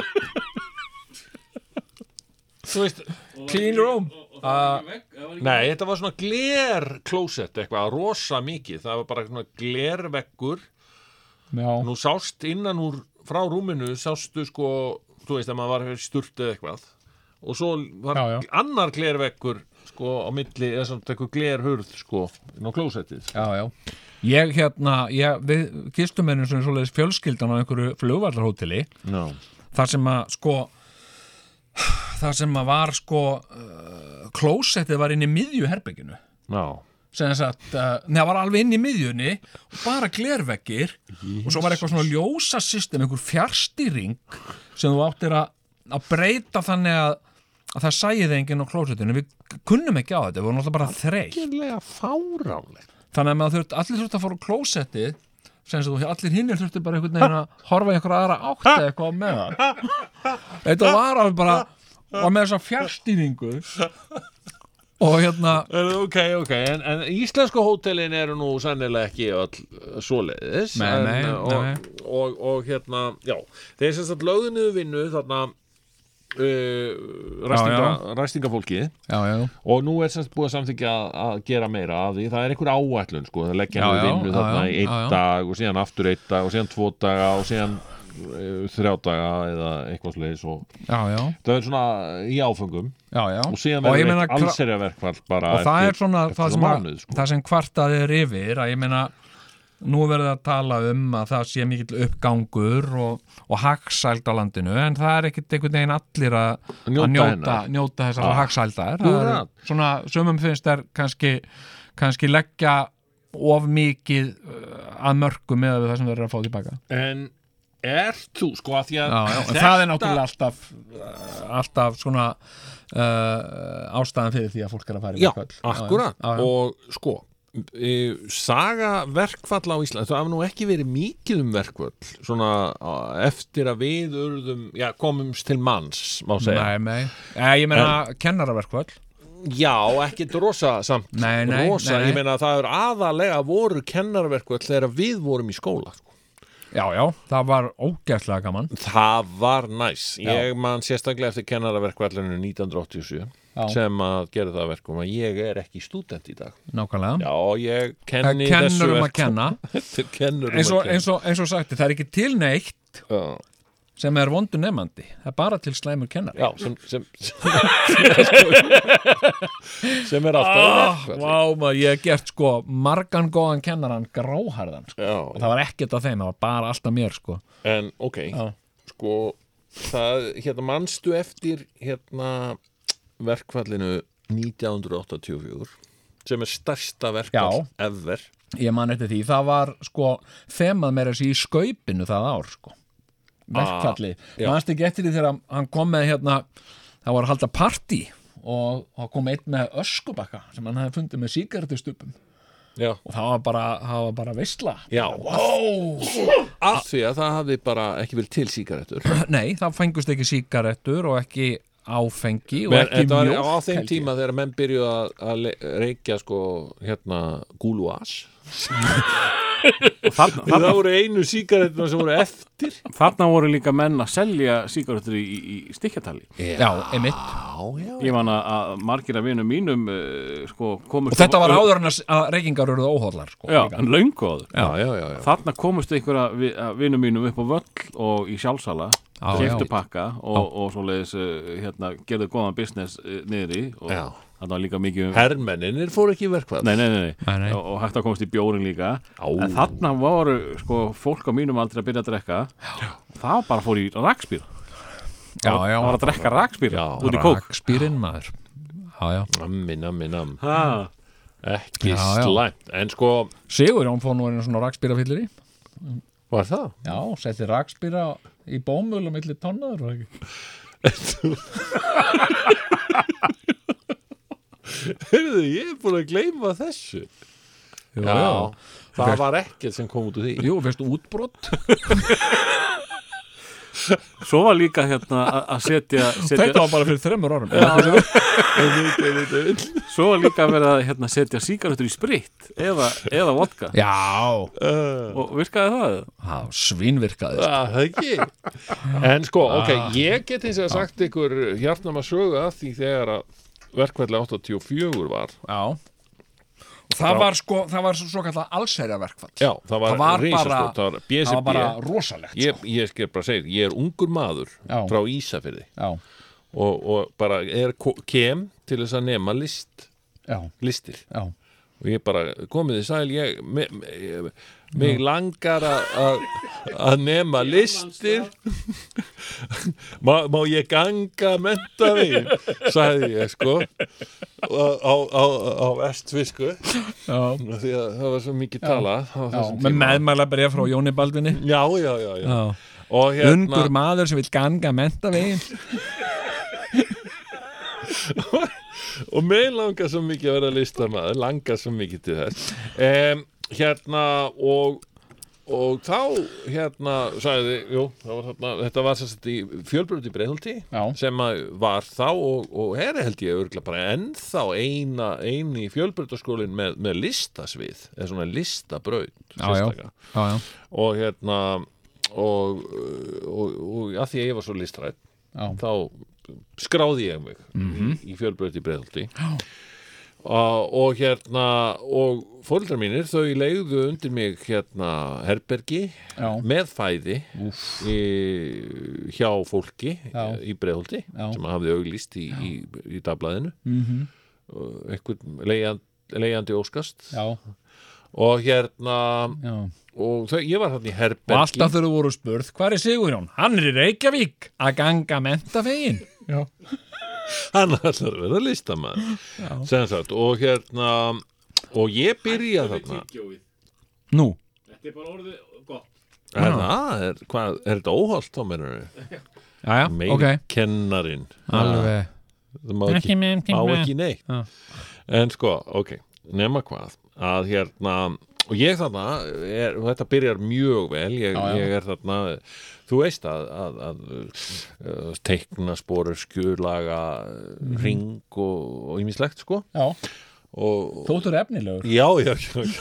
[SPEAKER 2] Þú veist, clean room Ah, Nei, þetta var svona gler klósett eitthvað, rosa mikið Það var bara svona glerveggur
[SPEAKER 3] að, já,
[SPEAKER 2] Nú sást innan úr frá rúminu sástu sko, þú veist að maður var sturt eða eitthvað og svo var
[SPEAKER 3] Já, já.
[SPEAKER 2] annar glervekkur sko á milli, eða svona eitthvað glerhurð sko, inn á klósettið
[SPEAKER 3] já, já Ég hérna, ég, við gistum einu sem svoleiðis fjölskyldan á einhverju flugvallarhóteli
[SPEAKER 2] no.
[SPEAKER 3] þar sem að sko þar sem að var sko uh, klósettið var inn í miðju herbygginu
[SPEAKER 2] Já,
[SPEAKER 3] sem þess að, uh, neða var alveg inn í miðjunni og bara glerveggir og svo var eitthvað svona ljósa system einhver fjárstýring sem þú áttir að, að breyta þannig að, að það sæði þeir enginn á klósettinu við kunnum ekki á þetta, við vorum alltaf bara þreytt
[SPEAKER 2] gerlega fáránlegt
[SPEAKER 3] þannig að maður þurft, allir þurft að fara á klósettið sem þú, allir hinnir þurftu bara einhvern veginn að horfa í einhverja aðra átt eða eitthvað á meðan þetta var alveg bara og með þessa fjárstýringu og hérna
[SPEAKER 2] Ok, ok, en, en íslensku hótelin eru nú sannilega ekki all svoleiðis
[SPEAKER 3] Nei,
[SPEAKER 2] en, eh,
[SPEAKER 3] nei,
[SPEAKER 2] og,
[SPEAKER 3] nei.
[SPEAKER 2] Og, og, hérna, já þeir sem sagt lögðu niður vinnu þarna uh, ræstinga, ræstingafólkið
[SPEAKER 3] já, já,
[SPEAKER 2] Og nú er semst búið að samþykja að- að gera meira af því, það er einhver áætlun sko, það leggja
[SPEAKER 3] Já,
[SPEAKER 2] hann
[SPEAKER 3] já,
[SPEAKER 2] vinnu
[SPEAKER 3] já,
[SPEAKER 2] þarna
[SPEAKER 3] já,
[SPEAKER 2] í einn
[SPEAKER 3] já, já.
[SPEAKER 2] dag og síðan aftur einn dag og síðan tvo daga og síðan uh, þrjá daga eða eitthvað sliðis og
[SPEAKER 3] já, já,
[SPEAKER 2] það er svona í áfengum
[SPEAKER 3] já, já.
[SPEAKER 2] og síðan
[SPEAKER 3] og ég
[SPEAKER 2] verður
[SPEAKER 3] meina
[SPEAKER 2] eitt allserja verkvall bara
[SPEAKER 3] og það er svona
[SPEAKER 2] eftir
[SPEAKER 3] það sem, að,
[SPEAKER 2] mánuð sko.
[SPEAKER 3] það sem kvartaði er yfir að ég meina nú verður að tala um að það sé mikill uppgangur og, og hagsæld á landinu en það er ekkit einhvern veginn allir að
[SPEAKER 2] Njóta
[SPEAKER 3] að njóta,
[SPEAKER 2] hennar.
[SPEAKER 3] njóta þessar
[SPEAKER 2] Ah.
[SPEAKER 3] ah. hagsældar Það eru
[SPEAKER 2] Akkurat.
[SPEAKER 3] svona sumum finnst þær kannski, kannski leggja of mikið uh, að mörgu með það sem þeir eru að fá tilbaka
[SPEAKER 2] En er þú sko að því að
[SPEAKER 3] já, já, en það er náttúrulega alltaf uh, alltaf svona uh, ástæðan fyrir því að fólk er að fara í
[SPEAKER 2] Já,
[SPEAKER 3] verkfall.
[SPEAKER 2] akkurat
[SPEAKER 3] já, já.
[SPEAKER 2] og sko e, saga verkfall á Íslandi það hafa nú ekki verið mikið um verkfall svona á- eftir að við urðum, já, komumst til manns má segja,
[SPEAKER 3] Nei, nei, eh, ég meina kennaraverkvöld
[SPEAKER 2] já, ekkit rosa samt,
[SPEAKER 3] Nei, nei,
[SPEAKER 2] rosa,
[SPEAKER 3] nei, nei.
[SPEAKER 2] ég meina að það er aðalega voru kennarverkvall þegar við vorum í skóla sko.
[SPEAKER 3] Já, já, það var ógæslega gaman
[SPEAKER 2] það var næs, ég man sérstaklega eftir kennarverkvallinu 1987
[SPEAKER 3] Já.
[SPEAKER 2] sem að gera það að verkum að ég er ekki stúdent í dag
[SPEAKER 3] Nákvæmlega
[SPEAKER 2] já, ég kenni þessu
[SPEAKER 3] Kennurum að
[SPEAKER 2] verk-
[SPEAKER 3] kenna
[SPEAKER 2] (laughs) Þetta er kennurum
[SPEAKER 3] eins og,
[SPEAKER 2] að kenna
[SPEAKER 3] eins, og, eins og sagti, það er ekki til neitt
[SPEAKER 2] Já.
[SPEAKER 3] sem er vondu nefnandi Það er bara til slæmur kennar
[SPEAKER 2] Já, sem, (laughs) sem, sem, sem, sem er alltaf oh,
[SPEAKER 3] Vá, maður, ég hef gert sko margan góðan kennaran gráharðan sko. og
[SPEAKER 2] Já,
[SPEAKER 3] það var ekkert að þeim, það var bara alltaf mér sko
[SPEAKER 2] en ok,
[SPEAKER 3] Já.
[SPEAKER 2] sko það, hérna, manstu eftir hérna verkfallinu 1984 sem er stærsta verkfall
[SPEAKER 3] Já.
[SPEAKER 2] ever
[SPEAKER 3] Ég man eftir því, það var sko þemað meira þessi í skaupinu það ár sko, verkfalli
[SPEAKER 2] já.
[SPEAKER 3] mannst ekki eftir því þegar hann kom með hérna, það var að halda partí og það kom einn með öskubakka sem hann hafði fundið með síkartustupum
[SPEAKER 2] Já,
[SPEAKER 3] og það var bara, það var bara veistla
[SPEAKER 2] já Af því að það hafði bara ekki vel til sígarettur
[SPEAKER 3] (clears throat) Nei, það fengust ekki síkarettur og ekki áfengi og
[SPEAKER 2] Men
[SPEAKER 3] ekki
[SPEAKER 2] þetta var
[SPEAKER 3] mjólk
[SPEAKER 2] á þeim
[SPEAKER 3] held ég.
[SPEAKER 2] tíma þegar menn byrjuðu að- að le- reykja sko hérna gúluas
[SPEAKER 4] þarna,
[SPEAKER 2] Það
[SPEAKER 4] þarna,
[SPEAKER 2] voru einu sígarettum sem voru eftir
[SPEAKER 4] þarna voru líka menn að selja sígarettur í, í, í stikkjatali
[SPEAKER 3] Já, einmitt
[SPEAKER 4] ég man að, að margir af vinum mínum uh, sko, komust
[SPEAKER 3] Og þetta var áður en að, að reykingar eru óhóllar sko,
[SPEAKER 4] já,
[SPEAKER 3] líka.
[SPEAKER 4] en löngu áður
[SPEAKER 2] (laughs) Já, já, já, já.
[SPEAKER 4] Þarna komust einhverja vi- að vinum mínum upp á völl og í sjálfsala
[SPEAKER 3] Já,
[SPEAKER 4] keftu
[SPEAKER 3] já.
[SPEAKER 4] pakka og, og svo leiðis hérna, gerðu góðan business uh, niðri og
[SPEAKER 2] Já.
[SPEAKER 4] þarna var líka mikið um
[SPEAKER 2] Hermenninir fóru ekki í verkvæð
[SPEAKER 4] Nei, nei, nei,
[SPEAKER 3] Nei, nei.
[SPEAKER 4] Og, og hægt að komast í bjórin líka
[SPEAKER 2] Á.
[SPEAKER 4] En þarna voru sko, fólk á mínum aldrei að byrja að drekka já. Það bara fór í rakspýr
[SPEAKER 3] Já, já
[SPEAKER 4] Það var að drekka rakspýr
[SPEAKER 2] Já,
[SPEAKER 4] út í kók
[SPEAKER 3] Rakspírinn maður Já, já
[SPEAKER 2] Nammi, nammi, nammi
[SPEAKER 4] ha.
[SPEAKER 2] Ekki
[SPEAKER 3] Já, já.
[SPEAKER 2] slæmt En sko,
[SPEAKER 3] Sigur Jón fór nú einu svona rakspírafyllir í
[SPEAKER 2] var (laughs) það?
[SPEAKER 3] Já, setti rakspíra í bómul og milli tonnaður og ekki
[SPEAKER 2] Hörðu, ég er búin að gleyma þessu
[SPEAKER 3] Jú,
[SPEAKER 2] Já,
[SPEAKER 3] já.
[SPEAKER 2] það var ekkert sem kom út úr því
[SPEAKER 3] Jú, fyrst útbrott
[SPEAKER 4] Svo var líka hérna að- að setja,
[SPEAKER 3] (laughs) Þetta
[SPEAKER 4] setja
[SPEAKER 3] var bara fyrir þremur árum já,
[SPEAKER 4] Svo var líka að vera að hérna, setja sígarettur í spritt eða, eða vodka
[SPEAKER 3] já.
[SPEAKER 4] Og virkaði það?
[SPEAKER 3] Já, svínvirkaði
[SPEAKER 2] Ah, Það ekki En sko, ok, ég get eins og sagt ykkur hjartnum að sögu að því þegar að verkvæðlega 84 var
[SPEAKER 3] Já Það var sko, það var svo kallað allsherjaverkfall
[SPEAKER 2] Já, það var,
[SPEAKER 3] Það var bara-
[SPEAKER 2] risastórt, það var BSB
[SPEAKER 3] Það var bara rosalegt sko.
[SPEAKER 2] Ég, ég skal bara segja, ég er ungur maður
[SPEAKER 3] Já.
[SPEAKER 2] frá Ísafirði
[SPEAKER 3] Já,
[SPEAKER 2] og, og bara er, ko- kem til þess að nema list,
[SPEAKER 3] já,
[SPEAKER 2] listir
[SPEAKER 3] já
[SPEAKER 2] og ég bara komið í sæl ég, me, me, ég- mig langar að- að að nema listir (laughs) má, má ég ganga menta þig sagði ég sko á, á, á, á vestfisku
[SPEAKER 3] Já,
[SPEAKER 2] því að það var svo mikið tala á þessum
[SPEAKER 3] með
[SPEAKER 2] tíma
[SPEAKER 3] meðmæla bregja frá Jóni Baldvinni
[SPEAKER 2] já, já, já, já.
[SPEAKER 3] Já.
[SPEAKER 2] og
[SPEAKER 3] Ungur
[SPEAKER 2] hérna
[SPEAKER 3] maður sem vil ganga mentavegin
[SPEAKER 2] og mig langar svo mikið að vera listamaður langar svo mikið til þess um, hérna og og þá hérna sagði, jú, þá var þarna, þetta var sérst í fjölbröndi breyðhaldi
[SPEAKER 3] Já.
[SPEAKER 2] sem að var þá og, og er held ég örgla bara ennþá eina, eini fjölbröndaskólin með, með listasvið eða svona listabraut sérstaka.
[SPEAKER 3] já, já,
[SPEAKER 2] og hérna og, og, og að því að ég var svo listrætt
[SPEAKER 3] Já. Mhm.
[SPEAKER 2] þá skráði ég mig í, í fjölbröti breðaldi og, og hérna og fóreldrar mínir þau leiðu undir mig hérna herbergi
[SPEAKER 3] Já.
[SPEAKER 2] með fæði í, hjá fólki
[SPEAKER 3] Já.
[SPEAKER 2] í breðaldi
[SPEAKER 3] Já. Mhm.
[SPEAKER 2] sem hafði auglýst í, í, í dagblæðinu mm -hmm. einhvern leigjandi óskast
[SPEAKER 3] já,
[SPEAKER 2] og hérna
[SPEAKER 3] já.
[SPEAKER 2] og þau, ég var þarna í
[SPEAKER 3] Og
[SPEAKER 2] herbergi
[SPEAKER 3] alltaf þau voru spurð, hvað er Sigurjón? Hann er í Reykjavík að ganga mentavegin Já,
[SPEAKER 2] hann ætlar að vera listamaður sem sagt og hérna og ég byrja þarna
[SPEAKER 3] nú
[SPEAKER 4] Þetta er bara orðið gott
[SPEAKER 2] er, það, er, hvað, er þetta óholt þá mennur
[SPEAKER 3] Já, já, ok
[SPEAKER 2] Ah. kennarinn
[SPEAKER 3] Alveg
[SPEAKER 2] það má ekki,
[SPEAKER 3] Ekki með, ekki
[SPEAKER 2] má
[SPEAKER 3] með.
[SPEAKER 2] ekki neitt
[SPEAKER 3] Já.
[SPEAKER 2] en sko, ok, nema hvað að hérna og ég þarna, er, og þetta byrjar mjög vel ég, ég er þarna þú veist að, að, að, að teikna spóru skjurlaga
[SPEAKER 3] Mhm.
[SPEAKER 2] ring og, og ímislegt sko
[SPEAKER 3] Já,
[SPEAKER 2] og,
[SPEAKER 3] þóttur efnilegur
[SPEAKER 2] Já, já, já, já.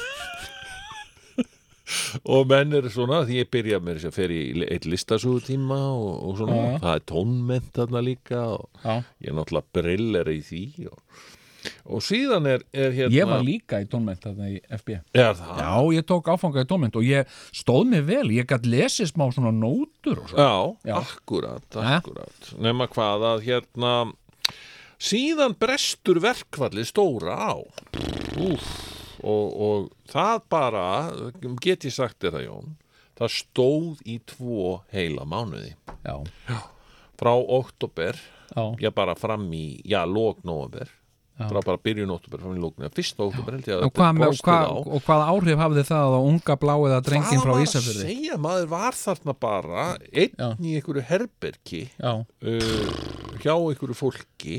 [SPEAKER 2] Og menn eru svona, því ég byrja mér þess að fer í li- einn listasúðutíma og, og svona,
[SPEAKER 3] Já.
[SPEAKER 2] það er tónment þarna líka og
[SPEAKER 3] Já.
[SPEAKER 2] ég er náttúrulega briller í því og, og síðan er, er hérna
[SPEAKER 3] Ég var líka í tónment þarna í FB
[SPEAKER 2] er það,
[SPEAKER 3] Já, ég tók áfanga í tónment og ég stóð mig vel, ég gætt lesið smá svona nótur og svo
[SPEAKER 2] Já,
[SPEAKER 3] Já.
[SPEAKER 2] akkurat,
[SPEAKER 3] Jæja.
[SPEAKER 2] akkurat Nefna hvað að hérna síðan brestur verkvalli stóra á Úf, og, og það bara get ég sagt þér það Jón það stóð í tvo heila mánuði
[SPEAKER 3] Já,
[SPEAKER 2] frá oktober
[SPEAKER 3] já,
[SPEAKER 2] já bara fram í, já, lóknóver frá bara byrjun oktober fram í lóknóver fyrst oktober held ég að
[SPEAKER 3] Og hvað, með,
[SPEAKER 2] brostið
[SPEAKER 3] hvað,
[SPEAKER 2] á.
[SPEAKER 3] og hvað áhrif hafði það á unga bláiða drengin
[SPEAKER 2] Hvað
[SPEAKER 3] frá
[SPEAKER 2] var að
[SPEAKER 3] Ísafjörði?
[SPEAKER 2] segja, maður var þarna bara einn
[SPEAKER 3] Já.
[SPEAKER 2] í einhverju herbergi
[SPEAKER 3] Já,
[SPEAKER 2] uh, hjá ykkur fólki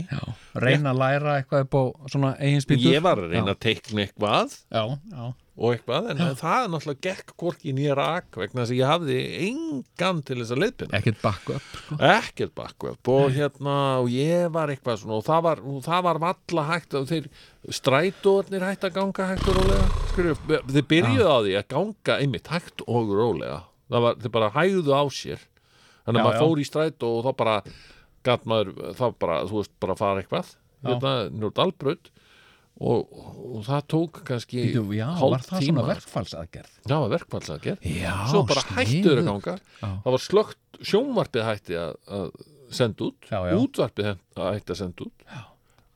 [SPEAKER 3] reyna að læra eitthvað upp á svona eigin spýtur
[SPEAKER 2] ég var að reyna að teikna eitthvað
[SPEAKER 3] já, já,
[SPEAKER 2] og eitthvað, en það er náttúrulega gekk hvorki nýja rak vegna þess að ég hafði engan til þess að leiðpina
[SPEAKER 3] ekkert backup sko.
[SPEAKER 2] ekkert bakkvöp og hérna og ég var eitthvað svona og það var, og það var valla hægt og þeir strætóðnir hægt að ganga hægt og rólega Skurðu, þeir byrjuðu á því að ganga einmitt hægt og rólega það var, þeir bara hægðu á sér þannig að
[SPEAKER 3] Já,
[SPEAKER 2] maður
[SPEAKER 3] já.
[SPEAKER 2] fór í strætó og þá bara gatt maður, þá bara, þú veist, bara fara eitthvað hérna, njótt albröð og, og það tók kannski
[SPEAKER 3] Bíddu, já, var það
[SPEAKER 2] hálftíma.
[SPEAKER 3] svona verkfallsaðgerð
[SPEAKER 2] Já, það var verkfallsaðgerð
[SPEAKER 3] Já,
[SPEAKER 2] Svo bara hættur að
[SPEAKER 3] sniðugt.
[SPEAKER 2] ganga
[SPEAKER 3] Já.
[SPEAKER 2] Það var slögt, sjónvarpið hætti að, að senda út
[SPEAKER 3] Já, já.
[SPEAKER 2] Útvarpið hætt- að hætti að senda út já.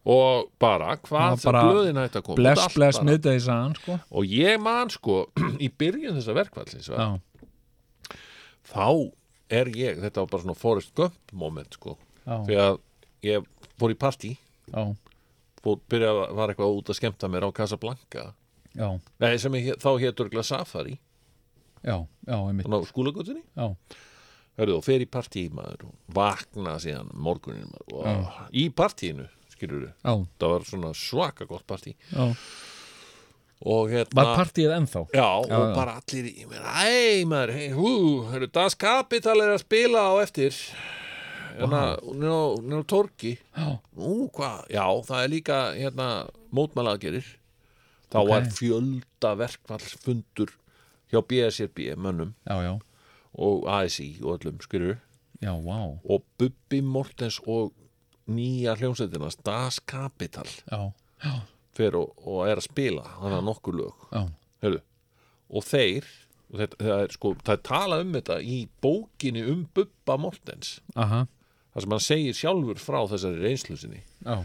[SPEAKER 2] Og bara,
[SPEAKER 3] Það var
[SPEAKER 2] hvað sem
[SPEAKER 3] bara
[SPEAKER 2] blöðin hætti að koma út,
[SPEAKER 3] bless,
[SPEAKER 2] allt
[SPEAKER 3] bless,
[SPEAKER 2] bara.
[SPEAKER 3] miðdegisaðan sko.
[SPEAKER 2] Og ég man sko, (clears throat) í byrjun þessa verkfallsins
[SPEAKER 3] já,
[SPEAKER 2] Þá er ég, þetta var bara svona Forrest Gump moment sko
[SPEAKER 3] já,
[SPEAKER 2] Því að ég fór í partí
[SPEAKER 3] já,
[SPEAKER 2] Fór, byrjaði að var eitthvað út að skemmta mér á Casablanca
[SPEAKER 3] já
[SPEAKER 2] Nei, sem ég, þá hétur Safari,
[SPEAKER 3] já, já, einmitt
[SPEAKER 2] þannig á skúlagutinni
[SPEAKER 3] já,
[SPEAKER 2] Hörðu, og fer í partí maður og vakna síðan morgunin maður og í partíinu, skilur við
[SPEAKER 3] já,
[SPEAKER 2] það var svona svaka gott partí
[SPEAKER 3] já
[SPEAKER 2] og hérna
[SPEAKER 3] var partíið ennþá
[SPEAKER 2] já, og
[SPEAKER 3] já.
[SPEAKER 2] bara allir í mér æ maður, hei, hú, hörru, Das Kapital er að spila á eftir hérna, wow. nú torki
[SPEAKER 3] Já.
[SPEAKER 2] nú, hvað, já, það er líka hérna, mótmælaðgerir þá
[SPEAKER 3] Ok.
[SPEAKER 2] var fjölda verkfallsfundur hjá BSRB mönnum
[SPEAKER 3] já, já,
[SPEAKER 2] og ASI og öllum, skilur við
[SPEAKER 3] já, vá
[SPEAKER 2] og Bubbi Mortens og nýja hljómsveitina Das Kapital
[SPEAKER 3] já,
[SPEAKER 2] fer og, og er að spila þannig að nokkur lög
[SPEAKER 3] já,
[SPEAKER 2] Heyrðu, og þeir og þetta, það, er, sko, það er talað um þetta í bókinni um Bubba Mortens
[SPEAKER 3] aha,
[SPEAKER 2] þar sem hann segir sjálfur frá þessari reynslu sinni
[SPEAKER 3] já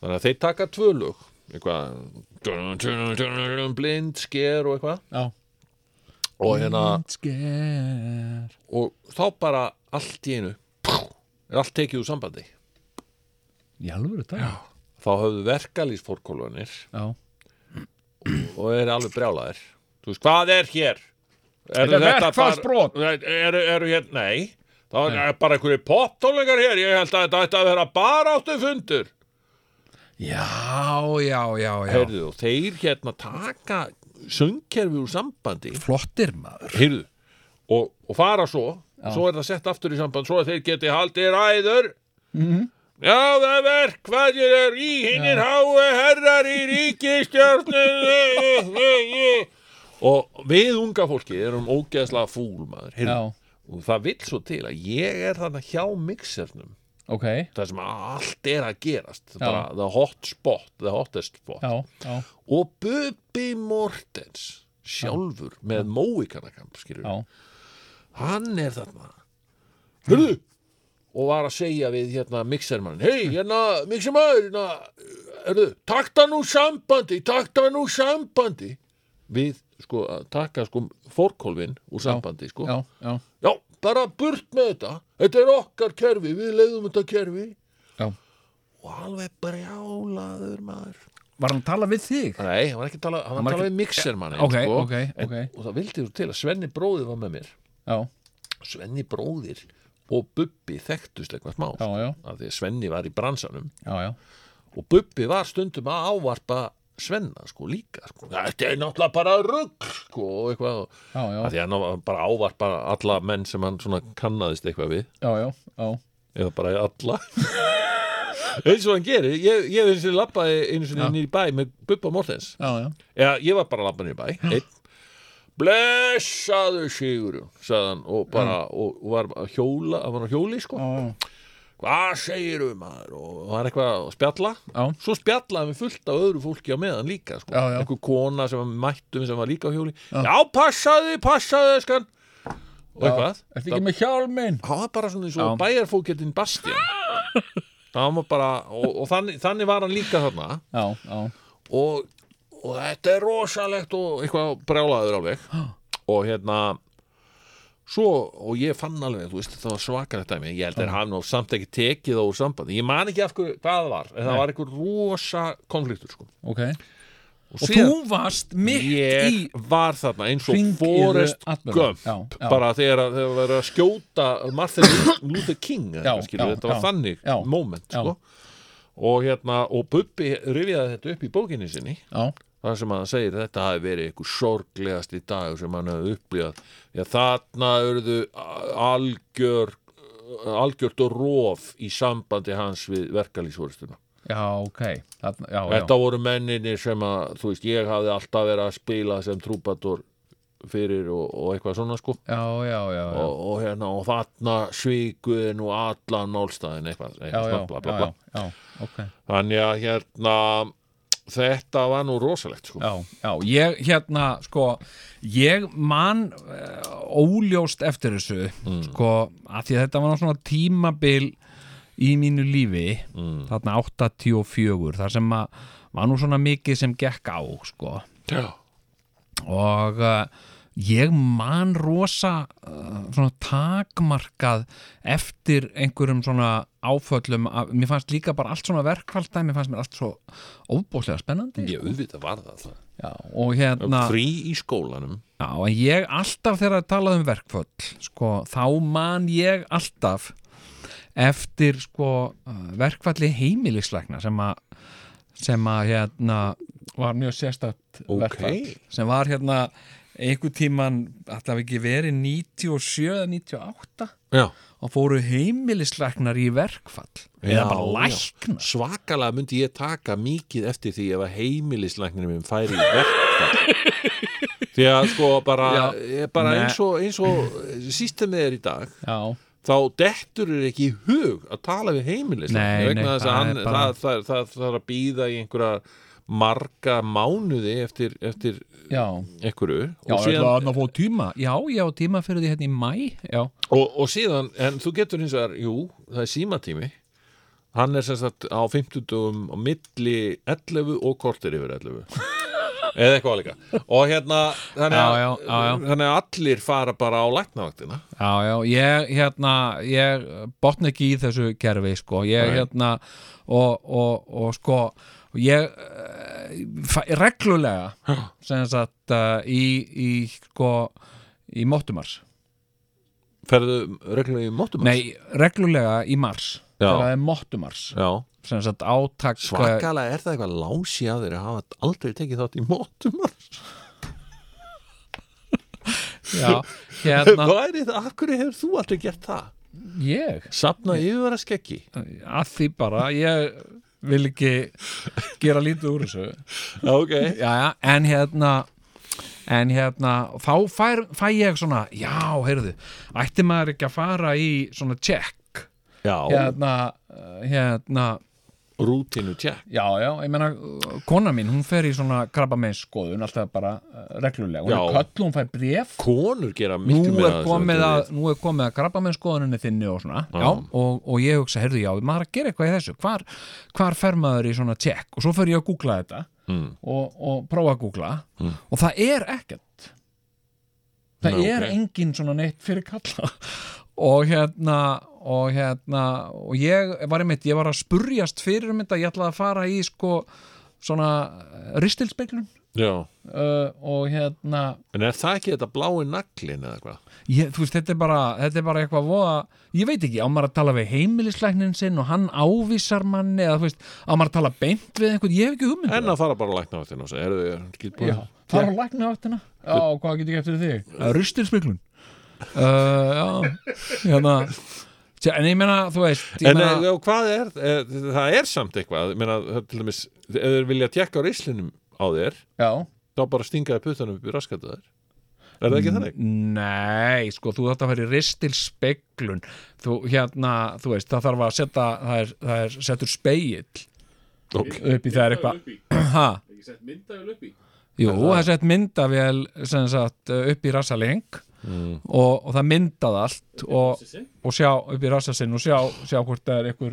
[SPEAKER 2] þannig að þeir taka tvö lög eitthvað dun, dun, dun, dun, blind, sker og eitthvað
[SPEAKER 3] já,
[SPEAKER 2] og, hérna,
[SPEAKER 3] sker
[SPEAKER 2] og þá bara allt í einu er allt tekið úr sambandi
[SPEAKER 3] í alvöru dag já,
[SPEAKER 2] þá höfðu verkalýsfórkólunir
[SPEAKER 3] já,
[SPEAKER 2] og eru alveg brjálaðir Þú veist, hvað er hér? Er
[SPEAKER 3] Þetta er verkfallsbrot.
[SPEAKER 2] Eru er, hér, nei Það er bara einhverju poptónleikar hér Ég held að þetta ætti að vera baráttu fundur
[SPEAKER 3] já, já, já, já.
[SPEAKER 2] Heyrðu, og þeir hérna taka söngkerfi úr sambandi
[SPEAKER 3] flottir maður
[SPEAKER 2] Heyrðu, og, og fara svo Svo er það sett aftur í samband Svo að þeir geti haldið ræður
[SPEAKER 3] Mhm.
[SPEAKER 2] Já, það verk, hvað ég er í hinnir háu herrar í ríkistjórnum Og við unga fólki erum ógeðslega fúl maður heyrðu.
[SPEAKER 3] já,
[SPEAKER 2] Og það vill svo til að ég er þarna hjá mixernum
[SPEAKER 3] ok,
[SPEAKER 2] Það sem allt er að gerast
[SPEAKER 3] Já.
[SPEAKER 2] bara, The hot spot, the hottest spot
[SPEAKER 3] já, já,
[SPEAKER 2] Og Bubi Mortens sjálfur með móikanakamp skilur
[SPEAKER 3] já
[SPEAKER 2] hann er þarna Hörðu og var að segja við hérna mixermann hei, hérna mixermann hérna, hörðu, takta nú sambandi takta nú sambandi við, sko, að taka sko fórkólfin úr sambandi, sko
[SPEAKER 3] já, já,
[SPEAKER 2] Já, bara burt með þetta þetta er okkar kerfi, við leiðum þetta kerfi
[SPEAKER 3] já
[SPEAKER 2] og alveg brjálaður maður
[SPEAKER 3] Var hann að tala við þig?
[SPEAKER 2] nei, hann var ekki að tala, hann var
[SPEAKER 3] var
[SPEAKER 2] að tala
[SPEAKER 3] ekki-
[SPEAKER 2] við mixermann
[SPEAKER 3] Ok,
[SPEAKER 2] sko,
[SPEAKER 3] ok,
[SPEAKER 2] en-
[SPEAKER 3] ok.
[SPEAKER 2] og það vildi þú til að Svenni bróðið var með mér
[SPEAKER 3] Já,
[SPEAKER 2] Svenni bróðir og Bubbi þekktust eitthvað smá
[SPEAKER 3] já, já,
[SPEAKER 2] af því að Svenni var í bransanum
[SPEAKER 3] já, já,
[SPEAKER 2] og Bubbi var stundum að ávarpa Svenna sko líka sko. þetta er náttúrulega bara rugg sko og eitthvað
[SPEAKER 3] já, já,
[SPEAKER 2] af því að hann var bara að ávarpa alla menn sem hann svona kannaðist eitthvað við
[SPEAKER 3] já, já, já.
[SPEAKER 2] eða bara alla (laughs) eins og hann gerir ég, ég eins og lappaði eins og nýri bæ með Bubba Mortens
[SPEAKER 3] Já, já,
[SPEAKER 2] Já, ég var bara að labba niður í bæ einn. Blessaðu Sigurjón sagði hann og bara og, og var að hjóla, hann var á hjóli sko
[SPEAKER 3] já,
[SPEAKER 2] Hvað segirðu maður og var eitthvað að spjalla
[SPEAKER 3] Já.
[SPEAKER 2] Svo spjallaði við fullt af öðru fólki á meðan líka sko
[SPEAKER 3] Já, já.
[SPEAKER 2] Einhver kona sem var mættum sem var líka á hjóli Já, já passaðu, passaðu skan Og eitthvað
[SPEAKER 3] Ertu ekki með hjálminn?
[SPEAKER 2] hann var bara svona eins og bæjarfókettin
[SPEAKER 3] (laughs)
[SPEAKER 2] Bastian Hann var bara, og, og þannig, þannig var hann líka þarna
[SPEAKER 3] Já, já,
[SPEAKER 2] og, og þetta er rosalegt og eitthvað brjálaður alveg og hérna svo, og ég fann alveg, þú veist það var svakalegt dæmi, ég held að hann nú samt ekki tekið á úr sambandi, ég man ekki af hverju hvað það var, en það var einhver rosa konfliktur sko
[SPEAKER 3] ok og
[SPEAKER 2] síðan-
[SPEAKER 3] þú varst mitt í
[SPEAKER 2] ég var þarna eins og
[SPEAKER 3] Hring í
[SPEAKER 2] Forrest
[SPEAKER 3] the Admiral.
[SPEAKER 2] Gump
[SPEAKER 3] Já, já.
[SPEAKER 2] bara þegar að- þegar það verið að skjóta Martin Luther King eða
[SPEAKER 3] Já,
[SPEAKER 2] eitthvað, skilur,
[SPEAKER 3] já,
[SPEAKER 2] þetta var
[SPEAKER 3] já,
[SPEAKER 2] þannig
[SPEAKER 3] já,
[SPEAKER 2] moment
[SPEAKER 3] já.
[SPEAKER 2] sko. og hérna og Bubbi rifjaði þetta upp í bókinni sinni
[SPEAKER 3] já,
[SPEAKER 2] þar sem hann segir þetta hafi verið einhver sorglegast í dag sem hann hefði upplifað Já, þarna urðu algjör algjört rof í sambandi hans við verkalýshoristuna
[SPEAKER 3] já, ok Þarna, já, já,
[SPEAKER 2] Þetta voru menninir sem að, þú veist, ég hafði alltaf verið að spila sem trúbator fyrir og, og eitthvað svona sko
[SPEAKER 3] já, já, já, já.
[SPEAKER 2] og, og hérna, og þarna svíkuðin og allan málstæðin eitthvað,
[SPEAKER 3] já,
[SPEAKER 2] eitthvað
[SPEAKER 3] já,
[SPEAKER 2] svona, bla,
[SPEAKER 3] já,
[SPEAKER 2] bla, bla.
[SPEAKER 3] já, já, ok
[SPEAKER 2] Þannig að hérna þetta var nú rosalegt sko
[SPEAKER 3] Já, já, ég hérna sko, ég man uh, óljóst eftir þessu
[SPEAKER 2] Mm.
[SPEAKER 3] sko, að því að þetta var nú svona tímabil í mínu lífi
[SPEAKER 2] Mm.
[SPEAKER 3] þarna 84 þar sem að var nú svona mikið sem gekk á sko
[SPEAKER 2] Já,
[SPEAKER 3] og uh, ég man rosa uh, svona takmarkað eftir einhverjum svona áföllum að, mér fannst líka bara allt svona verkvaldæ mér fannst mér allt svo óbúslega spennandi
[SPEAKER 2] ég auðvitað var það það
[SPEAKER 3] já, og hérna
[SPEAKER 2] frí í skólanum
[SPEAKER 3] já, en ég alltaf þegar að tala um verkvöld sko, þá man ég alltaf eftir sko uh, verkvalli heimilislækna sem að sem að hérna var mjög sérstætt
[SPEAKER 2] Ok.
[SPEAKER 3] verkvall sem var hérna einhver tíman alltaf ekki verið 97 eða 98
[SPEAKER 2] já,
[SPEAKER 3] og fóru heimilislæknar í verkfall
[SPEAKER 2] Já,
[SPEAKER 3] eða bara
[SPEAKER 2] já.
[SPEAKER 3] læknar
[SPEAKER 2] svakalega myndi ég taka mikið eftir því ef að heimilislæknir minn færi í verkfall
[SPEAKER 3] (laughs)
[SPEAKER 2] því að sko bara, ég bara
[SPEAKER 3] Nei.
[SPEAKER 2] eins og, eins og sístemið er í dag
[SPEAKER 3] já,
[SPEAKER 2] þá dettur er ekki í hug að tala við
[SPEAKER 3] Nei,
[SPEAKER 2] heimilislæknir
[SPEAKER 3] nei,
[SPEAKER 2] vegna þess að
[SPEAKER 3] það
[SPEAKER 2] hann,
[SPEAKER 3] er bara-
[SPEAKER 2] það, það, það, það er að býða í einhverja marga mánuði eftir, eftir
[SPEAKER 3] já
[SPEAKER 2] einhverju
[SPEAKER 3] Já,
[SPEAKER 2] og, síðan,
[SPEAKER 3] að fóðu tíma Já, já, tíma fyrir því hérna í mæ Já,
[SPEAKER 2] og, og síðan en þú getur hins vegar, jú, það er símatími hann er sem sagt á 50 á milli 11 og kortir yfir 11
[SPEAKER 3] (laughs)
[SPEAKER 2] eða eitthvað líka og hérna þannig að,
[SPEAKER 3] Já, já, já, já.
[SPEAKER 2] Þannig að allir fara bara á læknavaktina
[SPEAKER 3] Já, já, ég hérna ég botna ekki í þessu kerfi sko, ég
[SPEAKER 2] Nei.
[SPEAKER 3] hérna og, og, og sko ég eh, fæ- reglulega sem sagt uh, í, í sko í móttumars,
[SPEAKER 2] ferðu reglulega í móttum
[SPEAKER 3] nei reglulega í mars,
[SPEAKER 2] Já.
[SPEAKER 3] þegar það er móttumars
[SPEAKER 2] já
[SPEAKER 3] sem sagt átak eh,
[SPEAKER 2] Svakalega er það eitthvað lási að þeir að hafa aldrei tekið þátt í mótum
[SPEAKER 3] já, hérna,
[SPEAKER 2] (laughs) Hvað er það? Af hverju hefur þú aldrei gert það?
[SPEAKER 3] ég
[SPEAKER 2] Sapna yfirvara skeggi
[SPEAKER 3] að því bara, ég vil ekki gera lítið úr þessu
[SPEAKER 2] Ok
[SPEAKER 3] já, já, en hérna en hérna, þá fær, fæ ég svona, já, heyrðu ætti maður ekki að fara í svona check
[SPEAKER 2] Já,
[SPEAKER 3] hérna, uh, hérna
[SPEAKER 2] rútinu tjekk
[SPEAKER 3] já, já, ég meina, uh, kona mín hún fer í svona krabba með skoðun alltaf bara uh, reglulega, hún
[SPEAKER 2] Já.
[SPEAKER 3] er köllu, hún fær bref
[SPEAKER 2] Konur gera miklu
[SPEAKER 3] nú
[SPEAKER 2] meira af
[SPEAKER 3] er,
[SPEAKER 2] þessu
[SPEAKER 3] komið
[SPEAKER 2] heldur en
[SPEAKER 3] að, nú er komið að krabba með skoðuninni þinni og svona já, og, og ég hugsa, heyrðu, já, maður er að gera eitthvað í þessu hvar, hvar fer maður í svona check og svo fer ég að googla þetta mm.
[SPEAKER 2] Hmm.
[SPEAKER 3] og, og prófa að googla og það er ekkert það
[SPEAKER 2] Nei,
[SPEAKER 3] er
[SPEAKER 2] ok.
[SPEAKER 3] engin svona neitt fyrir kalla og hérna og hérna, og ég var einmitt ég var að spurjast fyrir um þetta ég ætlaði að fara í sko svona ristilspeglun
[SPEAKER 2] við. Já,
[SPEAKER 3] uh, og hérna
[SPEAKER 2] en er það ekki þetta blái naglin eða hvað?
[SPEAKER 3] ég, þú veist, þetta er bara, þetta er bara eitthvað voða, ég veit ekki, á maður að tala við heimilislæknin sinn og hann ávísar manni eða þú veist, á maður að tala beint við einhvern, ég hef ekki hugmynd
[SPEAKER 2] En að fara bara að lækna á þérna og segja, eru þið skilt búin?
[SPEAKER 3] fara á lækni áttina já, og hvað get ég eftir þig? Rustilsmiklun uh, já, hérna Tja, en ég meina, þú veist, ég
[SPEAKER 2] En
[SPEAKER 3] meina
[SPEAKER 2] eh, og hvað er, er, það er samt eitthvað, ég meina, það er til dæmis, ef þeir vilja tjekka á reislinum á þér,
[SPEAKER 3] já,
[SPEAKER 2] þá bara stingaði puttanum upp í raskatu þær. Er það ekki
[SPEAKER 3] Mm,
[SPEAKER 2] þannig?
[SPEAKER 3] nei, sko, þú þátt að fara í ristilspeglun þú, hérna, þú veist, það þarf að setja það er, það er settur speill
[SPEAKER 2] Ok.
[SPEAKER 3] upp í það er eitthvað (clears throat) ha?
[SPEAKER 4] Ég sett myndaðil upp í
[SPEAKER 3] Jú, það er sett myndavél sem sagt, uh, upp í rassaleng og, og það myndað allt og, og sjá upp í rassasinn og sjá, sjá hvort það er einhver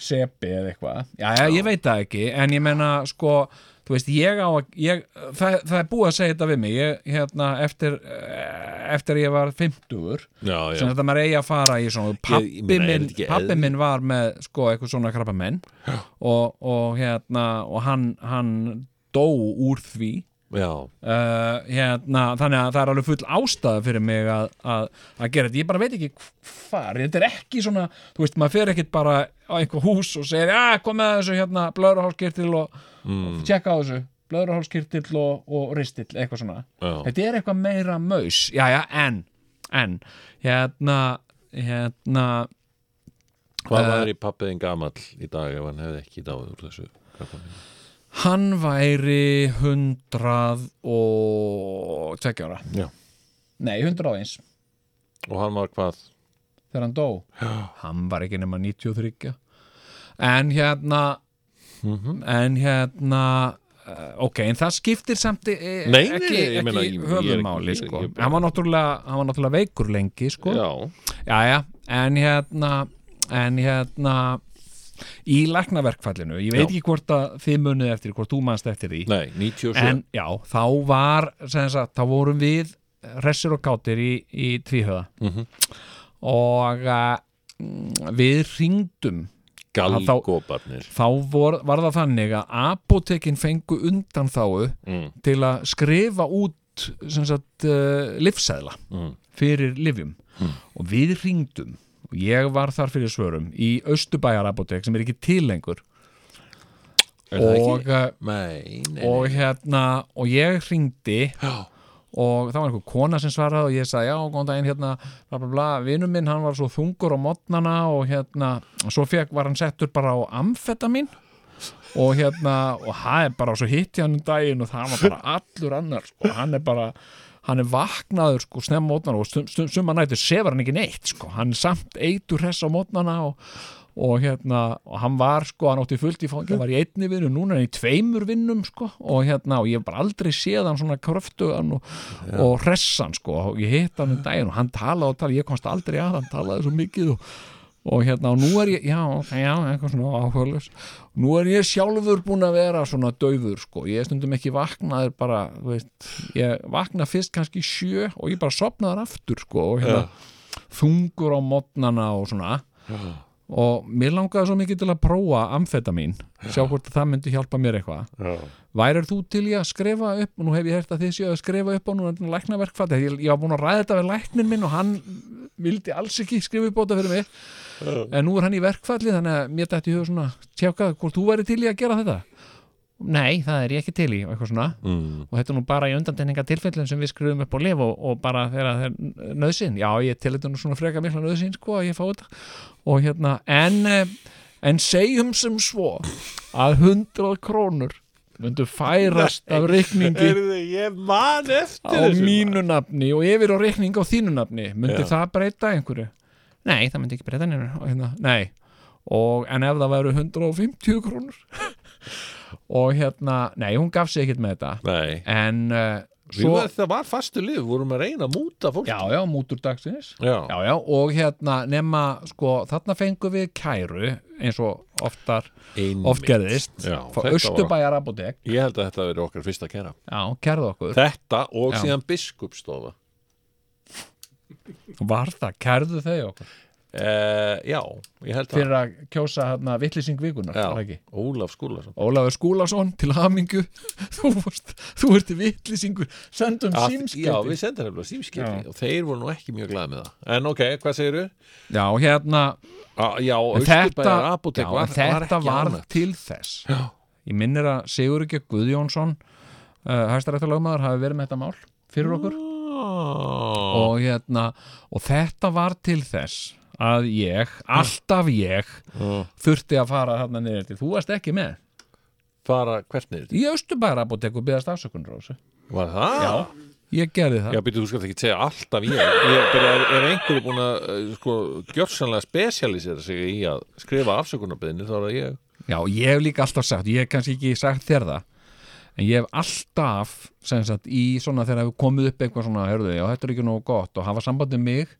[SPEAKER 3] sepi eða eitthvað. Já, ég veit það ekki en ég menna sko þú veist, ég á að, ég, það, það er búið að segja þetta við mig, ég, hérna eftir, eh, eftir ég var 50
[SPEAKER 2] Já, já.
[SPEAKER 3] sem þetta maður eigi að fara í svona
[SPEAKER 2] Ég- ég
[SPEAKER 3] pappi,
[SPEAKER 2] meina, er
[SPEAKER 3] minn,
[SPEAKER 2] þetta ekki
[SPEAKER 3] pappi
[SPEAKER 2] eðl-
[SPEAKER 3] minn var með sko eitthvað svona krabba menn og, og hérna og hann, hann dó úr því
[SPEAKER 2] já,
[SPEAKER 3] uh, hérna, þannig að það er alveg full ástæða fyrir mig að, að, að gera þetta ég bara veit ekki hvar, þetta er ekki svona þú veist, maður fer ekkit bara á einhver hús og segir, já, kom með þessu hérna blöðruhálskirtil og,
[SPEAKER 2] Mm.
[SPEAKER 3] og tjekka á þessu blöðruhálskirtil og, og ristill eitthvað svona,
[SPEAKER 2] Já.
[SPEAKER 3] þetta er eitthvað meira maus, já, já, en en, hérna hérna,
[SPEAKER 2] hvað
[SPEAKER 3] Eh,
[SPEAKER 2] var í pappiðin gamall í dag ef hann hefði ekki dáið úr þessu krabbameini?
[SPEAKER 3] hann væri hundrað og tveggja ára
[SPEAKER 2] Já.
[SPEAKER 3] nei, hundrað og eins
[SPEAKER 2] og hann var hvað
[SPEAKER 3] þegar hann dó hann var ekki nema 93 en hérna
[SPEAKER 2] Mhm.
[SPEAKER 3] en hérna eh, ok, en það skiptir samt e, e-
[SPEAKER 2] Nei, nei,
[SPEAKER 3] ekki,
[SPEAKER 2] nei, ég meina, ég-
[SPEAKER 3] ekki
[SPEAKER 2] ég er
[SPEAKER 3] höfumáli
[SPEAKER 2] ekki- ég-
[SPEAKER 3] sko.
[SPEAKER 2] ég bara-
[SPEAKER 3] hann, var náttúrulega- hann var náttúrulega veikur lengi sko.
[SPEAKER 2] já,
[SPEAKER 3] Jæja, en hérna en hérna í læknaverkfallinu, ég veit
[SPEAKER 2] Já.
[SPEAKER 3] ekki hvort að þið munið eftir, því, hvort þú manst eftir því
[SPEAKER 2] nei, 97
[SPEAKER 3] en já, þá var sem sagt, þá vorum við hressir og kátir í, í tvíhöða
[SPEAKER 2] Mhm.
[SPEAKER 3] og uh, við hringdum
[SPEAKER 2] galgóparnir
[SPEAKER 3] þá vor, var það þannig að apotekin fengu undan þáu
[SPEAKER 2] Mm.
[SPEAKER 3] til að skrifa út sem sagt uh, livsæðla
[SPEAKER 2] Mm.
[SPEAKER 3] fyrir livjum og við hringdum og ég var þar fyrir svörum í Östubæjar apotek sem er ekki til lengur
[SPEAKER 2] Er það
[SPEAKER 3] og,
[SPEAKER 2] ekki?
[SPEAKER 3] uh,
[SPEAKER 2] Nei, nei,
[SPEAKER 3] og
[SPEAKER 2] nei.
[SPEAKER 3] hérna og ég hringdi
[SPEAKER 2] Já,
[SPEAKER 3] og það var einhver kona sem svaraði og ég sagði já, góðan daginn hérna bla bla bla, vinnum minn hann var svo þungur á modnana og hérna, svo fekk var hann settur bara á amfetamin og hérna, og það er bara og svo hitti hann um daginn og það var bara allur annar, sko, hann er bara hann er vaknaður, sko, snemma mótnana og stum, stum, summa nættu sefur hann ekki neitt, sko hann er samt eitur hress á mótnana og og hérna, og hann var sko, hann átti fullt í fangi, hann var í einni vinnu núna er hann í tveimur vinnum sko, og hérna og ég hef bara aldrei séð hann svona kröftugan og, og hressan sko, og ég hitt hann um daginn og hann talaði og talaði, ég komst aldrei að hann talaði svo mikið og, og hérna, og nú er ég já, ok, já, eitthvað svona áhugaðlis nú er ég sjálfur búin að vera svona döfur sko, ég er stundum ekki vaknaður bara, þú veist, ég vakna fyrst kannski í sjö og ég bara sopnaður aftur sko, og hérna þungur á modnana og svona og mér langaði svo mikið til að prófa amfetamin, sjá hvort að það myndi hjálpa mér eitthvað
[SPEAKER 2] já,
[SPEAKER 3] værir þú til í að skrifa upp og nú hef ég hert að þið séu að skrifa upp og nú er þetta læknaverkfall ég, ég var búin að ræða þetta við læknin minn og hann vildi alls ekki skrifa upp á þetta fyrir mig en nú er hann í verkfalli þannig að mér dætti í hug svona tjákað hvort þú væri til í að gera þetta nei, það er ég ekki til í og eitthvað svona
[SPEAKER 2] mm,
[SPEAKER 3] og þetta er nú bara í undantekninga tilfellin sem við skrifum upp á lif og, og bara þegar það er nöðsinn já ég til þetta nú svona freka mikla nöðsinn sko að ég fá þetta og hérna en, eh, en segjum sem svo að 100 krónur myndu færast af reikningi
[SPEAKER 2] ég man eftir
[SPEAKER 3] á mínu nafni og yfir á reikning á þínu nafni myndi
[SPEAKER 2] Já.
[SPEAKER 3] það breyta einhverju? Nei, það myndi ekki breyta neina og hérna, nei og, en ef það væru 150 krónur (laughs) og hérna nei, hún gaf sig ekkert með þetta
[SPEAKER 2] Nei,
[SPEAKER 3] en uh,
[SPEAKER 2] svo...
[SPEAKER 3] svo,
[SPEAKER 2] það var fastu lið, vorum að reyna að múta fólk
[SPEAKER 3] já, já, mútur dagsins
[SPEAKER 2] Já.
[SPEAKER 3] já, já, og hérna nema, sko, þarna fengum við kæru eins og oftar
[SPEAKER 2] Einmitt.
[SPEAKER 3] oft gerðist,
[SPEAKER 2] Já,
[SPEAKER 3] frá
[SPEAKER 2] þetta var-
[SPEAKER 3] Östubæjar apotek,
[SPEAKER 2] Ég held að þetta verið okkar fyrsta að kæra
[SPEAKER 3] já, kærðu okkur
[SPEAKER 2] Þetta og
[SPEAKER 3] Já.
[SPEAKER 2] síðan biskupstofa
[SPEAKER 3] var það, kærðu þau okkur
[SPEAKER 2] eh, Já, ég held að
[SPEAKER 3] fyrir að kjósa hérna vittlýsing vikunar, var
[SPEAKER 2] já,
[SPEAKER 3] það ekki
[SPEAKER 2] Ólaf Skúlason
[SPEAKER 3] Ólafur Skúlason til hamingu (laughs) þú, vorst, þú ert vítlýsingur sendum
[SPEAKER 2] Að- Já,
[SPEAKER 3] símskeiti
[SPEAKER 2] við sendum hefla símskipti og þeir voru nú ekki mjög glæð með það En ok, hvað segirðu?
[SPEAKER 3] já, hérna
[SPEAKER 2] Ah, já,
[SPEAKER 3] En þetta,
[SPEAKER 2] Austurbæjar apotek
[SPEAKER 3] já,
[SPEAKER 2] var, var
[SPEAKER 3] þetta
[SPEAKER 2] ekki
[SPEAKER 3] varð
[SPEAKER 2] annað.
[SPEAKER 3] til þess já. ég minnir að Sigurgeir Guðjónsson uh, hæstarættalögmaður hafi verið með þetta mál fyrir okkur og, hérna, og þetta var til þess að ég, alltaf ég þurfti að fara þarna niður til þú varst ekki með
[SPEAKER 2] Fara hvert niður?
[SPEAKER 3] í Östubæra apotek og byggðast afsökunur á þessu
[SPEAKER 2] Var það? Já
[SPEAKER 3] ég gerði það
[SPEAKER 2] Já, býttu, þú skalt ekki segja alltaf ég Ég byrja, er- er einhverju búin að eh, sko, gjörsanlega spesialisera sig í að skrifa afsökunarbyðinni þá er það ég
[SPEAKER 3] Já, ég hef líka alltaf sagt, ég hef kannski ekki sagt þér það en ég hef alltaf sem sagt, í svona þegar hefur komið upp eitthvað svona, hörðu, já, þetta er ekki nógu gott og hafa samband við mig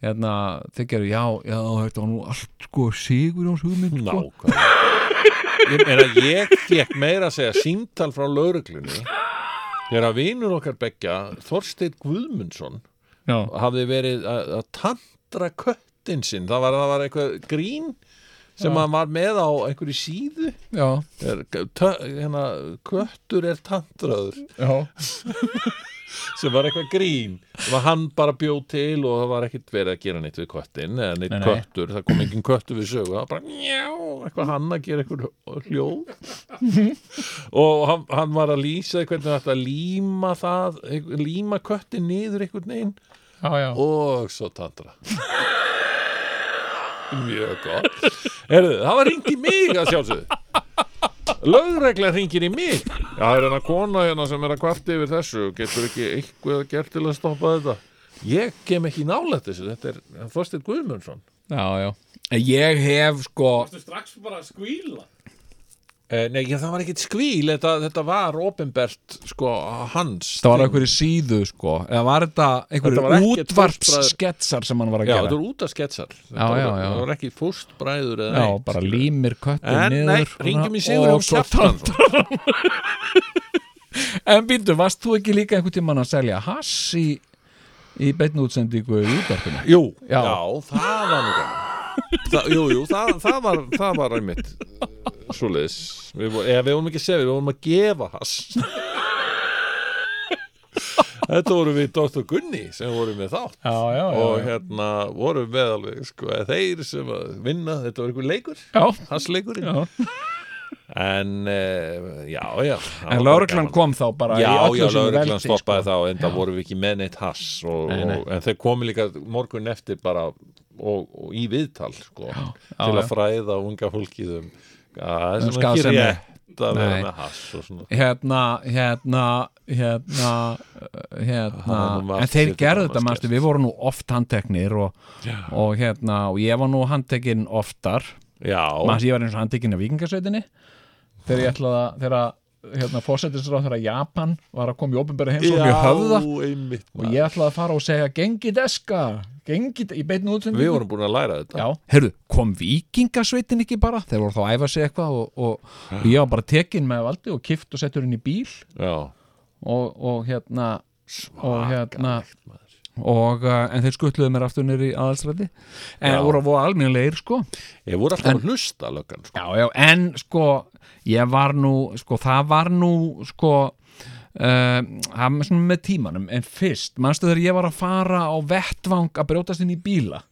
[SPEAKER 3] hérna, þeir gerðu, já, já, þetta var nú allt sko sigur hans hugmynd sko.
[SPEAKER 2] Nákvæmlega Ég meina, ég fekk meira að segja símtal frá lauruglunni þegar að vinur okkar beggja Þorsteinn Guðmundsson
[SPEAKER 3] Já,
[SPEAKER 2] hafði verið að, að tantra köttin sinn það var, það var eitthvað grín sem hann var með á einhverju síðu
[SPEAKER 3] já,
[SPEAKER 2] er, tö, hérna, köttur er tantraður
[SPEAKER 3] já,
[SPEAKER 2] sem var eitthvað grín sem að hann bara bjó til og það var ekkit verið að gera neitt við köttin eða neitt
[SPEAKER 3] Nei, nei.
[SPEAKER 2] köttur, það kom engin köttur við sögu það var bara njá, eitthvað hann að gera eitthvað hljóð og hann, hann var að lýsa því hvernig þetta líma það einhver- líma köttin niður einhvern veginn
[SPEAKER 3] já, já.
[SPEAKER 2] og svo tantra mjög gott Herðu, það var ringt í mig að sjálfsögðu lögregla ringir í mig já, það er hérna kona hérna sem er að kvarta yfir þessu getur ekki eitthvað gert til að stoppa þetta ég kem ekki nálætt þessu þetta er hann Þorsteinn Guðmundsson
[SPEAKER 3] já, já. En Ég hef sko
[SPEAKER 4] strax bara að skvíla
[SPEAKER 2] eh, nei, já, það var ekkit skvíl þetta, þetta var ofinbert sko hans
[SPEAKER 3] Það var
[SPEAKER 2] þing.
[SPEAKER 3] einhverju síðu sko Eða var þetta
[SPEAKER 2] Þetta var
[SPEAKER 3] einhverju
[SPEAKER 2] ekkert
[SPEAKER 3] útvarpssketsar sem hann var að
[SPEAKER 2] já,
[SPEAKER 3] gera
[SPEAKER 2] þetta var út af sketsar þetta
[SPEAKER 3] Já,
[SPEAKER 2] var-
[SPEAKER 3] já, já.
[SPEAKER 2] það var ekki fústbræður eða
[SPEAKER 3] Já,
[SPEAKER 2] neitt,
[SPEAKER 3] bara
[SPEAKER 2] skilurðu.
[SPEAKER 3] límir köttin
[SPEAKER 2] En
[SPEAKER 3] niður
[SPEAKER 2] nei,
[SPEAKER 3] svona,
[SPEAKER 2] ringjum í Sigurjón
[SPEAKER 3] og svo
[SPEAKER 2] Kjartansson.
[SPEAKER 3] tann- En býndu, varst þú ekki líka einhvern tímann að selja hass í, í beinu útsendingu í útvarpinu?
[SPEAKER 2] Jú, já,
[SPEAKER 3] Já.
[SPEAKER 2] það var nú gaman Þa, Jú, jú, það, það var það var einmitt uh, svoleiðis við, vor- eða, við vorum ekki að segja, við vorum að gefa hass Þetta vorum við Dr. Gunni sem vorum við þátt
[SPEAKER 3] Já, já, já,
[SPEAKER 2] og
[SPEAKER 3] já.
[SPEAKER 2] hérna vorum við alveg sko, eða þeir sem að vinna, þetta var einhver leikur
[SPEAKER 3] já.
[SPEAKER 2] hassleikurinn
[SPEAKER 3] Já.
[SPEAKER 2] en uh, já, já það var
[SPEAKER 3] En
[SPEAKER 2] bara
[SPEAKER 3] lauruglan
[SPEAKER 2] gaman.
[SPEAKER 3] kom þá bara
[SPEAKER 2] Já,
[SPEAKER 3] í öllu
[SPEAKER 2] já,
[SPEAKER 3] sínu
[SPEAKER 2] lauruglan
[SPEAKER 3] veldi,
[SPEAKER 2] stoppaði
[SPEAKER 3] sko.
[SPEAKER 2] þá en það voru við ekki með neitt hass og, Og, en þeir komi líka morgun eftir bara og, og í viðtal sko, til að
[SPEAKER 3] já.
[SPEAKER 2] fræða unga fólkið um að það er svona
[SPEAKER 3] Um
[SPEAKER 2] ekki
[SPEAKER 3] skaðsemi.
[SPEAKER 2] rétt að vera
[SPEAKER 3] Nei.
[SPEAKER 2] með hass og svona
[SPEAKER 3] Hérna, hérna, hérna, uh, hérna
[SPEAKER 2] Það var nú margt
[SPEAKER 3] En þeir
[SPEAKER 2] sem
[SPEAKER 3] gerðu
[SPEAKER 2] gaman
[SPEAKER 3] þetta,
[SPEAKER 2] skert.
[SPEAKER 3] mannstu, við vorum nú oft handteknir og, og hérna, og ég var nú handtekinn oftar
[SPEAKER 2] Já,
[SPEAKER 3] maður ég var eins og handtekinn af vikingasveitinni þegar ég ætlaði að þegar að hérna, fósettisráð þegar Japan var að koma í opinbæri heimsókn í höfða
[SPEAKER 2] einmitt
[SPEAKER 3] og
[SPEAKER 2] maður.
[SPEAKER 3] ég ætlaði að fara og segja gengi deska, gengi í beinu útsendingu
[SPEAKER 2] Við vorum búin að læra þetta
[SPEAKER 3] Já, herru, kom vikingasveitin ekki bara þeir voru þá að æfa sig eitthvað og, og, og ég var bara tekinn með valdi og kift og settur inn í bíl
[SPEAKER 2] Já,
[SPEAKER 3] og, og hérna og hérna
[SPEAKER 2] svakalegt maður
[SPEAKER 3] og, uh, en þeir skutluðu mér aftur nýri aðalstræti en
[SPEAKER 2] Já.
[SPEAKER 3] voru að voru almennlegir sko
[SPEAKER 2] Ég voru alltaf að hlusta löggan sko.
[SPEAKER 3] Já, já, en sko ég var nú, sko það var nú sko uh, það var svona með tímanum, en fyrst manstu þegar ég var að fara á vettvang að brjótast inn í bíla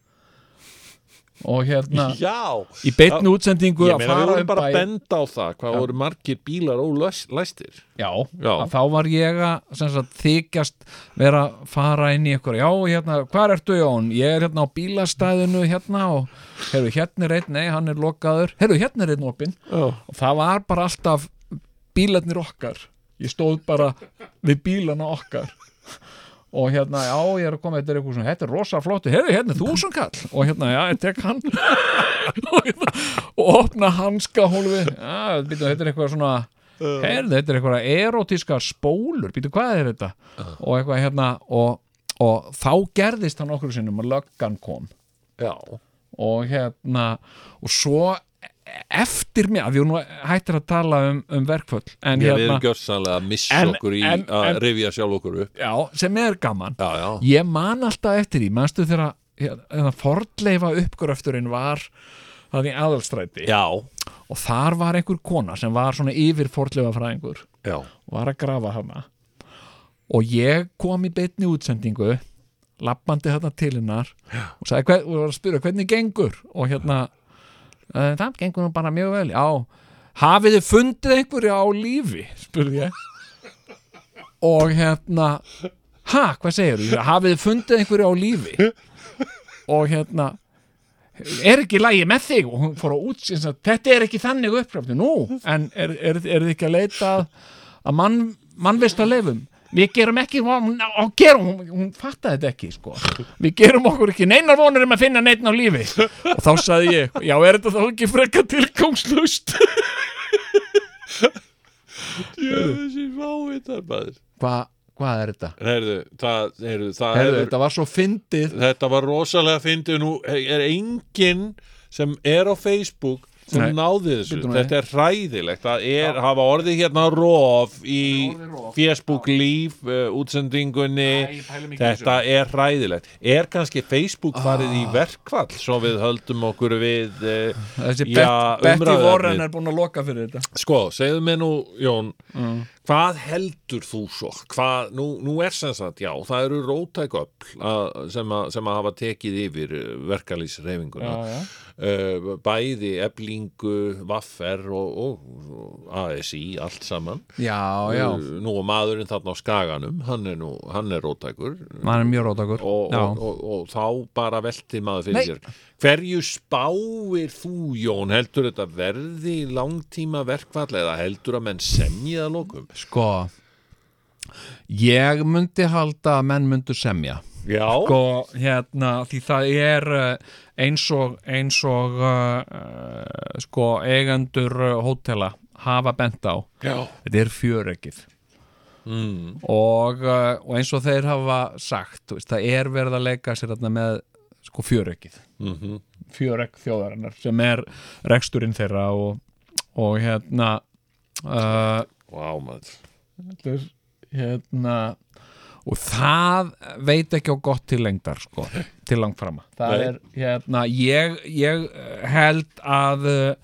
[SPEAKER 3] og hérna
[SPEAKER 2] Já,
[SPEAKER 3] í beinni útsendingu
[SPEAKER 2] ég
[SPEAKER 3] að
[SPEAKER 2] meina við
[SPEAKER 3] fara
[SPEAKER 2] vorum
[SPEAKER 3] um
[SPEAKER 2] bara að
[SPEAKER 3] bæ
[SPEAKER 2] benda á það hvað voru margir bílar ólæstir
[SPEAKER 3] já,
[SPEAKER 2] Já.
[SPEAKER 3] að þá var ég að sem sagt, þykjast vera að fara inn í ykkur, já, hérna, hvar ertu Jón? Ég er hérna á bílastæðinu hérna og, herru, hérna er einn, nei, hann er lokaður, herru, hérna er einn opinn
[SPEAKER 2] Já
[SPEAKER 3] og það var bara alltaf bílarnir okkar ég stóð bara við bílana okkar og hérna, já, ég er að koma þetta er eitthvað svona, þetta er rosa flottu, heyrðu, hérna er þúsunkall og hérna, já, ég tek hann (laughs) og, hérna, og opna hanska hólfi, já, býtum, þetta er eitthvað svona heyrðu, þetta er eitthvað erotískar spólur, býtum, hvað er þetta og eitthvað hérna og, og þá gerðist hann okkur sinnum að löggan kom
[SPEAKER 2] Já,
[SPEAKER 3] og hérna og svo eftir mér að við nú hættir að tala um, um verkföll en
[SPEAKER 2] Ég við
[SPEAKER 3] hérna
[SPEAKER 2] erum gjörsanlega að missa
[SPEAKER 3] En-
[SPEAKER 2] okkur í
[SPEAKER 3] en-
[SPEAKER 2] að
[SPEAKER 3] en-
[SPEAKER 2] rifja sjálf okkur upp
[SPEAKER 3] já, sem er gaman
[SPEAKER 2] Já, já,
[SPEAKER 3] ég man alltaf eftir því, manstu þegar að- hérna, fordleifa uppgröfturinn var það í aðalstræti
[SPEAKER 2] já,
[SPEAKER 3] og þar var einhver kona sem var svona yfir fordleifa fræðingur
[SPEAKER 2] já.
[SPEAKER 3] var að grafa hana og ég kom í beinni útsendingu lappandi hérna til hennar og, sagði, hver, og var að spyrja hvernig gengur og hérna uh, það gengur nú bara mjög vel já, hafið þið fundið einhverju á lífi spurði ég og hérna ha, hvað segir þú, hafið þið fundið einhverju á lífi og hérna er ekki lægi með þig og hún fór á útsins að þetta er ekki þannig uppgrafni nú, en er, er, er þið ekki að leita að, að mann, mannvist að leifum við gerum ekki von- og gerum, hún, hún fattaði þetta ekki sko. við gerum okkur ekki neinar vonur um að finna neitt á lífi og þá sagði ég, já er þetta þá ekki frekka tilgangslust
[SPEAKER 2] Þessi fávitar maður
[SPEAKER 3] Hva, hvað er þetta?
[SPEAKER 2] Herðu, það, herðu, það
[SPEAKER 3] Herðu,
[SPEAKER 2] hefur,
[SPEAKER 3] þetta var svo fyndið
[SPEAKER 2] þetta var rosalega fyndið Nú er enginn sem er á Facebook sem
[SPEAKER 3] Nei.
[SPEAKER 2] náði þessu
[SPEAKER 3] Bíddu nú
[SPEAKER 2] þetta er hræðilegt að er, hafa orðið hérna rof í Facebook líf uh, útsendingunni þetta er hræðilegt er kannski Facebook farið
[SPEAKER 3] Ah.
[SPEAKER 2] í verkvall svo við höldum okkur við uh,
[SPEAKER 3] Þessi
[SPEAKER 2] Já,
[SPEAKER 3] Bet- Betty
[SPEAKER 2] umræðuefnið.
[SPEAKER 3] Warren er búin að loka fyrir þetta
[SPEAKER 2] sko, segðu mér nú Jón,
[SPEAKER 3] Mm.
[SPEAKER 2] hvað heldur þú svo? Hvað, nú, nú er sem sagt, já, það eru rótæk öll að- sem, að- sem að hafa tekið yfir verkalýsreifinguna
[SPEAKER 3] já.
[SPEAKER 2] uh, bæði eblingu, vaffer og, og, og ASI allt saman
[SPEAKER 3] Já, já,
[SPEAKER 2] Uh, nú og maðurinn þarna á skaganum hann er, nú, hann er rótækur
[SPEAKER 3] hann er mjög rótakur
[SPEAKER 2] og,
[SPEAKER 3] Já,
[SPEAKER 2] og, og, og þá bara velti maður
[SPEAKER 3] Nei.
[SPEAKER 2] fyrir sér hverju spáir þú Jón heldur þetta verði langtíma verkfall eða heldur að menn semja að lokum
[SPEAKER 3] sko Ég myndi halda að menn myndu semja
[SPEAKER 2] já,
[SPEAKER 3] sko, hérna, því það er uh, eins og, eins og uh, uh, sko, eigendur uh, hótela hafa bent á
[SPEAKER 2] já,
[SPEAKER 3] þetta er fjöreggið mm. og, uh, og eins og þeir hafa sagt, þú veist, það er verið að leika sér þarna með sko, fjöreggið mm -hmm. fjöregg þjóðarinnar sem er reksturinn þeirra og, og hérna uh,
[SPEAKER 2] vá maður
[SPEAKER 3] allir hérna og það veit ekki á gott til lengdar sko, til langframa það
[SPEAKER 2] Nei.
[SPEAKER 3] er hérna ég, ég eh, held að eh,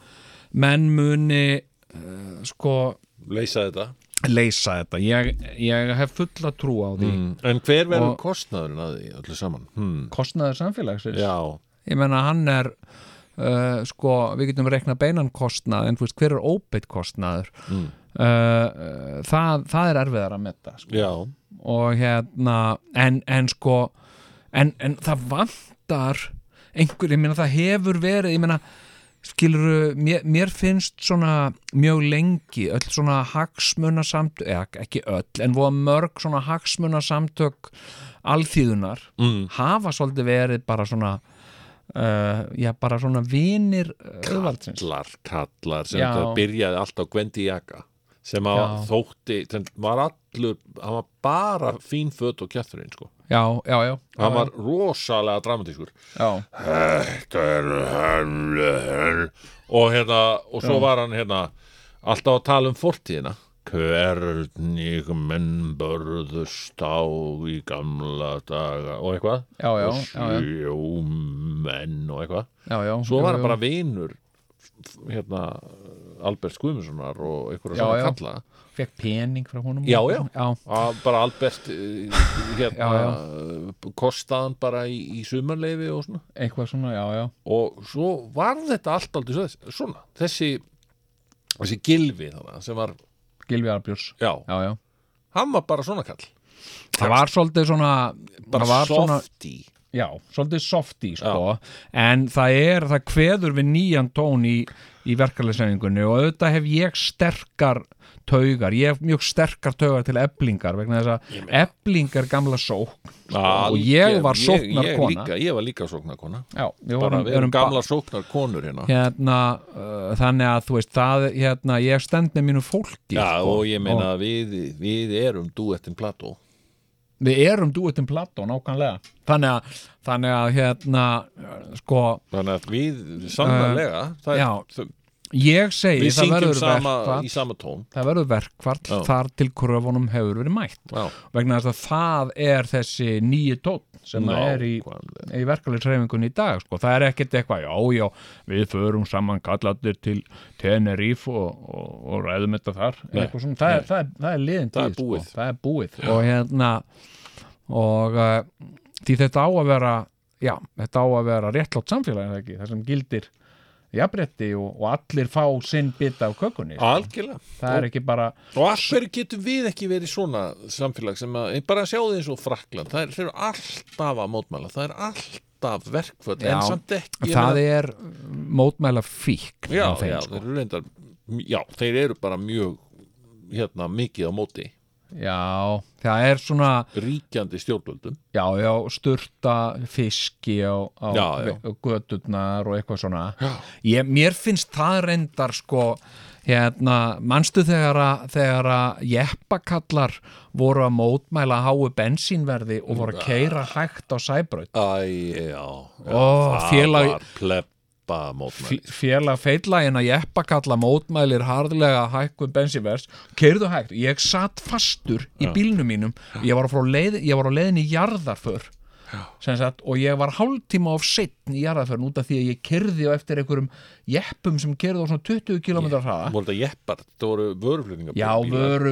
[SPEAKER 3] menn muni uh, sko
[SPEAKER 2] leysa þetta
[SPEAKER 3] leysa þetta ég, ég hef fulla trú á því
[SPEAKER 2] mm. en hver verður
[SPEAKER 3] Og-
[SPEAKER 2] kostnaðurinn að því öllu saman hmm.
[SPEAKER 3] kostnaður samfélagsins
[SPEAKER 2] já,
[SPEAKER 3] ég menna hann er uh, sko, við getum reikna beinan kostnað en þú veist, hver er óbeitt kostnaður mm. það, það er erfiðar að metta sko.
[SPEAKER 2] já,
[SPEAKER 3] og hérna en, en sko en, en það vantar einhver, ég meina það hefur verið ég meina skilur mér, mér finnst svona mjög lengi öll svona hagsmunasamtök eða ekki öll, en voða mörg svona hagsmunasamtök alþýðunar mm. hafa svolítið verið bara svona uh, já, bara svona vinir uh, auðvaldsins
[SPEAKER 2] kallar, kallar sem
[SPEAKER 3] Já.
[SPEAKER 2] þetta byrjaði allt á Gwendi Jaka sem að
[SPEAKER 3] Já.
[SPEAKER 2] þótti, sem var allur hann var bara fín fött og kjætturinn sko.
[SPEAKER 3] já, já, já,
[SPEAKER 2] hann var rosalega dramatískur
[SPEAKER 3] já,
[SPEAKER 2] þetta er hann og hérna, og svo var hann hérna alltaf að tala um fortíðina hvernig menn börðust á í gamla daga og eitthvað
[SPEAKER 3] Já, já,
[SPEAKER 2] og
[SPEAKER 3] já, já.
[SPEAKER 2] sjómenn og eitthvað
[SPEAKER 3] já, já
[SPEAKER 2] svo
[SPEAKER 3] já,
[SPEAKER 2] var
[SPEAKER 3] já.
[SPEAKER 2] hann bara vinur hérna Albert Guðmundssonar og einhverja
[SPEAKER 3] Já,
[SPEAKER 2] svona
[SPEAKER 3] já.
[SPEAKER 2] kalla
[SPEAKER 3] fekk pening frá honum
[SPEAKER 2] Já, já.
[SPEAKER 3] já,
[SPEAKER 2] að bara Albert eh, hérna,
[SPEAKER 3] Já,
[SPEAKER 2] kostaðan bara í, í sumarleifi og svona
[SPEAKER 3] eitthvað svona, já, já
[SPEAKER 2] og svo var þetta allt aldrei svo- svona, þessi þessi gilvi þarna sem var
[SPEAKER 3] Gilvi Arbjörns
[SPEAKER 2] já,
[SPEAKER 3] já, já.
[SPEAKER 2] hann var bara svona kall
[SPEAKER 3] það var svolítið svona
[SPEAKER 2] bara
[SPEAKER 3] það var svona,
[SPEAKER 2] softi
[SPEAKER 3] já, svolítið softi sko. en það er, það kveður við nýjan tón í, í verkarleysæfingunni og auðvitað hef ég sterkar taugar, ég hef mjög sterkar taugar til eblingar vegna þess að ebling er gamla sókn sko, og ég var sóknar
[SPEAKER 2] ég,
[SPEAKER 3] kona
[SPEAKER 2] líka, ég var líka sóknarkona
[SPEAKER 3] já, við
[SPEAKER 2] bara
[SPEAKER 3] vorum,
[SPEAKER 2] við erum
[SPEAKER 3] ba-
[SPEAKER 2] gamla sóknarkonur hérna
[SPEAKER 3] hérna, uh, þannig að þú veist það, hérna, ég stend með mínu fólki
[SPEAKER 2] já,
[SPEAKER 3] sko,
[SPEAKER 2] og ég meina að við, við erum duettin plató
[SPEAKER 3] við erum dúettinn plató nákvæmlega þannig að, þannig að hérna, uh, sko
[SPEAKER 2] Þannig að við samanlega
[SPEAKER 3] já,
[SPEAKER 2] það,
[SPEAKER 3] ég segi
[SPEAKER 2] við
[SPEAKER 3] það
[SPEAKER 2] syngjum
[SPEAKER 3] verður
[SPEAKER 2] sama,
[SPEAKER 3] verkvall
[SPEAKER 2] í sama tón
[SPEAKER 3] það verður verkvall
[SPEAKER 2] Já.
[SPEAKER 3] þar til kröfunum hefur verið mætt
[SPEAKER 2] Já.
[SPEAKER 3] vegna þess að það er þessi nýju tótt sem það er í,
[SPEAKER 2] Nákvæmlega.
[SPEAKER 3] í verkvallitreifingun í dag sko. það er ekkert eitthvað, já, já, við förum saman kallatir til Tenerife og, og, og ræðum þetta þar Nei. eitthvað svona, það, er, það, er, það er liðin
[SPEAKER 2] Það er
[SPEAKER 3] tíð, sko.
[SPEAKER 2] búið.
[SPEAKER 3] það er búið og hérna og uh, því þetta á að vera já, þetta á að vera réttlátt samfélag er það ekki, það sem gildir jafnrétti og, og allir fá sinn bita af kökunni sko.
[SPEAKER 2] Algjörlega
[SPEAKER 3] það er ekki bara
[SPEAKER 2] Og af hverju getum við ekki verið svona samfélag sem að, ég bara sjáðu eins og Frakland það er, þeir eru alltaf að mótmæla það er alltaf verkföld
[SPEAKER 3] Já.
[SPEAKER 2] en samt ekki ég
[SPEAKER 3] það
[SPEAKER 2] meina-
[SPEAKER 3] er mótmæla fíkn
[SPEAKER 2] já,
[SPEAKER 3] hjá þeim,
[SPEAKER 2] já,
[SPEAKER 3] sko.
[SPEAKER 2] þeir eru reyndar, já, þeir eru bara mjög hérna, mikið á móti
[SPEAKER 3] já, það er svona
[SPEAKER 2] ríkjandi stjórnvöldum
[SPEAKER 3] já, já, sturta fiski á, á
[SPEAKER 2] Já, já.
[SPEAKER 3] ve- göturnar og eitthvað svona ég, mér finnst það reyndar sko hérna, manstu þegar að, þegar að jeppakallar voru að mótmæla háu bensínverði
[SPEAKER 2] ah.
[SPEAKER 3] og voru að keira hægt á sæbraut
[SPEAKER 2] Æ, já, já
[SPEAKER 3] Ó,
[SPEAKER 2] það
[SPEAKER 3] félag-
[SPEAKER 2] var pleb jeppa mótmæli
[SPEAKER 3] Félag feillægin að jeppa kalla mótmælir harðlega hækkun bensivers Keirðu hægt, ég satt fastur í bílnum mínum Ég var á, frá leið, ég var á leiðin í jarðarför sem sagt, og ég var hálftíma of seitt í jarðarförn út af því að ég keirði á eftir einhverjum jeppum sem keirði á svona 20 km hraða
[SPEAKER 2] Voru þetta jeppar, þetta voru vöruflutninga
[SPEAKER 3] Já,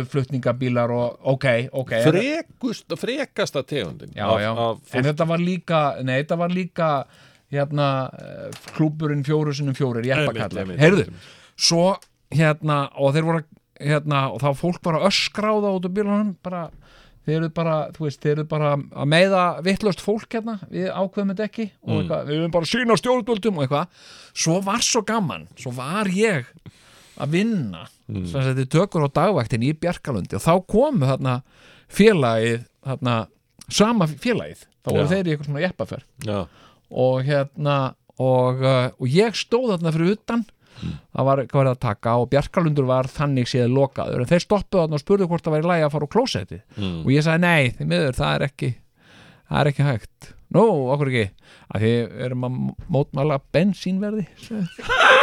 [SPEAKER 3] vöruflutningabílar og ok, ok
[SPEAKER 2] Frekust, Frekasta tegundin
[SPEAKER 3] já,
[SPEAKER 2] af-
[SPEAKER 3] já.
[SPEAKER 2] af fólki.
[SPEAKER 3] en þetta var líka nei, þetta var líka hérna, eh, klúburinn fjóru sinnum fjórir
[SPEAKER 2] Einmitt,
[SPEAKER 3] jeppakallar,
[SPEAKER 2] einmitt,
[SPEAKER 3] heyrðu
[SPEAKER 2] einmitt.
[SPEAKER 3] svo hérna og þeir voru að- hérna, og þá fólk bara öskráða út af bílunum bara, þeir eru bara, þú veist, þeir eru bara að meiða vittlust fólk hérna, við ákveðum þetta ekki og
[SPEAKER 2] Mm.
[SPEAKER 3] eitthvað, við erum bara að sína stjórnvöldum og eitthvað, svo var svo gaman svo var ég að vinna mm. sem þetta tökur á dagvaktin í Bjarkalundi og þá komu þarna félagið, þarna sama félagið, þá voru
[SPEAKER 2] Já.
[SPEAKER 3] þeir í eitthvað svona jeppaferð
[SPEAKER 2] Já,
[SPEAKER 3] og hérna og, uh, og ég stóð þarna fyrir utan það var hvað verið að taka og Bjarkalundur var þannig séð lokaður en þeir stoppuðu þarna og spurðu hvort það væri lægi að fara úr klósetti
[SPEAKER 2] Mm.
[SPEAKER 3] og ég sagði nei, því miður, það er ekki það er ekki hægt nú, okkur ekki, að því við erum að mótmála bensínverði sagði-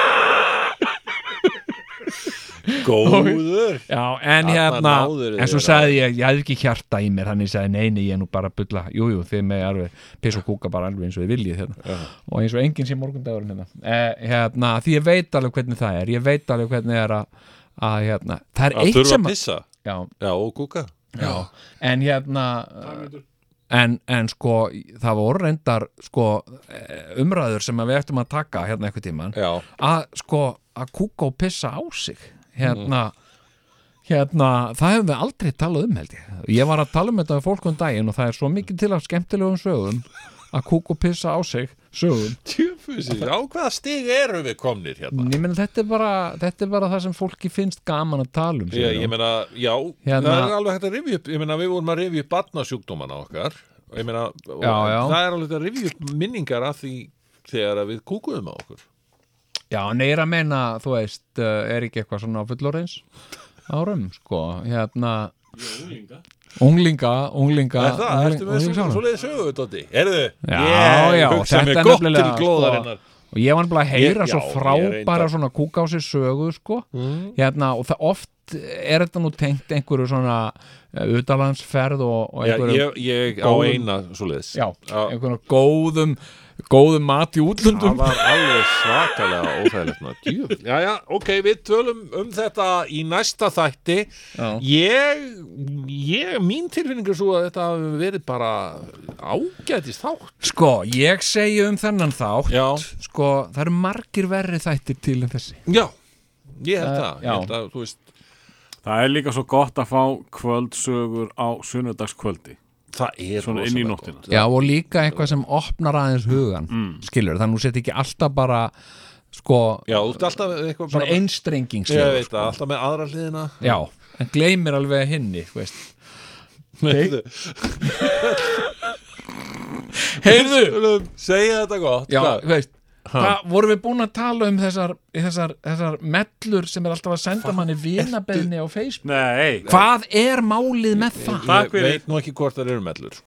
[SPEAKER 2] góður
[SPEAKER 3] já, en
[SPEAKER 2] Þarna
[SPEAKER 3] hérna,
[SPEAKER 2] náðuðu
[SPEAKER 3] en svo
[SPEAKER 2] þér á-
[SPEAKER 3] sagði ég ég hafði ekki hjarta í mér, þannig ég sagði nei, nei, ég er nú bara að bulla, jújú, jú, þið með alveg piss og kúka bara alveg eins og þið viljið hérna. og eins og enginn sé morgundagurinn hérna. Eh, hérna, því ég veit alveg hvernig það er ég veit alveg hvernig er að, að hérna, það er
[SPEAKER 2] Að
[SPEAKER 3] eitt
[SPEAKER 2] þurfa
[SPEAKER 3] sem
[SPEAKER 2] að pissa
[SPEAKER 3] já,
[SPEAKER 2] Já, og kúka
[SPEAKER 3] já. en hérna eh, en, en sko það voru reyndar sko eh, umræður sem að við ættum að taka hérna eitthvað tíman
[SPEAKER 2] Já,
[SPEAKER 3] að sko að kúka og pissa á sig hérna Hérna, það hefum við aldrei talað um held ég Ég var að tala um þetta við fólk um daginn og það er svo mikið til að skemmtilegum sögum að kúka og pissa á sig sögum
[SPEAKER 2] tjöfusi Á hvaða stig eru við komnir hérna?
[SPEAKER 3] En Ég meina þetta er bara þetta er bara það sem fólki finnst gaman að tala um
[SPEAKER 2] Ég,
[SPEAKER 3] segir
[SPEAKER 2] ég
[SPEAKER 3] hún.
[SPEAKER 2] meina, já,
[SPEAKER 3] Hérna-
[SPEAKER 2] það er alveg hægt að rifja upp Ég meina, við vorum að rifja upp barnasjúkdómana okkar Ég meina, og
[SPEAKER 3] Já, já.
[SPEAKER 2] það er alveg hægt að rifja upp minningar af því þegar að við kúkuðum á okkur
[SPEAKER 3] Já, en ég er að meina, þú veist, uh, er ekki eitthvað svona á fullorins árum, sko, hérna Unglinga, unglinga,
[SPEAKER 2] Er það,
[SPEAKER 3] ungling-
[SPEAKER 2] ertu með
[SPEAKER 3] unglingsárunum.
[SPEAKER 2] svo leiði sögu, Dótti? Erðu?
[SPEAKER 3] Já,
[SPEAKER 2] ég,
[SPEAKER 3] já,
[SPEAKER 2] hugsa
[SPEAKER 3] þetta
[SPEAKER 2] mér
[SPEAKER 3] er
[SPEAKER 2] gott til
[SPEAKER 3] nefnilega, sko,
[SPEAKER 2] glóðarinnar
[SPEAKER 3] og ég var bara að heyra
[SPEAKER 2] Ég-
[SPEAKER 3] svo
[SPEAKER 2] já, ég
[SPEAKER 3] frábæra
[SPEAKER 2] reyndar. Mm.
[SPEAKER 3] svona kúka á sér sögu sko. hérna, og það oft er þetta nú tengt einhverju svona utalandsferð og, og
[SPEAKER 2] Já,
[SPEAKER 3] einhverju
[SPEAKER 2] ég, ég á
[SPEAKER 3] góðum-
[SPEAKER 2] eina svo leiðis
[SPEAKER 3] já, einhverju góðum góðum mat í
[SPEAKER 2] Það
[SPEAKER 3] útlöndum
[SPEAKER 2] var alveg svakalega óþægilegt maður. Djöfull. Já, já, ok, við tölum um þetta í næsta þætti
[SPEAKER 3] Já.
[SPEAKER 2] ég, ég, mín tilfinning er svo að þetta hafi verið bara ágætist þátt
[SPEAKER 3] Sko, ég segi um þennan þátt
[SPEAKER 2] Já,
[SPEAKER 3] Sko, það eru margir verri þættir til en þessi
[SPEAKER 2] já, ég held það,
[SPEAKER 3] já.
[SPEAKER 2] ég held að, þú veist
[SPEAKER 4] Það er líka svo gott að fá kvöldsögur á sunnudagskvöldi
[SPEAKER 2] Það er
[SPEAKER 4] Svona inn í
[SPEAKER 2] rosalega
[SPEAKER 4] nóttina.
[SPEAKER 2] gott.
[SPEAKER 3] Já, og líka eitthvað sem opnar aðeins hugan mm. Skilur, þannig að þú sett ekki alltaf bara Sko,
[SPEAKER 2] Já, þú ert alltaf eitthvað
[SPEAKER 3] svona
[SPEAKER 2] bara- Ég
[SPEAKER 3] einstrengingslega
[SPEAKER 2] veit það, alltaf með aðra hliðina
[SPEAKER 3] Já, en gleymir alveg henni, þú veist
[SPEAKER 2] Heyrðu,
[SPEAKER 3] Heyrðu,
[SPEAKER 2] tölum, segja þetta gott
[SPEAKER 3] já,
[SPEAKER 2] hvað?
[SPEAKER 3] þú veist Hvað vorum við búin að tala um þessar, þessar, þessar mellur sem er alltaf að senda manni vinabeðni á Facebook?
[SPEAKER 4] Nei,
[SPEAKER 3] Hvað er málið með það?
[SPEAKER 4] Takk
[SPEAKER 2] Ég
[SPEAKER 4] fyrir.
[SPEAKER 2] veit nú ekki hvort það eru mellur sko.